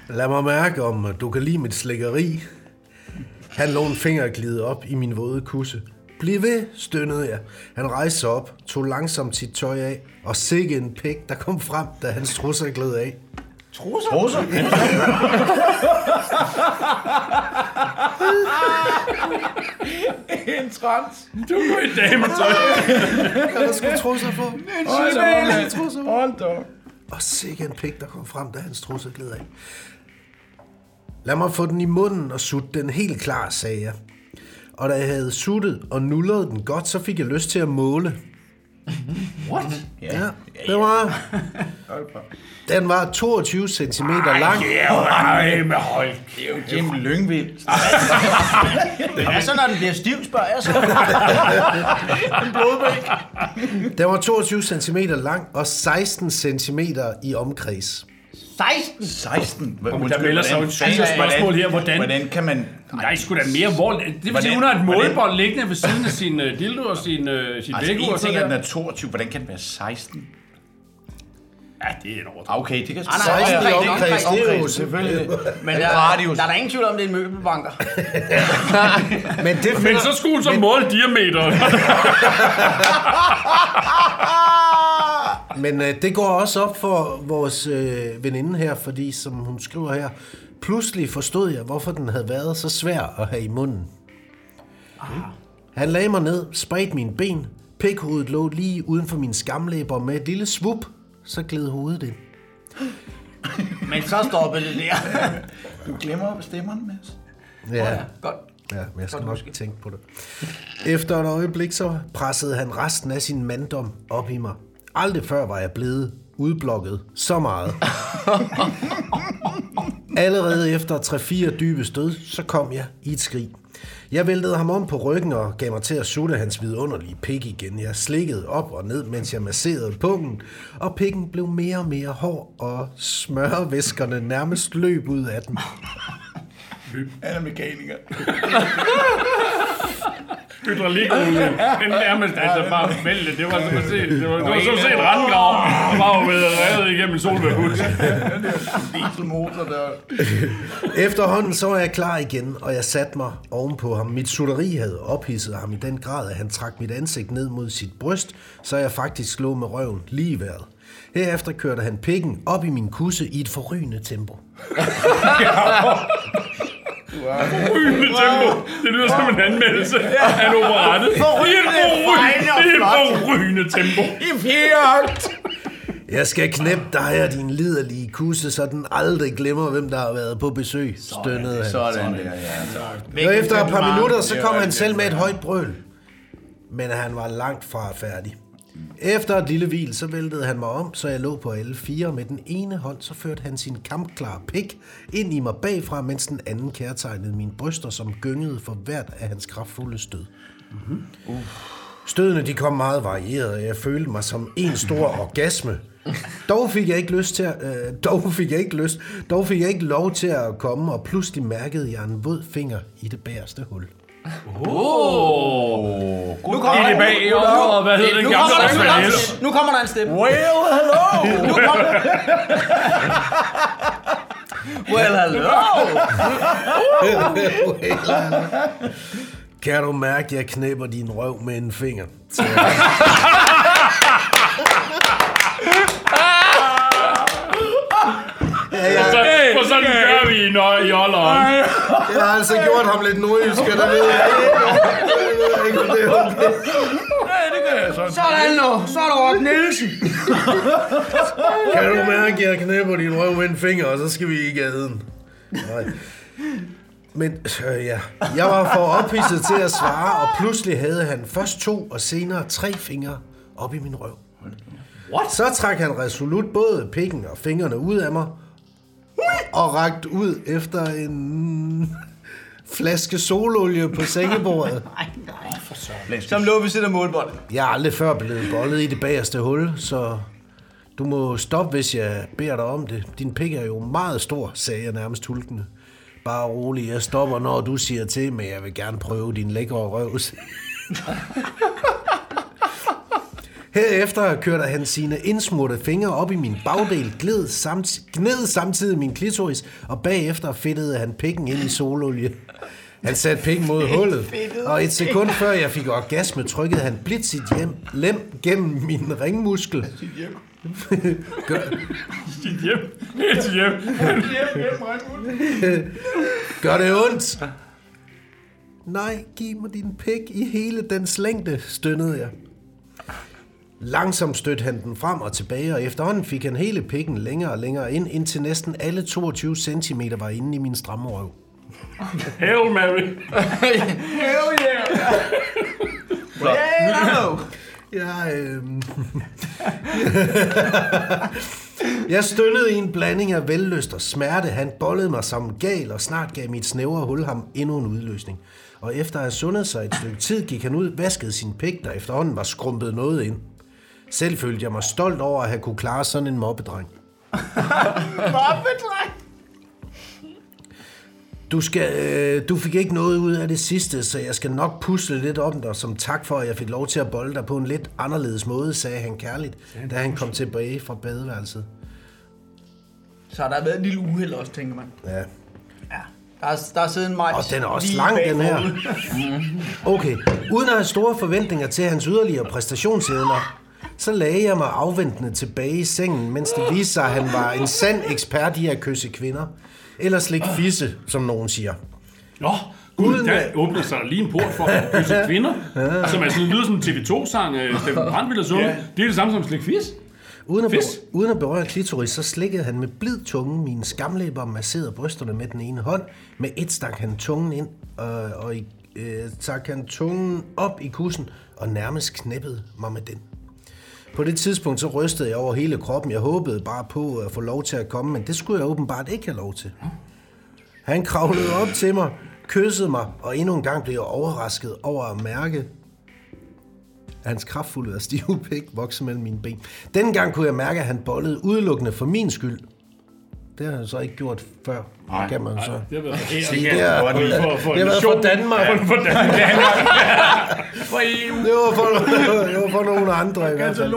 [SPEAKER 22] Lad mig mærke, om du kan lide mit slikkeri. Han lå en finger glide op i min våde kusse. Bliv ved, stønnede jeg. Han rejste sig op, tog langsomt sit tøj af og sikke en pæk, der kom frem, da hans trusser gled af.
[SPEAKER 7] Trusser?
[SPEAKER 5] Trusser?
[SPEAKER 9] <laughs> en trans. Du går i dametøj.
[SPEAKER 22] Kan der skulle trusser på?
[SPEAKER 9] En
[SPEAKER 22] Hold da op, mand.
[SPEAKER 9] trusser. Hold da. op.
[SPEAKER 22] Og sikke en pik, der kom frem, da hans trusser gled af. Lad mig få den i munden og sutte den helt klar, sagde jeg. Og da jeg havde suttet og nullet den godt, så fik jeg lyst til at måle.
[SPEAKER 7] What?
[SPEAKER 22] Ja, det var... Den var 22 cm lang.
[SPEAKER 9] Ja, men hold. Det er jo
[SPEAKER 10] Jim Lyngvild. Det er sådan, når den bliver stiv, spørger jeg så. en blodbæk.
[SPEAKER 22] Den var 22 cm lang og 16 cm i omkreds.
[SPEAKER 10] 16?
[SPEAKER 22] 16?
[SPEAKER 9] Hva- Undskyld, hvordan- altså, hvordan-
[SPEAKER 8] Hvordan kan man...
[SPEAKER 9] Nej, sgu da mere vold. Det vil sige,
[SPEAKER 8] Hvordan-
[SPEAKER 9] hun har et
[SPEAKER 8] hvordan-
[SPEAKER 9] målbånd liggende ved siden af sin øh, dildo og sin, øh, sin
[SPEAKER 8] Altså,
[SPEAKER 9] altså,
[SPEAKER 8] en
[SPEAKER 9] og
[SPEAKER 8] ting er,
[SPEAKER 9] sådan
[SPEAKER 8] at den
[SPEAKER 9] der.
[SPEAKER 8] er 22. Hvordan kan den være 16?
[SPEAKER 9] Ja, det er en overdrivelse.
[SPEAKER 8] Okay, det kan
[SPEAKER 10] Nej, nej, nej, nej, nej, nej, nej, nej, nej,
[SPEAKER 8] selvfølgelig.
[SPEAKER 10] Men der,
[SPEAKER 8] radius.
[SPEAKER 10] der er der ingen tvivl om, det er en møbelbanker.
[SPEAKER 22] Men, det
[SPEAKER 9] Men så skulle hun så måle <laughs> diameteren.
[SPEAKER 22] Men øh, det går også op for vores øh, veninde her, fordi som hun skriver her, pludselig forstod jeg, hvorfor den havde været så svær at have i munden. Han lagde mig ned, spredte mine ben, pikhovedet lå lige uden for mine skamlæber, og med et lille svup, så gled hovedet ind.
[SPEAKER 10] Men så stoppede det der.
[SPEAKER 8] Du glemmer at bestemme den, Mads.
[SPEAKER 22] Ja,
[SPEAKER 10] godt.
[SPEAKER 22] Ja, men jeg skal nok tænke på det. Efter et øjeblik, så pressede han resten af sin manddom op i mig. Aldrig før var jeg blevet udblokket
[SPEAKER 10] <laughs>
[SPEAKER 22] så meget. Allerede efter 3-4 dybe stød, så kom jeg i et skrig. Jeg væltede ham om på ryggen og gav mig til at sutte hans vidunderlige pik igen. Jeg slikkede op og ned, mens jeg masserede pungen, og pikken blev mere og mere hård, og smørvæskerne nærmest løb ud af den.
[SPEAKER 8] Han er mekaniker.
[SPEAKER 9] Hydraulikolie. Den nærmest, altså bare vælte. Det var sådan set, det var, det var sådan set randgrav. Der var jo blevet revet igennem en solværhud.
[SPEAKER 8] Dieselmotor, der...
[SPEAKER 22] Efterhånden så var jeg klar igen, og jeg satte mig ovenpå ham. Mit sutteri havde ophidset ham i den grad, at han trak mit ansigt ned mod sit bryst, så jeg faktisk lå med røven lige i vejret. Herefter kørte han pikken op i min kusse i et forrygende tempo.
[SPEAKER 9] Rygende tempo. Det lyder som en anmeldelse af en operette. I et
[SPEAKER 22] Forrygende,
[SPEAKER 9] forrygende,
[SPEAKER 22] fejl og
[SPEAKER 9] i et
[SPEAKER 22] flot.
[SPEAKER 9] forrygende tempo.
[SPEAKER 22] Jeg skal knæppe dig og din liderlige kusse, så den aldrig glemmer, hvem der har været på besøg, stønnede han.
[SPEAKER 8] Sådan der, ja.
[SPEAKER 22] Og efter et par minutter, så kom han selv med et højt brøl. Men han var langt fra færdig. Efter et lille hvil, så væltede han mig om, så jeg lå på alle fire. Med den ene hånd, så førte han sin kampklare pik ind i mig bagfra, mens den anden kærtegnede mine bryster, som gyngede for hvert af hans kraftfulde stød. Mm-hmm. Stødene de kom meget varieret, og jeg følte mig som en stor orgasme. Dog fik jeg ikke lyst til at, øh, dog fik jeg ikke lyst, dog fik jeg ikke lov til at komme, og pludselig mærkede jeg en våd finger i det bagerste hul.
[SPEAKER 9] Oh.
[SPEAKER 10] Nu kommer
[SPEAKER 9] I det bag i området, hvad hedder den
[SPEAKER 10] nu
[SPEAKER 9] gamle
[SPEAKER 10] kommer der, nu, kommer
[SPEAKER 9] Rafael?
[SPEAKER 10] der, nu kommer der en stemme.
[SPEAKER 9] Well, hello.
[SPEAKER 10] nu kommer Well,
[SPEAKER 22] Kan du mærke, at jeg knæpper din røv med en
[SPEAKER 9] <laughs>
[SPEAKER 22] finger?
[SPEAKER 9] Og så, og sådan gør vi i, nø- i olderen.
[SPEAKER 22] Jeg har altså gjort ham lidt nordjysk, og der ved jeg ikke, om det er okay.
[SPEAKER 9] det gør jeg sådan.
[SPEAKER 10] Sådan nu, så er der Rock Nielsen.
[SPEAKER 22] Kan du mærke, at jeg knæpper din røv med en finger, og så skal vi i gaden? Nej. Men øh, ja, jeg var for ophidset til at svare, og pludselig havde han først to og senere tre fingre op i min røv. What? Så trak han resolut både pikken og fingrene ud af mig, og rakt ud efter en flaske sololie på sengebordet.
[SPEAKER 10] Som lå ved siden af målbåndet.
[SPEAKER 22] Jeg er aldrig før blevet bollet i det bagerste hul, så du må stoppe, hvis jeg beder dig om det. Din pik er jo meget stor, sagde jeg nærmest hulkende. Bare rolig, jeg stopper, når du siger til, men jeg vil gerne prøve din lækre røv. <laughs> Herefter kørte han sine indsmurte fingre op i min bagdel, gled samt, gned samtidig min klitoris, og bagefter fedtede han pikken ind i sololie. Han satte penge mod hullet, og et sekund før jeg fik orgasme, trykkede han blidt sit hjem, lem gennem min ringmuskel. <laughs> Gør,
[SPEAKER 6] Dit hjem. Det er dit hjem.
[SPEAKER 22] Gør det ondt? Nej, giv mig din pik i hele dens længde, stønnede jeg. Langsomt stødte han den frem og tilbage, og efterhånden fik han hele pikken længere og længere ind, indtil næsten alle 22 cm var inde i min stramme røv.
[SPEAKER 6] Hail Mary.
[SPEAKER 23] Hell yeah!
[SPEAKER 22] Hello. Jeg, øh... <laughs> jeg stønnede i en blanding af velløst og smerte. Han bollede mig som en gal, og snart gav mit snævre hul ham endnu en udløsning. Og efter at have sundet sig et stykke tid, gik han ud, vaskede sin pik, der efterhånden var skrumpet noget ind. Selv følte jeg mig stolt over at have kunne klare sådan en mobbedreng.
[SPEAKER 23] Mobbedreng!
[SPEAKER 22] Du, skal, øh, du fik ikke noget ud af det sidste, så jeg skal nok pusle lidt om dig, som tak for, at jeg fik lov til at bolde dig på en lidt anderledes måde, sagde han kærligt, da han kom tilbage fra badeværelset.
[SPEAKER 7] Så har der været et lille uheld også, tænker man.
[SPEAKER 22] Ja.
[SPEAKER 7] Der er, der er siddet en majs.
[SPEAKER 22] Og den er også lang, den her. Okay, uden at have store forventninger til hans yderligere præstationsevner, så lagde jeg mig afventende tilbage i sengen, mens det viste sig, at han var en sand ekspert i at kysse kvinder. Eller slik fisse, som nogen siger.
[SPEAKER 6] Nå, gud, der åbner sig der lige en port for at kysse kvinder,
[SPEAKER 7] Ah.
[SPEAKER 22] Ja.
[SPEAKER 6] som altså lyder som en TV2-sang, øh, Steffen Brandt ville sunge.
[SPEAKER 22] Ja.
[SPEAKER 6] Det er det samme som slik fis.
[SPEAKER 22] Uden at,
[SPEAKER 6] Fis.
[SPEAKER 22] berøre, uden at berøre klitoris, så slikkede han med blid tunge mine skamlæber og masserede brysterne med den ene hånd. Med et stak han tungen ind, øh, og i, øh, stak han tungen op i kussen og nærmest knæppede mig med den. På det tidspunkt så rystede jeg over hele kroppen. Jeg håbede bare på at få lov til at komme, men det skulle jeg åbenbart ikke have lov til. Han kravlede op til mig, kyssede mig, og endnu en gang blev jeg overrasket over at mærke, at hans kraftfulde og stive pæk voksede mellem mine ben. Dengang kunne jeg mærke, at han bollede udelukkende for min skyld. Det har han så ikke gjort før,
[SPEAKER 6] Nej,
[SPEAKER 22] kan man så.
[SPEAKER 6] nej, det har været for-
[SPEAKER 22] sige.
[SPEAKER 6] det
[SPEAKER 22] Det
[SPEAKER 6] kan
[SPEAKER 22] har
[SPEAKER 6] jeg godt lide. For- for
[SPEAKER 22] det har været for
[SPEAKER 6] nationen.
[SPEAKER 22] Danmark.
[SPEAKER 6] Ja, for Danmark.
[SPEAKER 22] <laughs>
[SPEAKER 6] For EU.
[SPEAKER 22] Det var for, det var for nogle andre i hvert fald.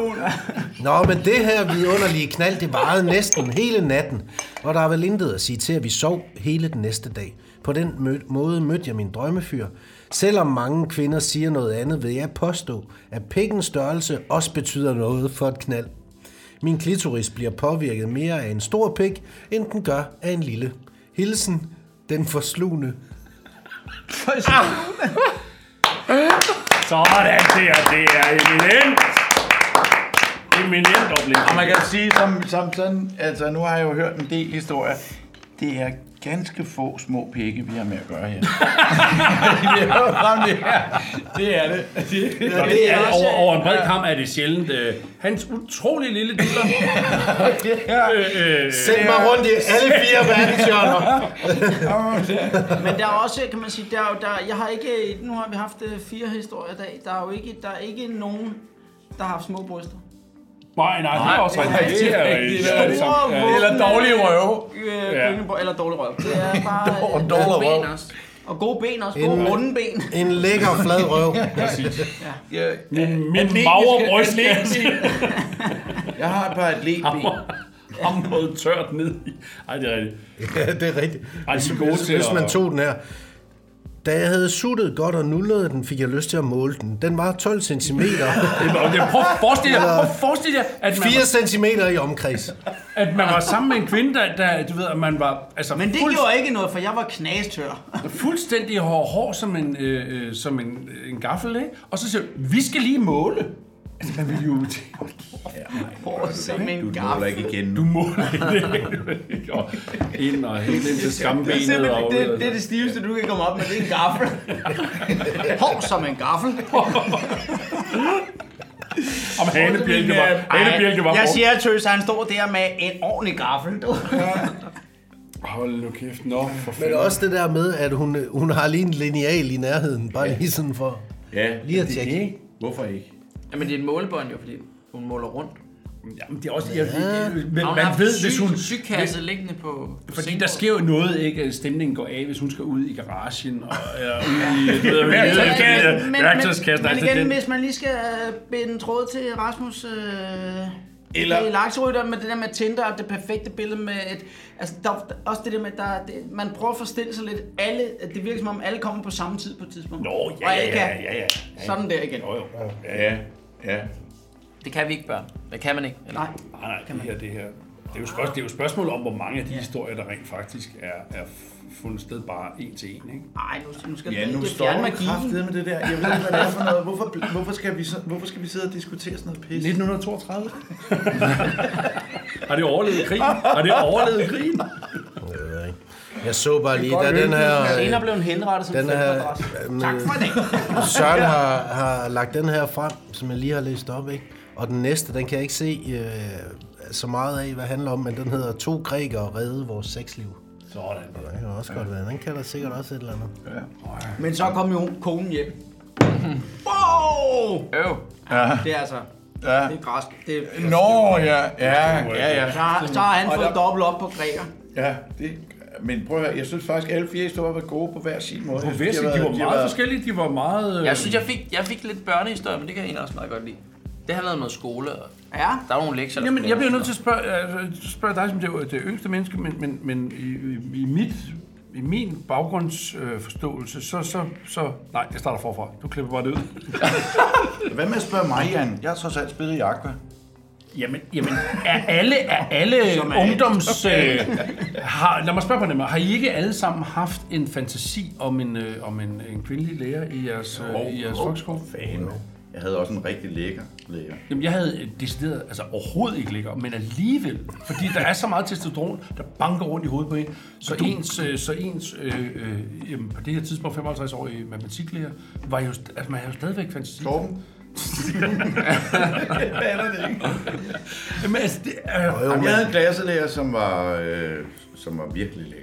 [SPEAKER 22] Nå, men det her vidunderlige knald, det varede næsten hele natten, og der er vel intet at sige til, at vi sov hele den næste dag. På den mød- måde mødte jeg min drømmefyr. Selvom mange kvinder siger noget andet, vil jeg påstå, at pikkens størrelse også betyder noget for et knald. Min klitoris bliver påvirket mere af en stor pik, end den gør af en lille. Hilsen, den forslugende.
[SPEAKER 6] Sådan der, det er eminent. Eminent oplevelse.
[SPEAKER 5] Og man kan sige, som, som sådan, altså nu har jeg jo hørt en del historier, det er ganske få små pikke, vi har med at gøre her. det, er, jo sådan, det, er, det er det. Det,
[SPEAKER 6] Ja, det er over, over en bred kamp er det sjældent. Øh, hans utrolig lille diller. øh, øh,
[SPEAKER 22] Send mig rundt i alle fire verdenshjørner.
[SPEAKER 7] Men der er også, kan man sige, der, er jo- der, jeg har ikke, nu har vi haft øh, fire historier i dag, der er jo ikke, der er ikke nogen, der har haft små bryster.
[SPEAKER 6] Nej, nej, det er også rigtigt. Det er jo
[SPEAKER 5] rigtigt.
[SPEAKER 6] et stort
[SPEAKER 7] Store,
[SPEAKER 6] sam- ja.
[SPEAKER 7] vågne,
[SPEAKER 5] Eller dårlige røve.
[SPEAKER 7] Øh,
[SPEAKER 5] Ja.
[SPEAKER 7] gyngebo- Eller dårlig røv. Det er
[SPEAKER 22] <laughs>
[SPEAKER 7] bare øh,
[SPEAKER 5] Og dårlig
[SPEAKER 7] gode ben
[SPEAKER 5] røv.
[SPEAKER 7] også. Og gode ben også.
[SPEAKER 5] En-
[SPEAKER 7] Gode runde ben.
[SPEAKER 22] En lækker flad røv.
[SPEAKER 5] Præcis. Ja.
[SPEAKER 6] Min,
[SPEAKER 5] Atletiske-
[SPEAKER 6] magre bryst.
[SPEAKER 5] atletiske- Jeg har et par atletben.
[SPEAKER 6] Ham noget tørt ned i. Ej, det er rigtigt.
[SPEAKER 22] <laughs> Ja, det er rigtigt.
[SPEAKER 6] Ej, de er gode
[SPEAKER 22] hvis,
[SPEAKER 6] til
[SPEAKER 22] hvis
[SPEAKER 6] at-
[SPEAKER 22] man tog den her. Da jeg havde suttet godt og nullet den, fik jeg lyst til at måle den. Den var 12 cm.
[SPEAKER 6] <laughs> Prøv at forestille dig, prøv at forestille dig, at man,
[SPEAKER 22] 4 cm i omkreds.
[SPEAKER 6] at man var sammen med en kvinde, der, der du ved, at man var... Altså,
[SPEAKER 7] Men det gjorde ikke noget, for jeg var knastør.
[SPEAKER 6] Fuldstændig hår, hår som en, øh, øh, som en, en gaffel, ikke? Og så siger du, vi skal lige måle. Altså, man ville jo... Hår
[SPEAKER 7] som en
[SPEAKER 5] Du måler ikke igen nu.
[SPEAKER 6] Du måler ikke. Og ind og helt ind til
[SPEAKER 7] Det er,
[SPEAKER 6] skambenet.
[SPEAKER 7] simpelthen-
[SPEAKER 6] Og,
[SPEAKER 7] det, det er det stiveste, du kan komme op med. Det er en
[SPEAKER 5] <laughs>
[SPEAKER 7] gaffel. Hov, som en gaffel.
[SPEAKER 6] Om hanebjælke var-
[SPEAKER 7] Ej,
[SPEAKER 6] hanebjælke var
[SPEAKER 7] Jeg
[SPEAKER 6] brugt.
[SPEAKER 7] siger, at tøs, han står der med en ordentlig gaffel. Du.
[SPEAKER 6] Hold nu kæft, nå. For
[SPEAKER 22] Men
[SPEAKER 6] fanden.
[SPEAKER 22] også det der med, at hun, hun har lige en lineal i nærheden. Bare lige sådan for...
[SPEAKER 5] Ja,
[SPEAKER 22] Lige at
[SPEAKER 5] det er
[SPEAKER 22] tjekke.
[SPEAKER 5] Hvorfor ikke?
[SPEAKER 4] Jamen, det er et målebånd jo, fordi hun måler rundt.
[SPEAKER 6] Jamen, det er også... Jeg,
[SPEAKER 4] Ja.
[SPEAKER 6] jeg, men
[SPEAKER 4] Har hun
[SPEAKER 6] man
[SPEAKER 4] haft
[SPEAKER 6] ved,
[SPEAKER 4] syg-
[SPEAKER 6] hvis hun...
[SPEAKER 4] sygkasse liggende på... på
[SPEAKER 6] Fordi
[SPEAKER 4] sengen?
[SPEAKER 6] der sker jo noget, ikke? at Stemningen går af, hvis hun skal ud i garagen og eller ud
[SPEAKER 24] Men- men-
[SPEAKER 7] Men,
[SPEAKER 6] i
[SPEAKER 7] men,
[SPEAKER 6] værktøjskassen.
[SPEAKER 7] men
[SPEAKER 6] altså,
[SPEAKER 7] igen,
[SPEAKER 6] den-
[SPEAKER 7] hvis man lige skal øh, binde tråd til Rasmus' øh,
[SPEAKER 25] Eller-
[SPEAKER 7] Eller... I Laksrød, der med det der med Tinder og det perfekte billede med et... Altså, der, er også det der med, der, det, man prøver at forestille sig lidt. Alle, det virker som om, alle kommer på samme tid på et tidspunkt. Nå,
[SPEAKER 25] ja, ja, ja, ja, ja, ja.
[SPEAKER 7] Sådan der igen.
[SPEAKER 25] Jo, jo. Ja, ja. ja.
[SPEAKER 4] Det kan vi ikke, børn. Det kan man ikke. Eller? Nej.
[SPEAKER 6] Ah, Nej, nej, det her, det her. Det er, jo spørgsmål, det er jo et spørgsmål om, hvor mange af de historier, der rent faktisk er, er fundet sted bare en til en, ikke?
[SPEAKER 7] Nej, nu, nu skal
[SPEAKER 25] Ja, nu står du kraftedeme med det der. Jeg ved ikke, hvad det er for noget. Hvorfor, hvorfor, skal vi, så- hvorfor skal vi sidde og diskutere sådan noget pis? 1932?
[SPEAKER 6] <laughs> Har det overlevet krigen? Har det overlevet krigen?
[SPEAKER 22] Jeg ved ikke. Jeg så bare lige,
[SPEAKER 7] godt
[SPEAKER 22] da den
[SPEAKER 7] løbende.
[SPEAKER 22] her... øh,
[SPEAKER 7] Den ene er blevet henrettet som
[SPEAKER 22] den her,
[SPEAKER 7] femteadresse.
[SPEAKER 22] øhm,
[SPEAKER 7] Tak for i dag.
[SPEAKER 22] <laughs> Søren har, har lagt den her frem, som jeg lige har læst op, ikke? Og den næste, den kan jeg ikke se øh, så meget af, hvad det handler om, men den hedder To grækere redde vores sexliv.
[SPEAKER 6] Sådan.
[SPEAKER 22] Det kan også godt være. Den kan der sikkert også et eller andet.
[SPEAKER 25] Ja.
[SPEAKER 7] Men så kom jo konen hjem. wow!
[SPEAKER 4] Øv.
[SPEAKER 7] Ja. Det er altså... Ja. Det er græsk. Det er,
[SPEAKER 25] Nå, ja, ja, ja, ja.
[SPEAKER 7] Så, har- så har han
[SPEAKER 25] Og
[SPEAKER 7] fået
[SPEAKER 25] der-
[SPEAKER 7] dobbelt op på græker.
[SPEAKER 25] Ja, det, men prøv at høre, jeg synes faktisk, at alle fire historier var gode på hver sin måde.
[SPEAKER 6] På
[SPEAKER 25] Jeg synes,
[SPEAKER 6] hver sin-
[SPEAKER 25] har
[SPEAKER 6] de
[SPEAKER 25] været-
[SPEAKER 6] var
[SPEAKER 25] har
[SPEAKER 6] meget
[SPEAKER 25] været-
[SPEAKER 6] forskellige, de var meget...
[SPEAKER 4] Jeg synes, jeg fik, jeg fik lidt børnehistorie, men det kan jeg egentlig også meget godt lide. Det handlede om noget skole, og
[SPEAKER 7] ja.
[SPEAKER 4] der var nogle lektier. der
[SPEAKER 6] Jamen,
[SPEAKER 4] skulle
[SPEAKER 6] jeg bliver
[SPEAKER 4] laves.
[SPEAKER 6] nødt til at spørge, altså, spørge dig som det, det yngste menneske, men, men, men i, i, mit, i min baggrundsforståelse, øh, forståelse, så, så, så... Nej, jeg starter forfra. Du klipper bare det ud.
[SPEAKER 25] <laughs> Hvad med at spørge mig, Jan? Jeg har trods alt spillet i Aqua.
[SPEAKER 6] Jamen, jamen er alle, er alle
[SPEAKER 25] Som er-
[SPEAKER 6] ungdoms... Øh, har, lad mig spørge på den måde. Har I ikke alle sammen haft en fantasi om en, øh, om en, en kvindelig lærer i jeres, øh, i jeres folkeskole?
[SPEAKER 25] Fanden. Jeg havde også en rigtig lækker lærer.
[SPEAKER 6] Jamen, jeg havde øh, decideret, altså overhovedet ikke ligger, men alligevel, fordi der er så meget testosteron, der banker rundt i hovedet på en, så
[SPEAKER 25] Du-
[SPEAKER 6] ens, øh, så ens øh, øh, jamen, på det her tidspunkt, 55 år i matematiklærer, var jo, st- altså, man havde jo stadigvæk fantasi. Torben?
[SPEAKER 25] Hvad er det ikke?
[SPEAKER 6] Jamen, altså, det er...
[SPEAKER 25] Jamen, jeg havde en klasselærer, som var, øh, som var virkelig lækker.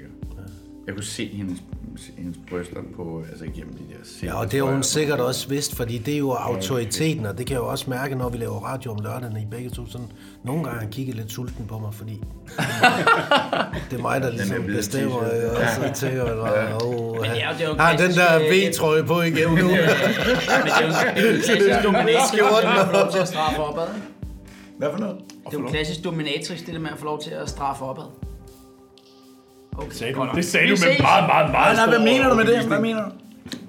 [SPEAKER 25] Jeg kunne se hendes, hendes bryster på, altså igennem de der
[SPEAKER 22] Ja, og det
[SPEAKER 25] er
[SPEAKER 22] har hun sikkert også vidst, fordi det er jo autoriteten, og det kan jeg jo også mærke, når vi laver radio om lørdagen i begge to. Sådan, nogle gange har han kigget lidt sulten på mig,
[SPEAKER 25] <laughs>
[SPEAKER 22] fordi det er mig, der
[SPEAKER 25] Den
[SPEAKER 22] ligesom
[SPEAKER 25] der hvide
[SPEAKER 22] bestemmer.
[SPEAKER 25] t-shirt.
[SPEAKER 22] Jeg
[SPEAKER 25] Ja.
[SPEAKER 22] også tænker,
[SPEAKER 25] Ja.
[SPEAKER 22] at oh,
[SPEAKER 25] Men det er jo- det er jo
[SPEAKER 22] han har den der
[SPEAKER 25] klassisk, øh,
[SPEAKER 22] V-trøje på igen
[SPEAKER 25] <laughs>
[SPEAKER 22] nu. Skjorten
[SPEAKER 7] man får lov
[SPEAKER 22] og-
[SPEAKER 7] til at straffe opad. ikke?
[SPEAKER 25] Hvad for noget?
[SPEAKER 7] Det er jo en klassisk dominatrix, det der med at få lov til at straffe opad. Okay.
[SPEAKER 6] Sagde
[SPEAKER 25] du- det sagde du med meget, meget, meget Nej, nej, hvad stor mener du med det? overbevisning. Hvad mener du?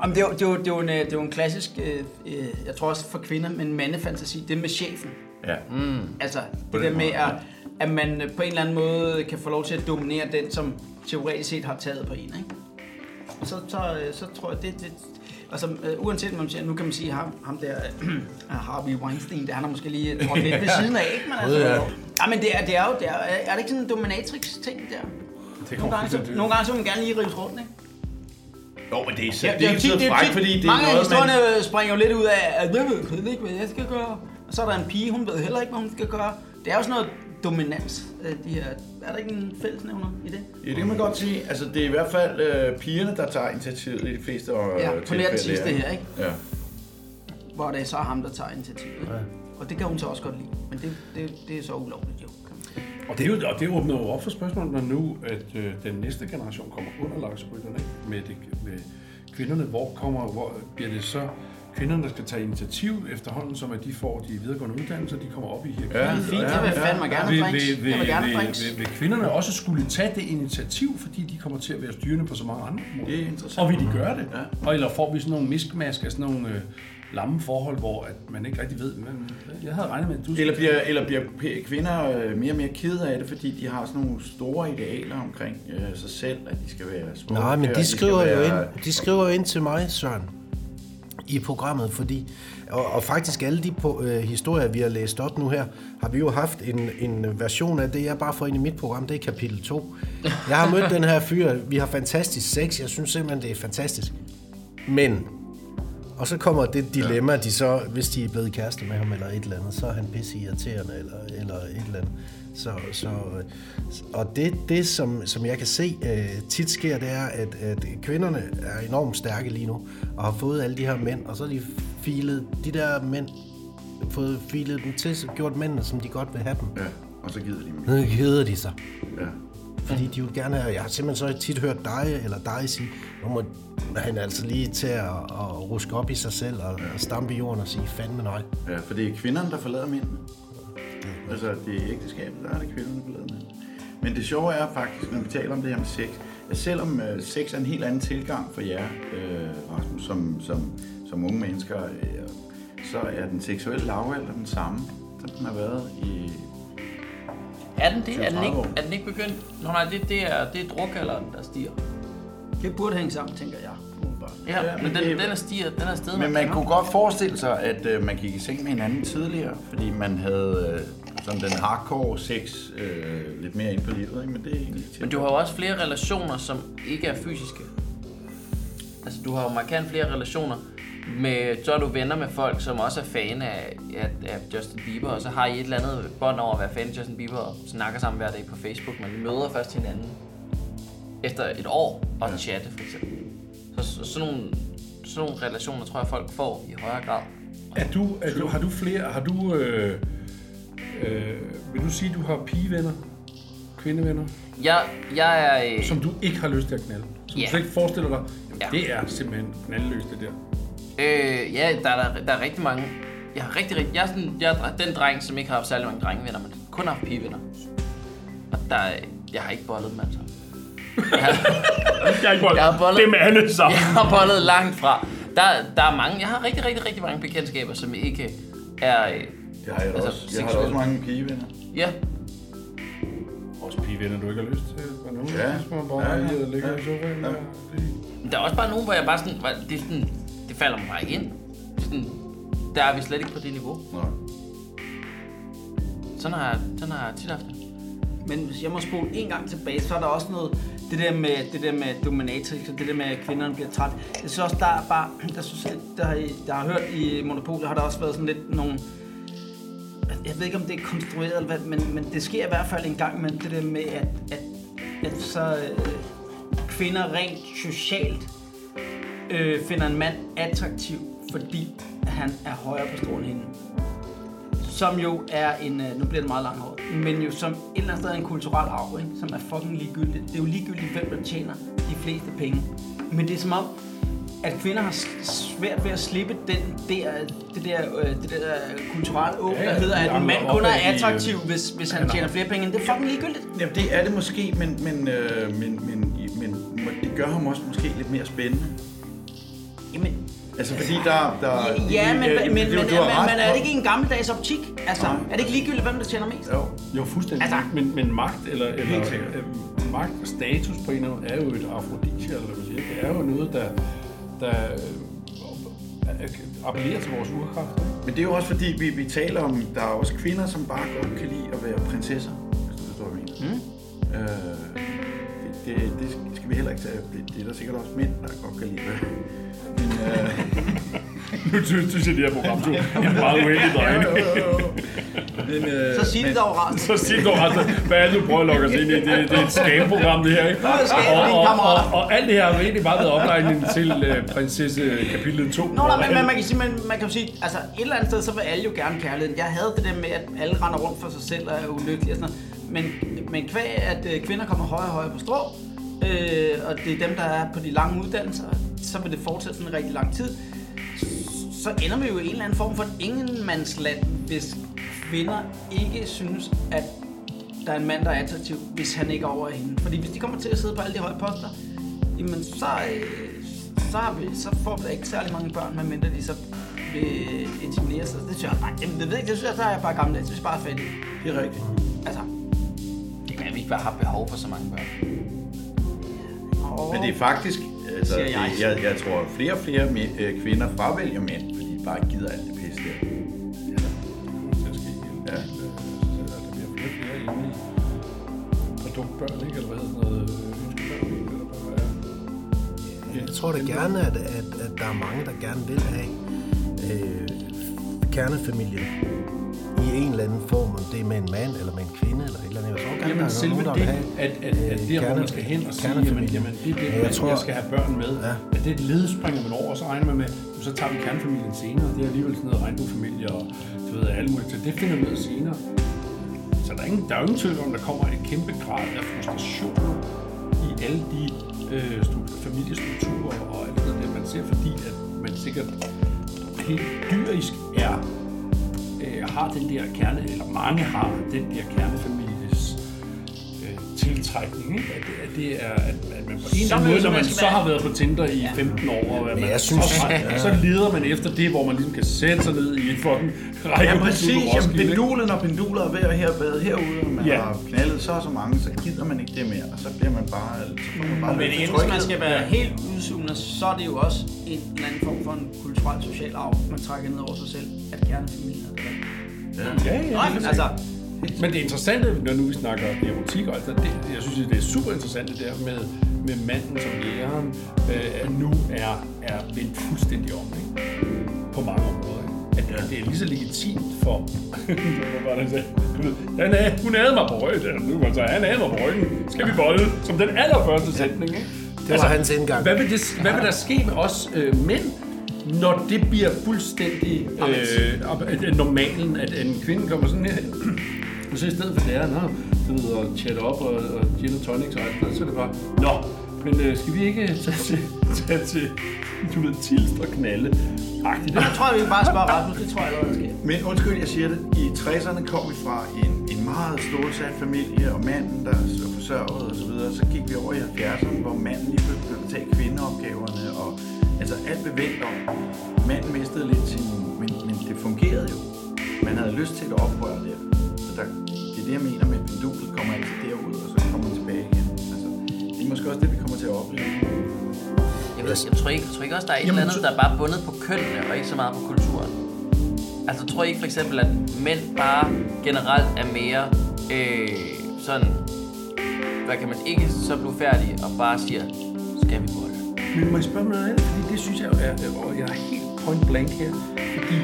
[SPEAKER 7] Jamen, det er, jo- det, er jo, det, er jo en, øh, det er jo en klassisk, øh, øh, jeg tror også for kvinder, men mandefantasi, det er med chefen.
[SPEAKER 25] Ja. Mm.
[SPEAKER 7] Altså,
[SPEAKER 25] På
[SPEAKER 7] det
[SPEAKER 25] den
[SPEAKER 7] der med,
[SPEAKER 25] måde,
[SPEAKER 7] at, at man øh, på en eller anden måde kan få lov til at dominere den, som teoretisk set har taget på en, ikke? Og så, så, øh, så tror jeg, det... det altså, øh, uanset hvad man siger, nu kan man sige, ham, ham der <clears throat> øh, Harvey Weinstein, der han er måske lige trådt lidt ved siden af, ikke? Men altså,
[SPEAKER 25] Ja.
[SPEAKER 7] ja, men det er, det er jo... Det er, er det ikke sådan en dominatrix-ting der?
[SPEAKER 25] Det
[SPEAKER 7] Nogle gange, så, nogle gange så vil man gerne lige rives rundt, ikke?
[SPEAKER 25] Jo, men det er så
[SPEAKER 7] Ja,
[SPEAKER 25] det er
[SPEAKER 7] tit-
[SPEAKER 25] ikke så frækt,
[SPEAKER 7] tit-
[SPEAKER 25] fordi det er
[SPEAKER 7] mange af
[SPEAKER 25] noget, man...
[SPEAKER 7] historierne man... springer jo lidt ud af, at jeg ved ikke, hvad jeg skal gøre. Og så er der en pige, hun ved heller ikke, hvad hun skal gøre. Det er jo sådan noget dominans, øh, de her. Er der ikke en fællesnævner i det?
[SPEAKER 25] Ja, det kan man godt sige. Altså, det er i hvert fald øh, pigerne, der tager initiativet i de fleste øh,
[SPEAKER 7] Ja, på nær den
[SPEAKER 25] tilfælde,
[SPEAKER 7] sidste her, ikke?
[SPEAKER 25] Ja.
[SPEAKER 7] Hvor det er så ham, der tager initiativet. Ja. Og det kan hun så også godt lide. Men det, det, det er så ulovligt, jo. kan man sige.
[SPEAKER 6] Og det, er jo, og det åbner jo op for spørgsmålet, når nu at øh, den næste generation kommer under laksbrytterne med, det, med kvinderne. Hvor kommer, hvor bliver det så kvinderne, der skal tage initiativ efterhånden, som at de får de videregående uddannelser, de kommer op i her.
[SPEAKER 7] Det er fint, jeg vil fandme gerne have drinks.
[SPEAKER 6] Vil, vil,
[SPEAKER 7] Jeg vil gerne have
[SPEAKER 6] vil,
[SPEAKER 7] drinks.
[SPEAKER 6] vil, vil kvinderne også skulle tage det initiativ, fordi de kommer til at være styrende på så mange andre måder?
[SPEAKER 25] Det er interessant.
[SPEAKER 6] Og vil de gøre det? Ja. Og eller får vi sådan nogle miskmask af sådan nogle øh, lamme forhold, hvor at man ikke rigtig ved, hvad, jeg havde regnet med, at du
[SPEAKER 25] Eller bliver, eller bliver p- kvinder øh, mere og mere ked af det, fordi de har sådan nogle store idealer omkring øh, sig selv, at de skal være smukke.
[SPEAKER 22] Nej, men
[SPEAKER 25] og
[SPEAKER 22] de skriver
[SPEAKER 25] skal
[SPEAKER 22] jo
[SPEAKER 25] være-
[SPEAKER 22] ind, de skriver jo ind til mig, Søren, i programmet, fordi, og, og faktisk alle de på, øh, historier, vi har læst op nu her, har vi jo haft en, en version af det, jeg bare får ind i mit program, det er kapitel 2. Jeg har mødt den her fyr, vi har fantastisk sex, jeg synes simpelthen, det er fantastisk. Men, og så kommer det dilemma, de så, hvis de er blevet kæreste med ham eller et eller andet, så er han pisse irriterende eller, eller et eller andet. Så, så, øh, og det, det som, som jeg kan se øh, tit sker, det er, at, at kvinderne er enormt stærke lige nu, og har fået alle de her mænd, og så har de filet de der mænd, fået filet dem til, så gjort mændene, som de godt vil have dem.
[SPEAKER 25] Ja, og så gider de dem.
[SPEAKER 22] Nu keder de sig.
[SPEAKER 25] Ja.
[SPEAKER 22] Fordi de vil gerne have, jeg har simpelthen så tit hørt dig eller dig sige, nu må han altså lige til at, at ruske op i sig selv og, og stampe i jorden og sige, fandme nej.
[SPEAKER 2] Øh,
[SPEAKER 25] Ja, for det er kvinderne, der forlader mændene.
[SPEAKER 22] det.
[SPEAKER 2] Altså, det er ægteskabet, der er det kvinden, der med. Men det sjove er faktisk, når vi taler om det her med sex, at selvom øh, sex er en helt anden tilgang for jer, øh, Rasmus, som, som, som unge mennesker, øh, så er den seksuelle lavalder den samme, som den har været i...
[SPEAKER 4] Er den det? Er den
[SPEAKER 2] 20-30
[SPEAKER 4] ikke,
[SPEAKER 2] år?
[SPEAKER 4] er den ikke begyndt? Nå nej, det, det, er, det er drukalderen, der stiger.
[SPEAKER 7] Det burde hænge sammen, tænker jeg.
[SPEAKER 4] Ja,
[SPEAKER 2] Ja,
[SPEAKER 4] ja men
[SPEAKER 2] men
[SPEAKER 4] den,
[SPEAKER 2] det-
[SPEAKER 4] den er stiger, den er stedet.
[SPEAKER 2] Men man kunne godt forestille sig, at øh, man gik i seng med hinanden tidligere, fordi man havde øh, sådan den hardcore sex øh, lidt mere ind på livet, ikke? men det er egentlig ikke
[SPEAKER 4] Men du har jo også flere relationer, som ikke er fysiske. Altså, du har jo markant flere relationer. Med, så er du venner med folk, som også er fan af, af, af Justin Bieber, og så har I et eller andet bånd over at være fan af Justin Bieber, og snakker sammen hver dag på Facebook, men I møder først hinanden efter et år og chatte, for eksempel. Så, så sådan, nogle, sådan nogle relationer, tror jeg, folk får i højere grad.
[SPEAKER 9] Er du, er du, har du flere, har du, øh, øh, vil du sige, du har pigevenner, kvindevenner,
[SPEAKER 4] Jeg, jeg er... Øh,
[SPEAKER 9] som du ikke har lyst til at knalde? Som
[SPEAKER 4] Ja.
[SPEAKER 9] du slet ikke forestiller dig, jamen,
[SPEAKER 4] Ja.
[SPEAKER 9] det er simpelthen knaldløst det der.
[SPEAKER 4] Øh, ja, der er, der, der er rigtig mange. Jeg har rigtig, rigtig... Jeg er, sådan, jeg er den dreng, som ikke har haft særlig mange drengevenner, men kun har haft pigevenner. Og der er, jeg har ikke bollet dem altså. <laughs> Jeg har, jeg har ikke bollet, jeg har bollet dem alle sammen. Jeg har bollet langt fra. Der, der er mange... Jeg har rigtig, rigtig, rigtig mange bekendtskaber, som ikke er... øh,
[SPEAKER 2] Det har jeg da
[SPEAKER 4] altså,
[SPEAKER 2] også. Jeg har da
[SPEAKER 4] seksuelle.
[SPEAKER 2] også mange pigevenner.
[SPEAKER 4] Ja.
[SPEAKER 9] Også pigevenner, du ikke har lyst til. Var nogen,
[SPEAKER 2] Ja.
[SPEAKER 9] ja. man bare
[SPEAKER 2] Ja, ja.
[SPEAKER 9] ja. ligger i sofaen. Ja.
[SPEAKER 4] Men Der er også bare nogen, hvor jeg bare sådan... hvor Det, er sådan, det falder mig bare ikke ind. Det er sådan, der er vi slet ikke på det niveau.
[SPEAKER 2] Nej.
[SPEAKER 4] Sådan har, jeg- sådan har jeg tit haft det.
[SPEAKER 7] Men hvis jeg må spole en gang tilbage, så er der også noget, det der med, det der med dominatrix, og det der med, at kvinderne bliver træt. Jeg synes også, der er bare, der synes, at der, har- der har hørt i Monopol, der har der også været sådan lidt nogle, jeg ved ikke, om det er konstrueret, eller hvad, men, men det sker i hvert fald en gang imellem, det der med, at, at, at så øh, kvinder rent socialt øh, finder en mand attraktiv, fordi han er højere på stolen end hende som jo er en, øh, nu bliver det meget langhåret, men jo som et eller andet sted er en kulturel arv, ikke? som er fucking ligegyldigt. Det er jo ligegyldigt, hvem der tjener de fleste penge. Men det er som om, at kvinder har s- svært ved at slippe den der, det der, øh, det der kulturelle åb,
[SPEAKER 2] Ja,
[SPEAKER 7] ja,
[SPEAKER 2] ja,
[SPEAKER 7] der hedder,
[SPEAKER 2] de
[SPEAKER 7] at en
[SPEAKER 2] angler
[SPEAKER 7] mand
[SPEAKER 2] op
[SPEAKER 7] kun er
[SPEAKER 2] ad i, øh,
[SPEAKER 7] attraktiv, hvis, hvis han
[SPEAKER 2] ja, nej.
[SPEAKER 7] tjener flere penge end det er fucking ligegyldigt.
[SPEAKER 2] Jamen det er det måske, men, men, øh, men, men, men, men det gør ham også måske lidt mere spændende.
[SPEAKER 7] Jamen...
[SPEAKER 2] Altså fordi der... der
[SPEAKER 7] Ja, men,
[SPEAKER 2] øh,
[SPEAKER 7] men, men, men,
[SPEAKER 2] du-
[SPEAKER 7] men,
[SPEAKER 2] du har ret.
[SPEAKER 7] men er det ikke en gammeldags optik? Altså, er det ikke ligegyldigt, hvem der tjener mest?
[SPEAKER 2] Jo.
[SPEAKER 9] Jo, fuldstændig.
[SPEAKER 7] Altså-
[SPEAKER 9] men, men magt eller, eller
[SPEAKER 2] Helt sikkert.
[SPEAKER 9] øh, magt og status på en eller anden er jo et afrodisia, eller hvad man siger. Det er jo noget, der, der øh, appellerer til vores urkræfter.
[SPEAKER 2] Men det er jo også fordi, vi, vi taler om, der er også kvinder, som bare godt kan lide at være prinsesser. Hvis du forstår, hvad jeg mener. Mm. Øh, det, det, det, skal vi heller ikke tage. Det, det er der sikkert også mænd, der godt kan lide. Men, øh...
[SPEAKER 9] nu synes, synes jeg, det her program to er meget uheldig, drenge.
[SPEAKER 2] Men, øh,
[SPEAKER 7] Så sig det
[SPEAKER 2] men-
[SPEAKER 7] dog rart.
[SPEAKER 9] Så sig det dog rart. Hvad er det, du prøver at lokke os ind i? Det, det er et scam-program, det her, ikke?
[SPEAKER 7] Nu er det scam, mine
[SPEAKER 9] og, og, og,
[SPEAKER 7] kammerater.
[SPEAKER 9] og, alt det her har jo egentlig bare været oplejningen til øh, prinsesse kapitel 2.
[SPEAKER 7] Nå, nej, men, men man kan sige, man, man kan jo sige, altså et eller andet sted, så vil alle jo gerne kærligheden. Jeg havde det der med, at alle render rundt for sig selv og er ulykkelige og sådan noget. Men, men kvæg, at øh, kvinder kommer højere og højere på strå, øh, og det er dem, der er på de lange uddannelser, så vil det fortsætte sådan en rigtig lang tid. Så ender vi jo i en eller anden form for et ingenmandsland, hvis kvinder ikke synes, at der er en mand, der er attraktiv, hvis han ikke er over hende. Fordi hvis de kommer til at sidde på alle de høje poster, jamen så, øh, så, har vi, så får vi da ikke særlig mange børn, medmindre de så vil intimidere sig. Det synes jeg, nej, jamen, det ved jeg ikke, det synes jeg, så er jeg bare gammel. Jeg synes bare, fedt. Det er rigtigt. Altså,
[SPEAKER 4] Jamen, at vi ikke bare har behov for så mange børn.
[SPEAKER 2] Men det er faktisk, altså,
[SPEAKER 4] Siger
[SPEAKER 2] jeg.
[SPEAKER 4] jeg.
[SPEAKER 2] Det, jeg, jeg tror, at flere og flere mæ- øh, kvinder fravælger mænd, fordi de bare ikke gider alt det pisse der. Ja.
[SPEAKER 9] Produktbørn, ikke? Eller hvad hedder sådan noget? Ønskebørn, ikke? Eller hvad er
[SPEAKER 22] Jeg tror da gerne, at, at, at der er mange, der gerne vil have øh, kernefamilien i en eller anden form, om det er med en mand eller med en kvinde eller et eller andet. Jeg tror gerne,
[SPEAKER 9] Jamen
[SPEAKER 22] der er
[SPEAKER 9] selve
[SPEAKER 22] nogen, der
[SPEAKER 9] det,
[SPEAKER 22] vil have
[SPEAKER 9] at, at, at det er, hvor man skal hen og sige, jamen, jamen det er det,
[SPEAKER 22] Ja,
[SPEAKER 9] jeg,
[SPEAKER 22] jeg tror-
[SPEAKER 9] jeg skal have børn med. Ja. At det er et led, springer man over, og så regner man med, jamen, så tager vi kernefamilien senere. Det er alligevel sådan noget regnbuefamilie og du ved, alle mulige. Så det finder vi ud af senere. Så der er, ingen, der er jo ingen tvivl om, der kommer en kæmpe grad af frustrationer i alle de øh, stru- familiestrukturer og alt det der, man ser, fordi at man sikkert helt dyrisk er, øh, har den der kerne, eller mange har den der kernefamilies øh, tiltrækning, ikke? At, det- at, det er, at, at man på en eller
[SPEAKER 26] Så
[SPEAKER 9] anden
[SPEAKER 26] ved man,
[SPEAKER 9] måde, når
[SPEAKER 26] man
[SPEAKER 9] man
[SPEAKER 26] skal
[SPEAKER 9] så
[SPEAKER 26] være-
[SPEAKER 9] har været på Tinder i 15 år, og at
[SPEAKER 26] Men
[SPEAKER 9] man
[SPEAKER 26] jeg synes-
[SPEAKER 9] så, så leder man efter det, hvor man ligesom kan sætte sig ned i en fucking række
[SPEAKER 2] Ja, præcis. Jamen, pendulet,
[SPEAKER 9] når pendulet er ved at her, været herude,
[SPEAKER 2] man
[SPEAKER 9] ja.
[SPEAKER 2] har knaldet så og så mange, så gider man ikke det mere, og så bliver man bare... Så får man bare
[SPEAKER 7] Men
[SPEAKER 2] lyst til
[SPEAKER 7] igen, hvis
[SPEAKER 2] tryghed.
[SPEAKER 7] man skal være
[SPEAKER 2] Ja.
[SPEAKER 7] helt udsugende, så er det jo også en eller anden form for en kulturel social arv, man trækker ned over sig selv, at kernefamilien er det.
[SPEAKER 9] Ja, ja,
[SPEAKER 7] Nej,
[SPEAKER 9] det er
[SPEAKER 7] altså,
[SPEAKER 9] Men det interessante, når nu vi snakker erotik, og alt det, det, jeg synes, det er super interessant det der med, med manden som jægeren, øh, at nu er, er vendt fuldstændig om, ikke? På mange områder, ikke? At, at det er lige så legitimt for... <laughs> Hvad var det, han sagde? han er, hun havde mig på ryggen, nu altså, han havde mig på ryggen. Skal vi volde? Som den allerførste sætning, ikke? Altså,
[SPEAKER 22] Det var hans indgang.
[SPEAKER 9] Hvad vil, det, hvad vil der ske med os øh, mænd, når det bliver fuldstændig
[SPEAKER 22] altså-
[SPEAKER 9] øh, op- at- at normalen, at en kvinde kommer sådan her, og så i stedet for læreren, har du ved, og chat op og, og gin and tonics og alt det der, så er det bare, nå, men øh, skal vi ikke tage til, tage til du ved, Tilst og knalde? Agtigt.
[SPEAKER 7] Jeg tror, vi bare spørger Rasmus, det tror jeg allerede sker.
[SPEAKER 2] Men undskyld, jeg siger det. I 60'erne kom vi fra en, en meget stålsat familie, og manden, der så forsørgede osv., så, videre. så gik vi over i 70'erne, hvor manden lige pludselig begyndte at tage kvindeopgaverne, og altså alt blev vendt om. Manden mistede lidt sin... Men, men det fungerede jo. Man havde lyst til et oprør der. Så der, det er det, jeg mener med, at pendulet kommer altid derud, og så kommer man tilbage igen. Altså, det er måske også det, vi kommer til at opleve.
[SPEAKER 4] Jeg, ved, jeg, tror ikke, jeg tror ikke også, der er et
[SPEAKER 2] Jamen,
[SPEAKER 4] eller andet, der er bare bundet på kønnene, og ikke så meget på kulturen. Altså, tror I ikke for eksempel, at mænd bare generelt er mere øh, sådan, hvad kan man ikke så blive færdig og bare siger, skal vi volde?
[SPEAKER 9] Men må jeg spørge om noget andet? Fordi det synes jeg jo er, og jeg er helt point blank her. Fordi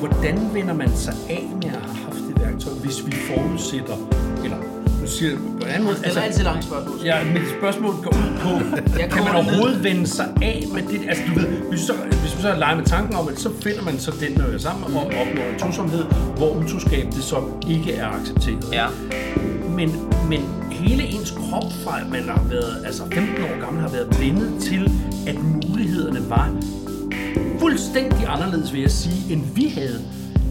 [SPEAKER 9] hvordan vender man sig af med at have haft det værktøj, hvis vi forudsætter, eller nu siger jeg på en anden måde. Altså,
[SPEAKER 7] Det er altid langt spørgsmål.
[SPEAKER 9] Ja, men spørgsmålet går ud på, kan man overhovedet vende sig af med det? Altså du ved, hvis, så, hvis vi så leger med tanken om, at så finder man så den, der er sammen og opnår en tosomhed, hvor utroskab det så ikke er accepteret. Ja. Men, men hele ens krop fra, at man har været, altså 15 år gammel, har været vendet til, at mulighederne var fuldstændig anderledes, vil jeg sige, end vi havde.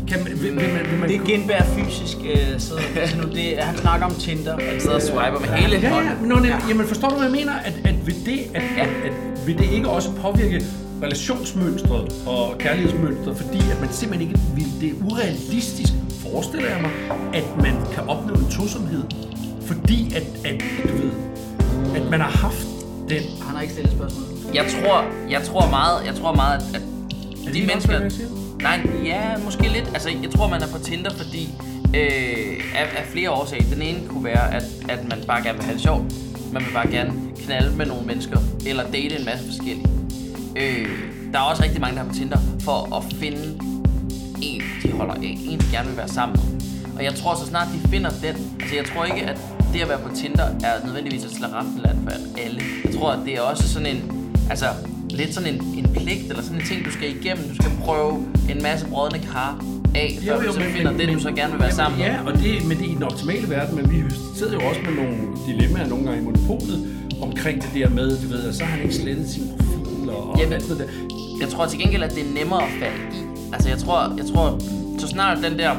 [SPEAKER 9] Kan man, vil, vil man, vil man
[SPEAKER 7] Det er genbær fysisk, øh, så, så nu det, han snakker om Tinder. Han
[SPEAKER 4] sidder og swiper med hele
[SPEAKER 9] ja, ja,
[SPEAKER 4] hånden.
[SPEAKER 9] ja. Nå, nem, jamen forstår du, hvad jeg mener? At, at, ved det, at, at, at vil det ikke også påvirke relationsmønstret og kærlighedsmønstret, fordi at man simpelthen ikke vil det er urealistisk, forestiller jeg mig, at man kan opnå en tosomhed, fordi at, at, du ved, at man har haft den...
[SPEAKER 7] Han har ikke stillet spørgsmål.
[SPEAKER 4] Jeg tror, jeg tror meget, jeg tror meget, at, at de mennesker... Nej, ja, måske lidt. Altså, jeg tror, man er på Tinder, fordi øh, af, af flere årsager. Den ene kunne være, at, at man bare gerne vil have det sjovt. Man vil bare gerne knalde med nogle mennesker, eller date en masse forskellige. Øh, der er også rigtig mange, der er på Tinder for at finde en, de holder af, en, de gerne vil være sammen med. Og jeg tror, så snart de finder den, altså jeg tror ikke, at det at være på Tinder er nødvendigvis et slaraffenland for alle. Jeg tror, at det er også sådan en, altså lidt sådan en, en pligt, eller sådan en ting, du skal igennem. Du skal prøve en masse brødende kar af, før du så finder det, du så gerne vil være sammen med.
[SPEAKER 9] Ja, og det, men det er i den optimale verden, men vi sidder jo også med nogle dilemmaer nogle gange i monopolet omkring det der med, du ved, at så har han ikke slettet sin profil og, og alt det der.
[SPEAKER 4] Jeg tror til gengæld, at det er nemmere at falde i. Altså, jeg tror, jeg tror så snart den der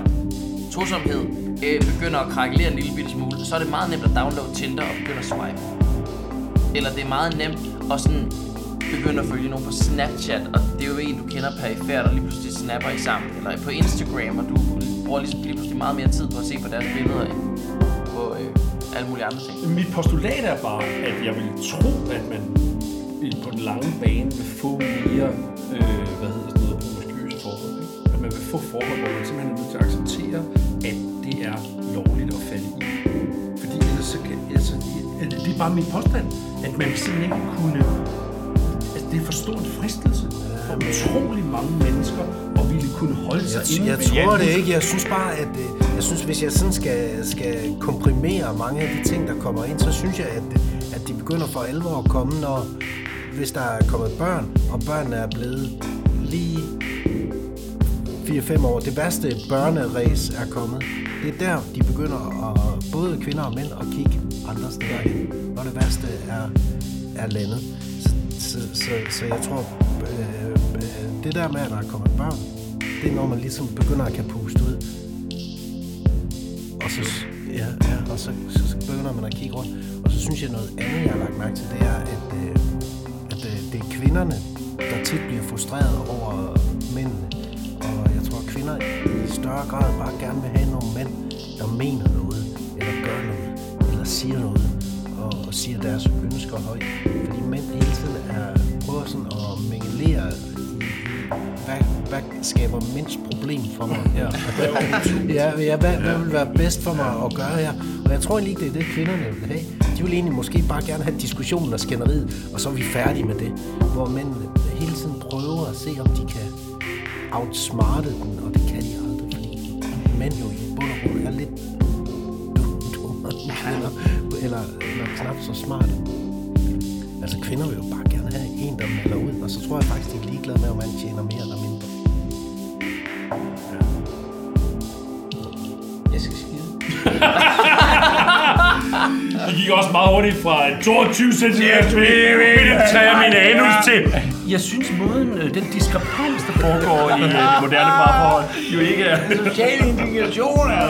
[SPEAKER 4] tosomhed øh, begynder at krakkelere en lille bitte smule, så er det meget nemt at downloade Tinder og begynde at swipe. Eller det er meget nemt at sådan begynde at følge nogen på Snapchat, og det er jo en, du kender perifært, og lige pludselig snapper I sammen. Eller på Instagram, og du bruger lige, lige pludselig meget mere tid på at se på deres billeder end på øh, alle mulige andre ting.
[SPEAKER 9] Mit postulat er bare, at jeg vil tro, at man i- på den lange bane vil få mere, øh, hvad hedder sådan noget, promiskuøse forhold. Ikke? At man vil få forhold, hvor man simpelthen er nødt til at acceptere, at det er lovligt at falde i. Fordi ellers så kan, altså, det, det er bare min påstand, at man simpelthen ikke kunne, altså det er for stor en fristelse for utrolig mange mennesker, og ville kunne holde sig
[SPEAKER 22] Jeg, jeg tror det ikke. Jeg synes bare, at øh, jeg synes, hvis jeg sådan skal, skal komprimere mange af de ting, der kommer ind, så synes jeg, at, øh, at de begynder for alvor at komme, når, hvis der er kommet børn, og børnene er blevet lige 4-5 år. Det værste børnerace er kommet. Det er der, de begynder at, både kvinder og mænd at kigge andre steder hen, når det værste er, er landet. Så, så, så, så jeg tror, øh, øh, det der med, at der er kommet børn, det er når man ligesom begynder at kan puste ud. og så, ja, ja, og så, så, så begynder man at kigge rundt. Og så synes jeg noget andet, jeg har lagt mærke til, det er, at, øh, at øh, det er kvinderne, der tit bliver frustreret over mændene. Og jeg tror, at kvinder i større grad bare gerne vil have nogle mænd, der mener noget, eller gør noget, eller siger noget, og, og siger deres ønsker højt. Fordi mænd hele tiden er, prøver sådan at mingelere hvad, hvad skaber mindst problem for mig her? <laughs> ja, ja hvad, hvad vil være bedst for mig at gøre her? Og jeg tror egentlig ikke, det er det, kvinderne vil have. De vil egentlig måske bare gerne have diskussionen og skænderiet, og så er vi færdige med det. Hvor mændene hele tiden prøver at se, om de kan outsmarte den, og det kan de aldrig, fordi mænd jo i bund og grund er lidt dummere end kvinder, eller, eller knap så smarte. Altså kvinder vil jo bare gerne have en, der melder ud, og så tror jeg faktisk, de er ligeglade med, om man tjener mere eller mindre.
[SPEAKER 27] Jeg skal skide.
[SPEAKER 6] Det gik også meget hurtigt fra 22 cm til min anus til
[SPEAKER 27] Jeg synes, måden, øh, den diskrepans, der foregår i øh,
[SPEAKER 6] moderne parforhold, jo ikke er...
[SPEAKER 27] Social indignation er...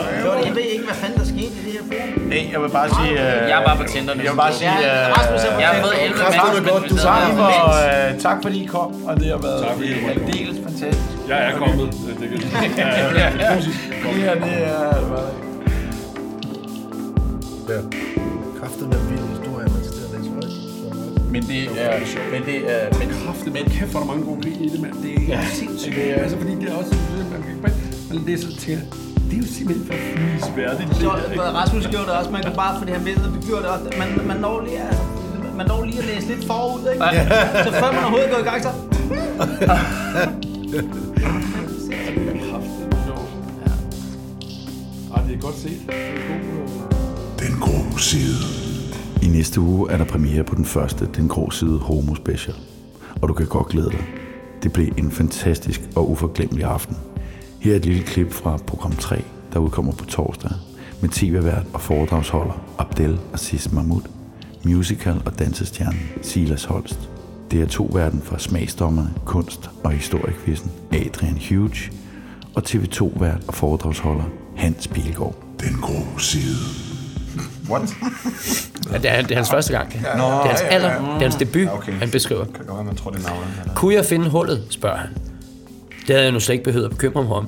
[SPEAKER 27] Jeg ved ikke, hvad fanden der skete i det her forum.
[SPEAKER 5] Nej, jeg vil bare sige... Øh,
[SPEAKER 27] Jeg er bare på Tinder nu.
[SPEAKER 5] Jeg vil bare sige... Øh,
[SPEAKER 27] Ja, Rasmus er på
[SPEAKER 5] jeg
[SPEAKER 27] Tinder.
[SPEAKER 5] ved ikke,
[SPEAKER 27] Rasmus er godt, du
[SPEAKER 5] du
[SPEAKER 27] sidder
[SPEAKER 5] tak,
[SPEAKER 27] her.
[SPEAKER 5] for, øh, tak fordi I kom, og det har været tak, fordi aldeles fantastisk.
[SPEAKER 28] Jeg er kommet. Det, det kan
[SPEAKER 5] Ja, ja, ja. Det her, det er...
[SPEAKER 29] Ja. Kræftet med vild historie, man skal til at læse højt.
[SPEAKER 5] Men det er... Men det er... Men
[SPEAKER 6] kraftigt, men kæft, hvor er der mange gode griner i det, mand. Det er
[SPEAKER 5] Ja.
[SPEAKER 6] ja. sindssygt.
[SPEAKER 5] Det er-
[SPEAKER 6] Altså, fordi det er også... Man kan ikke bare... Man læser og tænker, det er jo simpelthen for fnisværdigt. det
[SPEAKER 7] Så,
[SPEAKER 6] der, ikke?
[SPEAKER 7] Rasmus gjorde det også, man kan bare, fordi han vidste, at vi gjorde det også. Man, man når lige, altså, man når lige at læse lidt forud, ikke?
[SPEAKER 6] Ja.
[SPEAKER 7] Så før man overhovedet går i gang, så...
[SPEAKER 6] Ej, det er godt set. Det er god, øh,
[SPEAKER 2] Den grå side. I næste uge er der premiere på den første Den grå side Homo Special. Og du kan godt glæde dig. Det blev en fantastisk og uforglemmelig aften. Her er et lille klip fra program 3, der udkommer på torsdag, med tv-vært og foredragsholder Abdel Aziz Mahmoud, musical- og dansestjernen Silas Holst. Det er to verden fra smagsdommerne, kunst- og historikvisten Adrian Huge, og TV2-vært og foredragsholder Hans Pilgaard. Den grå side.
[SPEAKER 5] What?
[SPEAKER 4] Ja, det, er, det er hans første gang.
[SPEAKER 2] Ja,
[SPEAKER 4] det er hans
[SPEAKER 2] ja, ja,
[SPEAKER 4] aller,
[SPEAKER 2] ja.
[SPEAKER 4] det er hans debut, okay. han beskriver. Kan godt man tror, det er Kunne jeg finde hullet, spørger han. Det havde jeg nu slet ikke behøvet at bekymre mig om.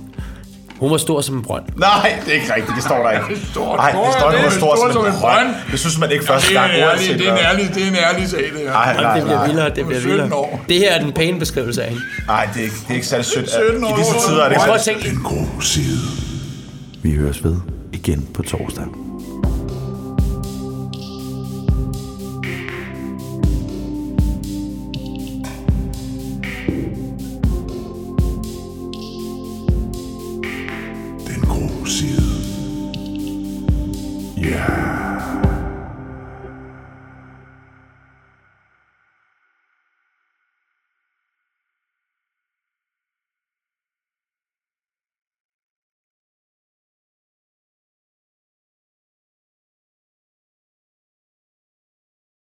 [SPEAKER 4] Hun var stor som en brønd.
[SPEAKER 5] Nej, det er ikke rigtigt. Det står der ikke.
[SPEAKER 4] Stor-
[SPEAKER 5] Nej, det står,
[SPEAKER 4] <laughs> det
[SPEAKER 5] der
[SPEAKER 4] er
[SPEAKER 5] var stor,
[SPEAKER 4] stor
[SPEAKER 5] som en brønd. Det synes man ikke første
[SPEAKER 4] Ja, det er en ærlig-
[SPEAKER 5] gang. uanset
[SPEAKER 4] det er en
[SPEAKER 5] hvad.
[SPEAKER 4] ærlig-
[SPEAKER 5] det er en ærlig sag, det her. Nej,
[SPEAKER 4] Ej,
[SPEAKER 5] nej,
[SPEAKER 4] det bliver
[SPEAKER 5] nej.
[SPEAKER 4] vildere, det bliver
[SPEAKER 5] 17
[SPEAKER 4] vildere.
[SPEAKER 5] år.
[SPEAKER 4] Det her er den pæne beskrivelse af hende.
[SPEAKER 5] Nej, det er ikke, det er ikke særlig sødt. I disse
[SPEAKER 4] år.
[SPEAKER 5] tider er det
[SPEAKER 4] Prøv
[SPEAKER 5] ikke
[SPEAKER 4] at tænke.
[SPEAKER 5] Den grå side.
[SPEAKER 2] Vi høres ved igen på torsdag.
[SPEAKER 1] Den grå side. Ja. Yeah.